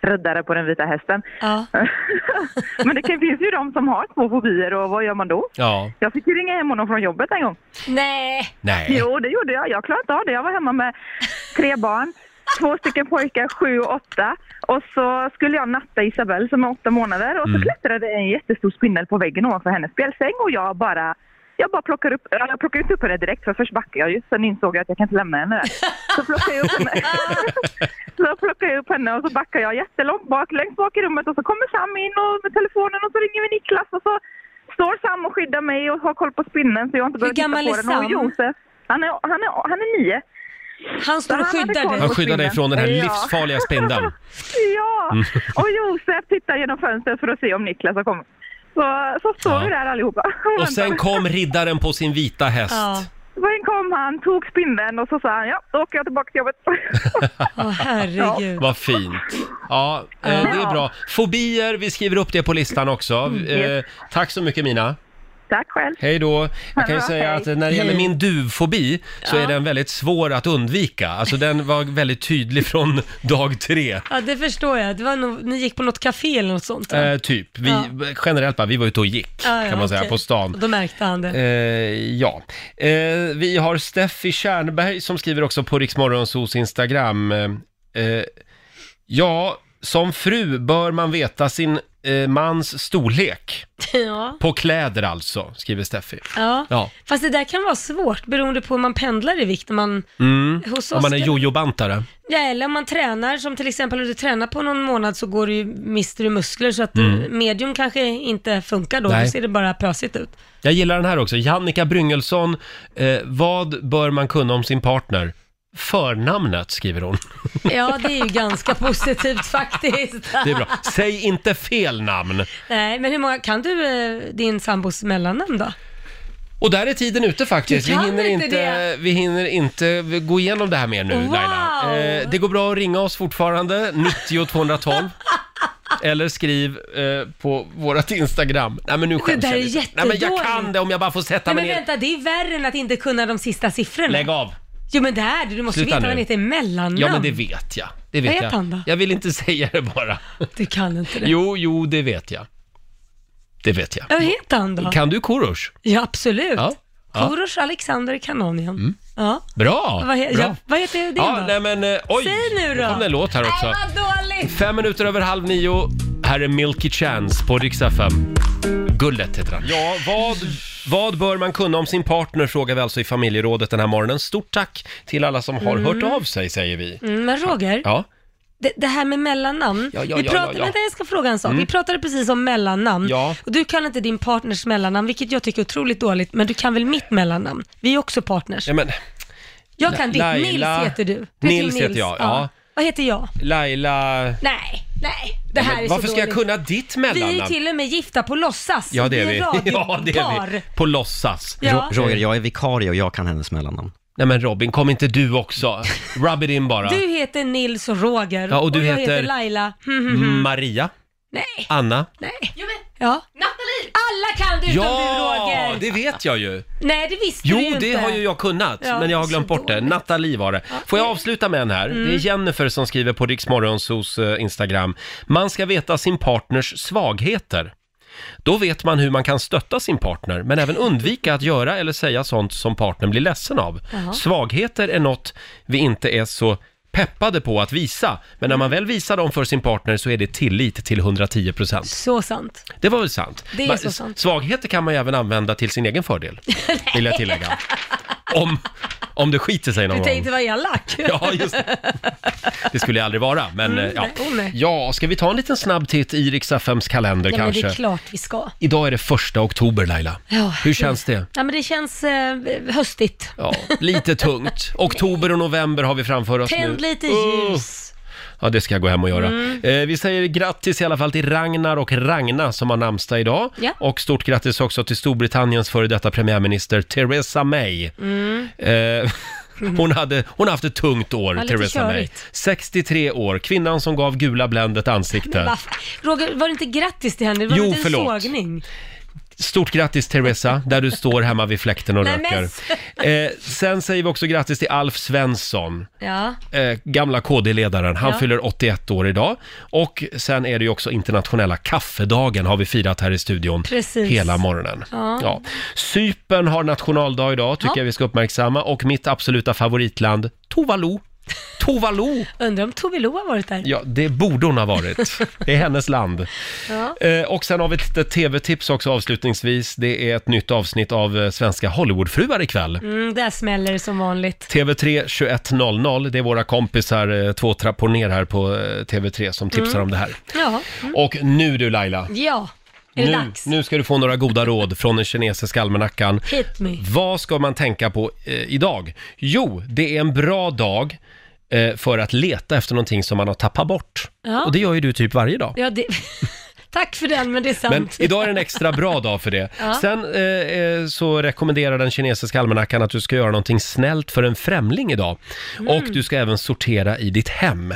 Speaker 10: räddare på den vita hästen.
Speaker 2: Ja.
Speaker 10: *laughs* men det kan- finns ju de som har två fobier och vad gör man då?
Speaker 1: Ja.
Speaker 10: Jag fick ju ringa hem honom från jobbet en gång.
Speaker 2: Nej.
Speaker 1: Nej.
Speaker 10: Jo, det gjorde jag. Jag klarade inte av det. Jag var hemma med tre barn, två stycken pojkar, sju och åtta. Och så skulle jag natta Isabelle som är åtta månader och så
Speaker 1: Mm.
Speaker 10: klättrade en jättestor spindel på väggen ovanför hennes spjälsäng och jag bara jag bara plockar upp, eller jag plockar inte upp henne direkt för först backade jag ju. Sen insåg jag att jag kan inte lämna henne där. Så plockar jag upp henne. så plockar jag upp henne och så backar jag jättelångt bak, längst bak i rummet och så kommer Sam in och med telefonen och så ringer vi Niklas och så står Sam och skyddar mig och har koll på spindeln så jag inte behöver titta
Speaker 2: gammal
Speaker 10: på
Speaker 2: är
Speaker 10: den. Och
Speaker 2: Sam?
Speaker 10: Josef, han är, han, är, han är nio.
Speaker 2: Han står
Speaker 10: Så han
Speaker 2: och
Speaker 10: hade
Speaker 2: skyddar
Speaker 10: koll
Speaker 2: dig.
Speaker 10: på
Speaker 1: Han skyddar dig
Speaker 10: spindeln.
Speaker 1: från den här
Speaker 10: Ja.
Speaker 1: livsfarliga spindeln.
Speaker 10: *laughs* Ja,
Speaker 1: Mm.
Speaker 10: och Josef tittar genom fönstret för att se om Niklas har kommit. Så, så står
Speaker 1: Ja.
Speaker 10: vi där allihopa. *laughs*
Speaker 1: Och sen kom riddaren på sin vita häst.
Speaker 10: Sen kom han, tog spindeln och så sa han ja, då åker jag tillbaka till jobbet. *laughs*
Speaker 2: Åh herregud.
Speaker 1: Vad fint. Ja, eh, det är bra. Fobier, vi skriver upp det på listan också.
Speaker 2: Mm,
Speaker 1: Eh,
Speaker 10: Yes.
Speaker 1: tack så mycket Mina.
Speaker 10: Tack själv.
Speaker 1: Hej då. Jag kan ju
Speaker 10: Ja,
Speaker 1: säga att
Speaker 10: hej.
Speaker 1: när det gäller
Speaker 10: Hej.
Speaker 1: min duvfobi så
Speaker 2: Ja.
Speaker 1: är den väldigt svår att undvika. Alltså den var väldigt tydlig från dag tre.
Speaker 2: Ja, det förstår jag. Det var nog, ni gick på något café eller något sånt? va?
Speaker 1: Eh, typ. Vi,
Speaker 2: Ja.
Speaker 1: Generellt bara, vi var ute och gick
Speaker 2: Ja, ja,
Speaker 1: kan man säga
Speaker 2: okej.
Speaker 1: på stan.
Speaker 2: Och Då märkte han det.
Speaker 1: Eh, ja. Eh, vi har Steffi Tjernberg som skriver också på Riksmorgonsos Instagram. Eh, eh, ja, som fru bör man veta sin eh, mans storlek.
Speaker 2: Ja.
Speaker 1: På kläder alltså, skriver Steffi.
Speaker 2: ja.
Speaker 1: Ja.
Speaker 2: Fast det där kan vara svårt beroende på hur man pendlar i vikt. när Man,
Speaker 1: Mm.
Speaker 2: Hos
Speaker 1: Om
Speaker 2: oss
Speaker 1: man är
Speaker 2: kan-
Speaker 1: jojobantare.
Speaker 2: ja, eller om man tränar, som till exempel om du tränar på någon månad så går du, ju- mister du muskler så att
Speaker 1: Mm.
Speaker 2: eh, medium kanske inte funkar då.
Speaker 1: Nej.
Speaker 2: Då ser det bara
Speaker 1: *laughs*
Speaker 2: pösigt ut.
Speaker 1: Jag gillar den här också. Jannica Bryngelsson. Eh, vad bör man kunna om sin partner? Förnamnet, skriver hon. *laughs*
Speaker 2: Ja, det är ju ganska positivt faktiskt.
Speaker 1: Det är bra. Säg inte fel namn.
Speaker 2: Nej, men hur många, kan du eh, din sambos mellannamn då?
Speaker 1: Och där är tiden ute faktiskt.
Speaker 2: Du
Speaker 1: Vi
Speaker 2: kan
Speaker 1: hinner
Speaker 2: inte
Speaker 1: inte,
Speaker 2: det.
Speaker 1: vi hinner inte gå igenom det här mer nu
Speaker 2: Wow.
Speaker 1: Laila. Eh, det går bra att ringa oss fortfarande, 90
Speaker 2: *laughs*
Speaker 1: 212. Eller skriv eh, på vårt Instagram. Nej men nu skäms
Speaker 2: där
Speaker 1: jag
Speaker 2: är
Speaker 1: lite. Nej men jag
Speaker 2: jättedåligt.
Speaker 1: kan det om jag bara får sätta
Speaker 2: Nej,
Speaker 1: mig
Speaker 2: men
Speaker 1: ner.
Speaker 2: vänta, det är värre än att inte kunna de sista siffrorna.
Speaker 1: Lägg av.
Speaker 2: Jo, men det är det. Du måste
Speaker 1: Sluta
Speaker 2: veta vad
Speaker 1: nu.
Speaker 2: han heter i mellannamn.
Speaker 1: Ja men det vet jag. Det vet
Speaker 2: Vad
Speaker 1: jag.
Speaker 2: heter han då?
Speaker 1: Jag vill inte *laughs* säga det bara.
Speaker 2: Du kan inte det.
Speaker 1: Jo, jo, det vet jag. Det vet jag.
Speaker 2: Vad heter han då?
Speaker 1: Kan du Korosh?
Speaker 2: Ja, absolut.
Speaker 1: Ja. ja.
Speaker 2: Korosh Alexander Kanonian. Ja.
Speaker 1: Bra!
Speaker 2: Vad, he-
Speaker 1: Bra.
Speaker 2: ja, vad heter din
Speaker 1: Ja,
Speaker 2: då?
Speaker 1: nej men eh, oj!
Speaker 2: Säg nu då.
Speaker 1: kom det en låt här också.
Speaker 2: Nej, vad dåligt!
Speaker 1: Fem minuter över halv nio. Här är Milky Chance på Rix FM. Gullet heter han. Ja, vad, vad bör man kunna om sin partner frågar vi alltså i familjerådet den här morgonen. Stort tack till alla som har
Speaker 2: Mm.
Speaker 1: hört av sig säger vi.
Speaker 2: Mm, men Roger,
Speaker 1: Ja,
Speaker 2: det, det här med mellannamn.
Speaker 1: Ja, ja,
Speaker 2: vi
Speaker 1: ja,
Speaker 2: pratade,
Speaker 1: ja, ja.
Speaker 2: Vänta, jag ska fråga en sak.
Speaker 1: Mm.
Speaker 2: Vi pratade precis om mellannamn.
Speaker 1: Ja.
Speaker 2: Och du kan inte din partners mellannamn, vilket jag tycker är otroligt dåligt, men du kan väl mitt mellannamn? Vi är också partners.
Speaker 1: ja men
Speaker 2: jag kan ditt.
Speaker 1: Laila-
Speaker 2: Nils heter du. du
Speaker 1: Nils heter jag, ja.
Speaker 2: Vad heter jag?
Speaker 1: Laila...
Speaker 2: Nej, nej. Det
Speaker 1: Ja,
Speaker 2: här
Speaker 1: men
Speaker 2: är så
Speaker 1: varför ska jag
Speaker 2: dåligt.
Speaker 1: kunna ditt mellannamn?
Speaker 2: Vi är till och med gifta på låtsas.
Speaker 1: Ja, det är
Speaker 2: I en
Speaker 1: vi. *laughs* Ja, det är
Speaker 2: radiobar.
Speaker 1: vi. På låtsas.
Speaker 2: Ja.
Speaker 4: Roger, jag är vikarie och jag kan hennes mellannamn.
Speaker 1: Nej men Robin, kom inte du också? Rub it in bara.
Speaker 2: Du heter Nils och Roger
Speaker 1: Ja, och du
Speaker 2: jag
Speaker 1: heter-
Speaker 2: heter Laila. Mm, mm, mm.
Speaker 1: Mm-hmm. Maria?
Speaker 2: Nej.
Speaker 1: Anna?
Speaker 2: Nej. Ja. Nathalie! Alla kan du utom du
Speaker 1: Ja,
Speaker 2: Roger.
Speaker 1: det vet jag ju.
Speaker 2: Nej, det visste
Speaker 1: Jo,
Speaker 2: du ju inte.
Speaker 1: det har ju jag kunnat,
Speaker 2: Ja,
Speaker 1: men jag har glömt bort det. Nathalie var det. Får jag avsluta med en här?
Speaker 2: Mm.
Speaker 1: Det är Jennifer som skriver på Riksmorgonsos Instagram. Man ska veta sin partners svagheter. Då vet man hur man kan stötta sin partner, men även undvika att göra eller säga sånt som partnern blir ledsen av.
Speaker 5: Jaha.
Speaker 1: Svagheter är något vi inte är så peppade på att visa, men när man väl visar dem för sin partner så är det tillit till 110 procent.
Speaker 2: Så sant. *laughs*
Speaker 1: Det var väl sant?
Speaker 2: Det är
Speaker 1: Man-
Speaker 2: så sant.
Speaker 1: Svagheter kan man ju även använda till sin egen fördel, vill jag tillägga. Om, om det skiter sig någon
Speaker 2: Du
Speaker 1: gång.
Speaker 2: tänkte vara elak.
Speaker 1: *laughs* Ja, just
Speaker 2: *laughs*
Speaker 1: det. Det skulle jag aldrig vara, men eh, ja.
Speaker 2: nej, oh, nej.
Speaker 1: Ja, ska vi ta en liten snabb titt i Rix FMs kalender
Speaker 2: ja, men
Speaker 1: kanske?
Speaker 2: det är klart vi ska.
Speaker 1: Idag är det första oktober, Laila.
Speaker 2: Ja,
Speaker 1: Hur känns det?
Speaker 2: Ja, men det känns eh, höstigt.
Speaker 1: Ja, lite tungt. Oktober och november har vi framför oss
Speaker 2: Tänd
Speaker 1: nu.
Speaker 2: lite
Speaker 1: Oh.
Speaker 2: ljus.
Speaker 1: Ja, det ska jag gå hem och göra.
Speaker 2: Mm.
Speaker 1: Eh, vi säger grattis i alla fall till Ragnar och Ragna som har namnsdag idag.
Speaker 2: Ja.
Speaker 1: Och stort grattis också till Storbritanniens före detta premiärminister Theresa May.
Speaker 2: Mm.
Speaker 1: Eh, *laughs* hon, hade, hon har haft ett tungt år,
Speaker 2: Ja, lite
Speaker 1: Theresa May.
Speaker 2: körigt.
Speaker 1: 63 år, kvinnan som gav gula Bländet
Speaker 2: Men
Speaker 1: ansikte.
Speaker 2: va- Roger, var det inte grattis till henne? Det var
Speaker 1: Jo,
Speaker 2: inte en
Speaker 1: förlåt.
Speaker 2: sågning?
Speaker 1: Stort grattis Theresa, där du står hemma vid fläkten och
Speaker 2: Nej,
Speaker 1: röker. Eh, sen säger vi också grattis till Alf Svensson.
Speaker 2: *laughs* Ja.
Speaker 1: Eh, gamla KD-ledaren, han
Speaker 2: Ja.
Speaker 1: fyller 81 år idag. Och sen är det ju också internationella kaffedagen har vi firat här i studion
Speaker 2: Precis.
Speaker 1: hela morgonen.
Speaker 2: Ja.
Speaker 1: Ja. Cypern har nationaldag idag, tycker
Speaker 2: Ja.
Speaker 1: jag vi ska uppmärksamma. Och mitt absoluta favoritland, Tuvalu. Tuvalu!
Speaker 2: Undrar om Tove Lo har varit där?
Speaker 1: Ja, det borde hon ha
Speaker 2: *laughs*
Speaker 1: varit. Det är hennes land.
Speaker 2: Ja.
Speaker 1: Eh, och sen har vi ett litet tv-tips också avslutningsvis. Det är ett nytt avsnitt av eh, Svenska Hollywoodfruar ikväll.
Speaker 2: Mm, där smäller det som vanligt.
Speaker 1: TV3 21.00, det är våra kompisar eh, två trappor ner här på eh, TV3 som tipsar
Speaker 2: Mm.
Speaker 1: om det här.
Speaker 2: Ja.
Speaker 1: Och Mm. nu du Laila,
Speaker 2: Ja. Är det
Speaker 1: nu,
Speaker 2: dags?
Speaker 1: nu ska du få några goda råd från den kinesiska almanackan.
Speaker 2: Hit me.
Speaker 1: Vad ska man tänka på eh, idag? Jo, det är en bra dag eh, för att leta efter någonting som man har tappat bort.
Speaker 2: Ja.
Speaker 1: Och det gör ju du typ varje dag.
Speaker 2: Ja, det... *laughs* Tack för den, men det är sant.
Speaker 1: Men idag är det en extra bra dag för det.
Speaker 2: *laughs* Ja.
Speaker 1: Sen eh, eh, så rekommenderar den kinesiska almanackan att du ska göra någonting snällt för en främling idag.
Speaker 2: Mm.
Speaker 1: Och du ska även sortera i ditt hem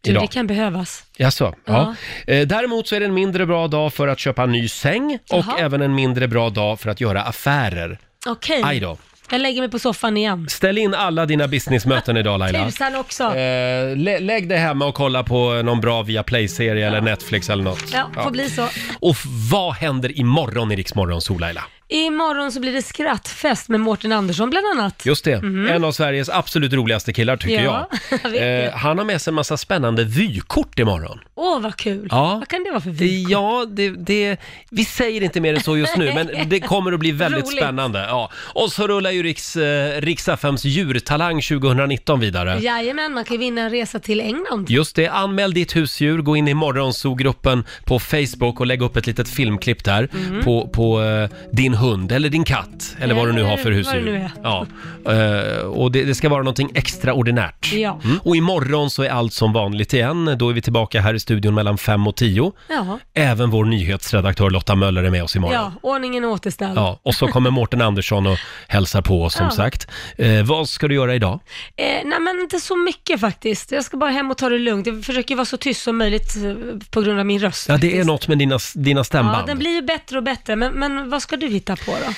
Speaker 2: Du,
Speaker 1: idag.
Speaker 2: det kan behövas.
Speaker 1: Jaså, ja. Eh, Däremot så är det en mindre bra dag för att köpa en ny säng och
Speaker 2: Jaha.
Speaker 1: även en mindre bra dag för att göra affärer.
Speaker 2: Okej.
Speaker 1: Aj då.
Speaker 2: Jag lägger mig på soffan igen.
Speaker 1: Ställ in alla dina businessmöten idag
Speaker 2: *laughs*
Speaker 1: Laila.
Speaker 2: Tusan också.
Speaker 1: Eh, lä- lägg dig hemma och kolla på någon bra Viaplay-serie eller Netflix eller något.
Speaker 2: Ja, får bli så.
Speaker 1: Och f- vad händer imorgon i Rix Morgon, Sol, Laila?
Speaker 2: Imorgon så blir det skrattfest med Mårten Andersson bland annat.
Speaker 1: Just det,
Speaker 2: Mhm.
Speaker 1: en av Sveriges absolut roligaste killar tycker
Speaker 2: ja, jag.
Speaker 1: jag.
Speaker 2: vet.
Speaker 1: Eh, han har med sig en massa spännande vykort imorgon.
Speaker 2: Åh, vad kul.
Speaker 1: Ja.
Speaker 2: Vad kan det vara för vy?
Speaker 1: Ja, det, det, vi säger inte mer än så just nu, men det kommer
Speaker 2: *laughs*
Speaker 1: att bli väldigt
Speaker 2: Roligt.
Speaker 1: spännande. Ja. Och så rullar ju Riks, eh, Riks FMs djurtalang 2019 vidare.
Speaker 2: Jajamän, man kan ju vinna en resa till England.
Speaker 1: Just det, anmäl ditt husdjur, gå in i morgonzoo-gruppen på Facebook och lägg upp ett litet filmklipp där
Speaker 2: Mm.
Speaker 1: på, på eh, din hund eller din katt eller vad du nu har för
Speaker 2: Eller
Speaker 1: husdjur.
Speaker 2: Eh, vad det nu är.
Speaker 1: Ja. Eh, och det, det ska vara någonting extraordinärt.
Speaker 2: Ja.
Speaker 1: Mm. Och imorgon så är allt som vanligt igen. Då är vi tillbaka här i studion mellan 5 och 10.
Speaker 2: Ja.
Speaker 1: Även vår nyhetsredaktör Lotta Möller är med oss imorgon.
Speaker 2: ja, ordningen är återställd.
Speaker 1: Ja, och så kommer Mårten Andersson och hälsar på oss som
Speaker 2: Ja.
Speaker 1: sagt. Eh, vad ska du göra idag?
Speaker 2: *laughs* Eh, nej men inte så mycket faktiskt. Jag ska bara hem och ta det lugnt. Jag försöker vara så tyst som möjligt eh, på grund av min röst.
Speaker 1: Ja, det är något med dina, dina stämband.
Speaker 2: Ja, den blir ju bättre och bättre. Men, men vad ska du hitta på då?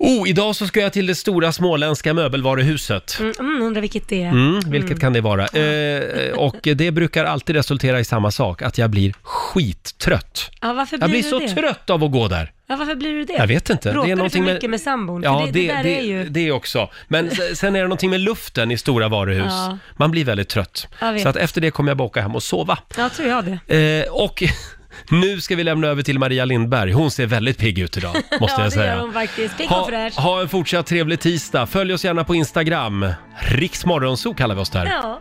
Speaker 1: Oh, idag så ska jag till det stora småländska möbelvaruhuset.
Speaker 2: Mm, mm, undrar vilket det är.
Speaker 1: Mm, vilket
Speaker 2: Mm.
Speaker 1: kan det vara? Eh, och det brukar alltid resultera i samma sak, att jag blir skittrött.
Speaker 2: Ja, varför blir
Speaker 1: Jag blir
Speaker 2: du
Speaker 1: så
Speaker 2: det?
Speaker 1: trött av att gå där.
Speaker 2: Ja, varför blir du det?
Speaker 1: Jag vet inte. Det är
Speaker 2: Bråkar du för
Speaker 1: någonting med-
Speaker 2: mycket med, sambon?
Speaker 1: Ja,
Speaker 2: för det, det, där är ju...
Speaker 1: det också. Men s- sen är det någonting med luften i stora varuhus.
Speaker 2: Ja.
Speaker 1: Man blir väldigt trött.
Speaker 2: Jag vet.
Speaker 1: Så att efter det kommer jag bara åka hem och sova.
Speaker 2: Ja, tror jag det.
Speaker 1: Eh, och *laughs* nu ska vi lämna över till Maria Lindberg. Hon ser väldigt pigg ut
Speaker 2: *laughs*
Speaker 1: idag, måste
Speaker 2: ja,
Speaker 1: jag säga.
Speaker 2: det gör hon faktiskt. Pigg och
Speaker 1: Ha,
Speaker 2: fräsch.
Speaker 1: ha en fortsatt trevlig tisdag. Följ oss gärna på Instagram. Riksmorgonzoo kallar vi oss där.
Speaker 2: Ja.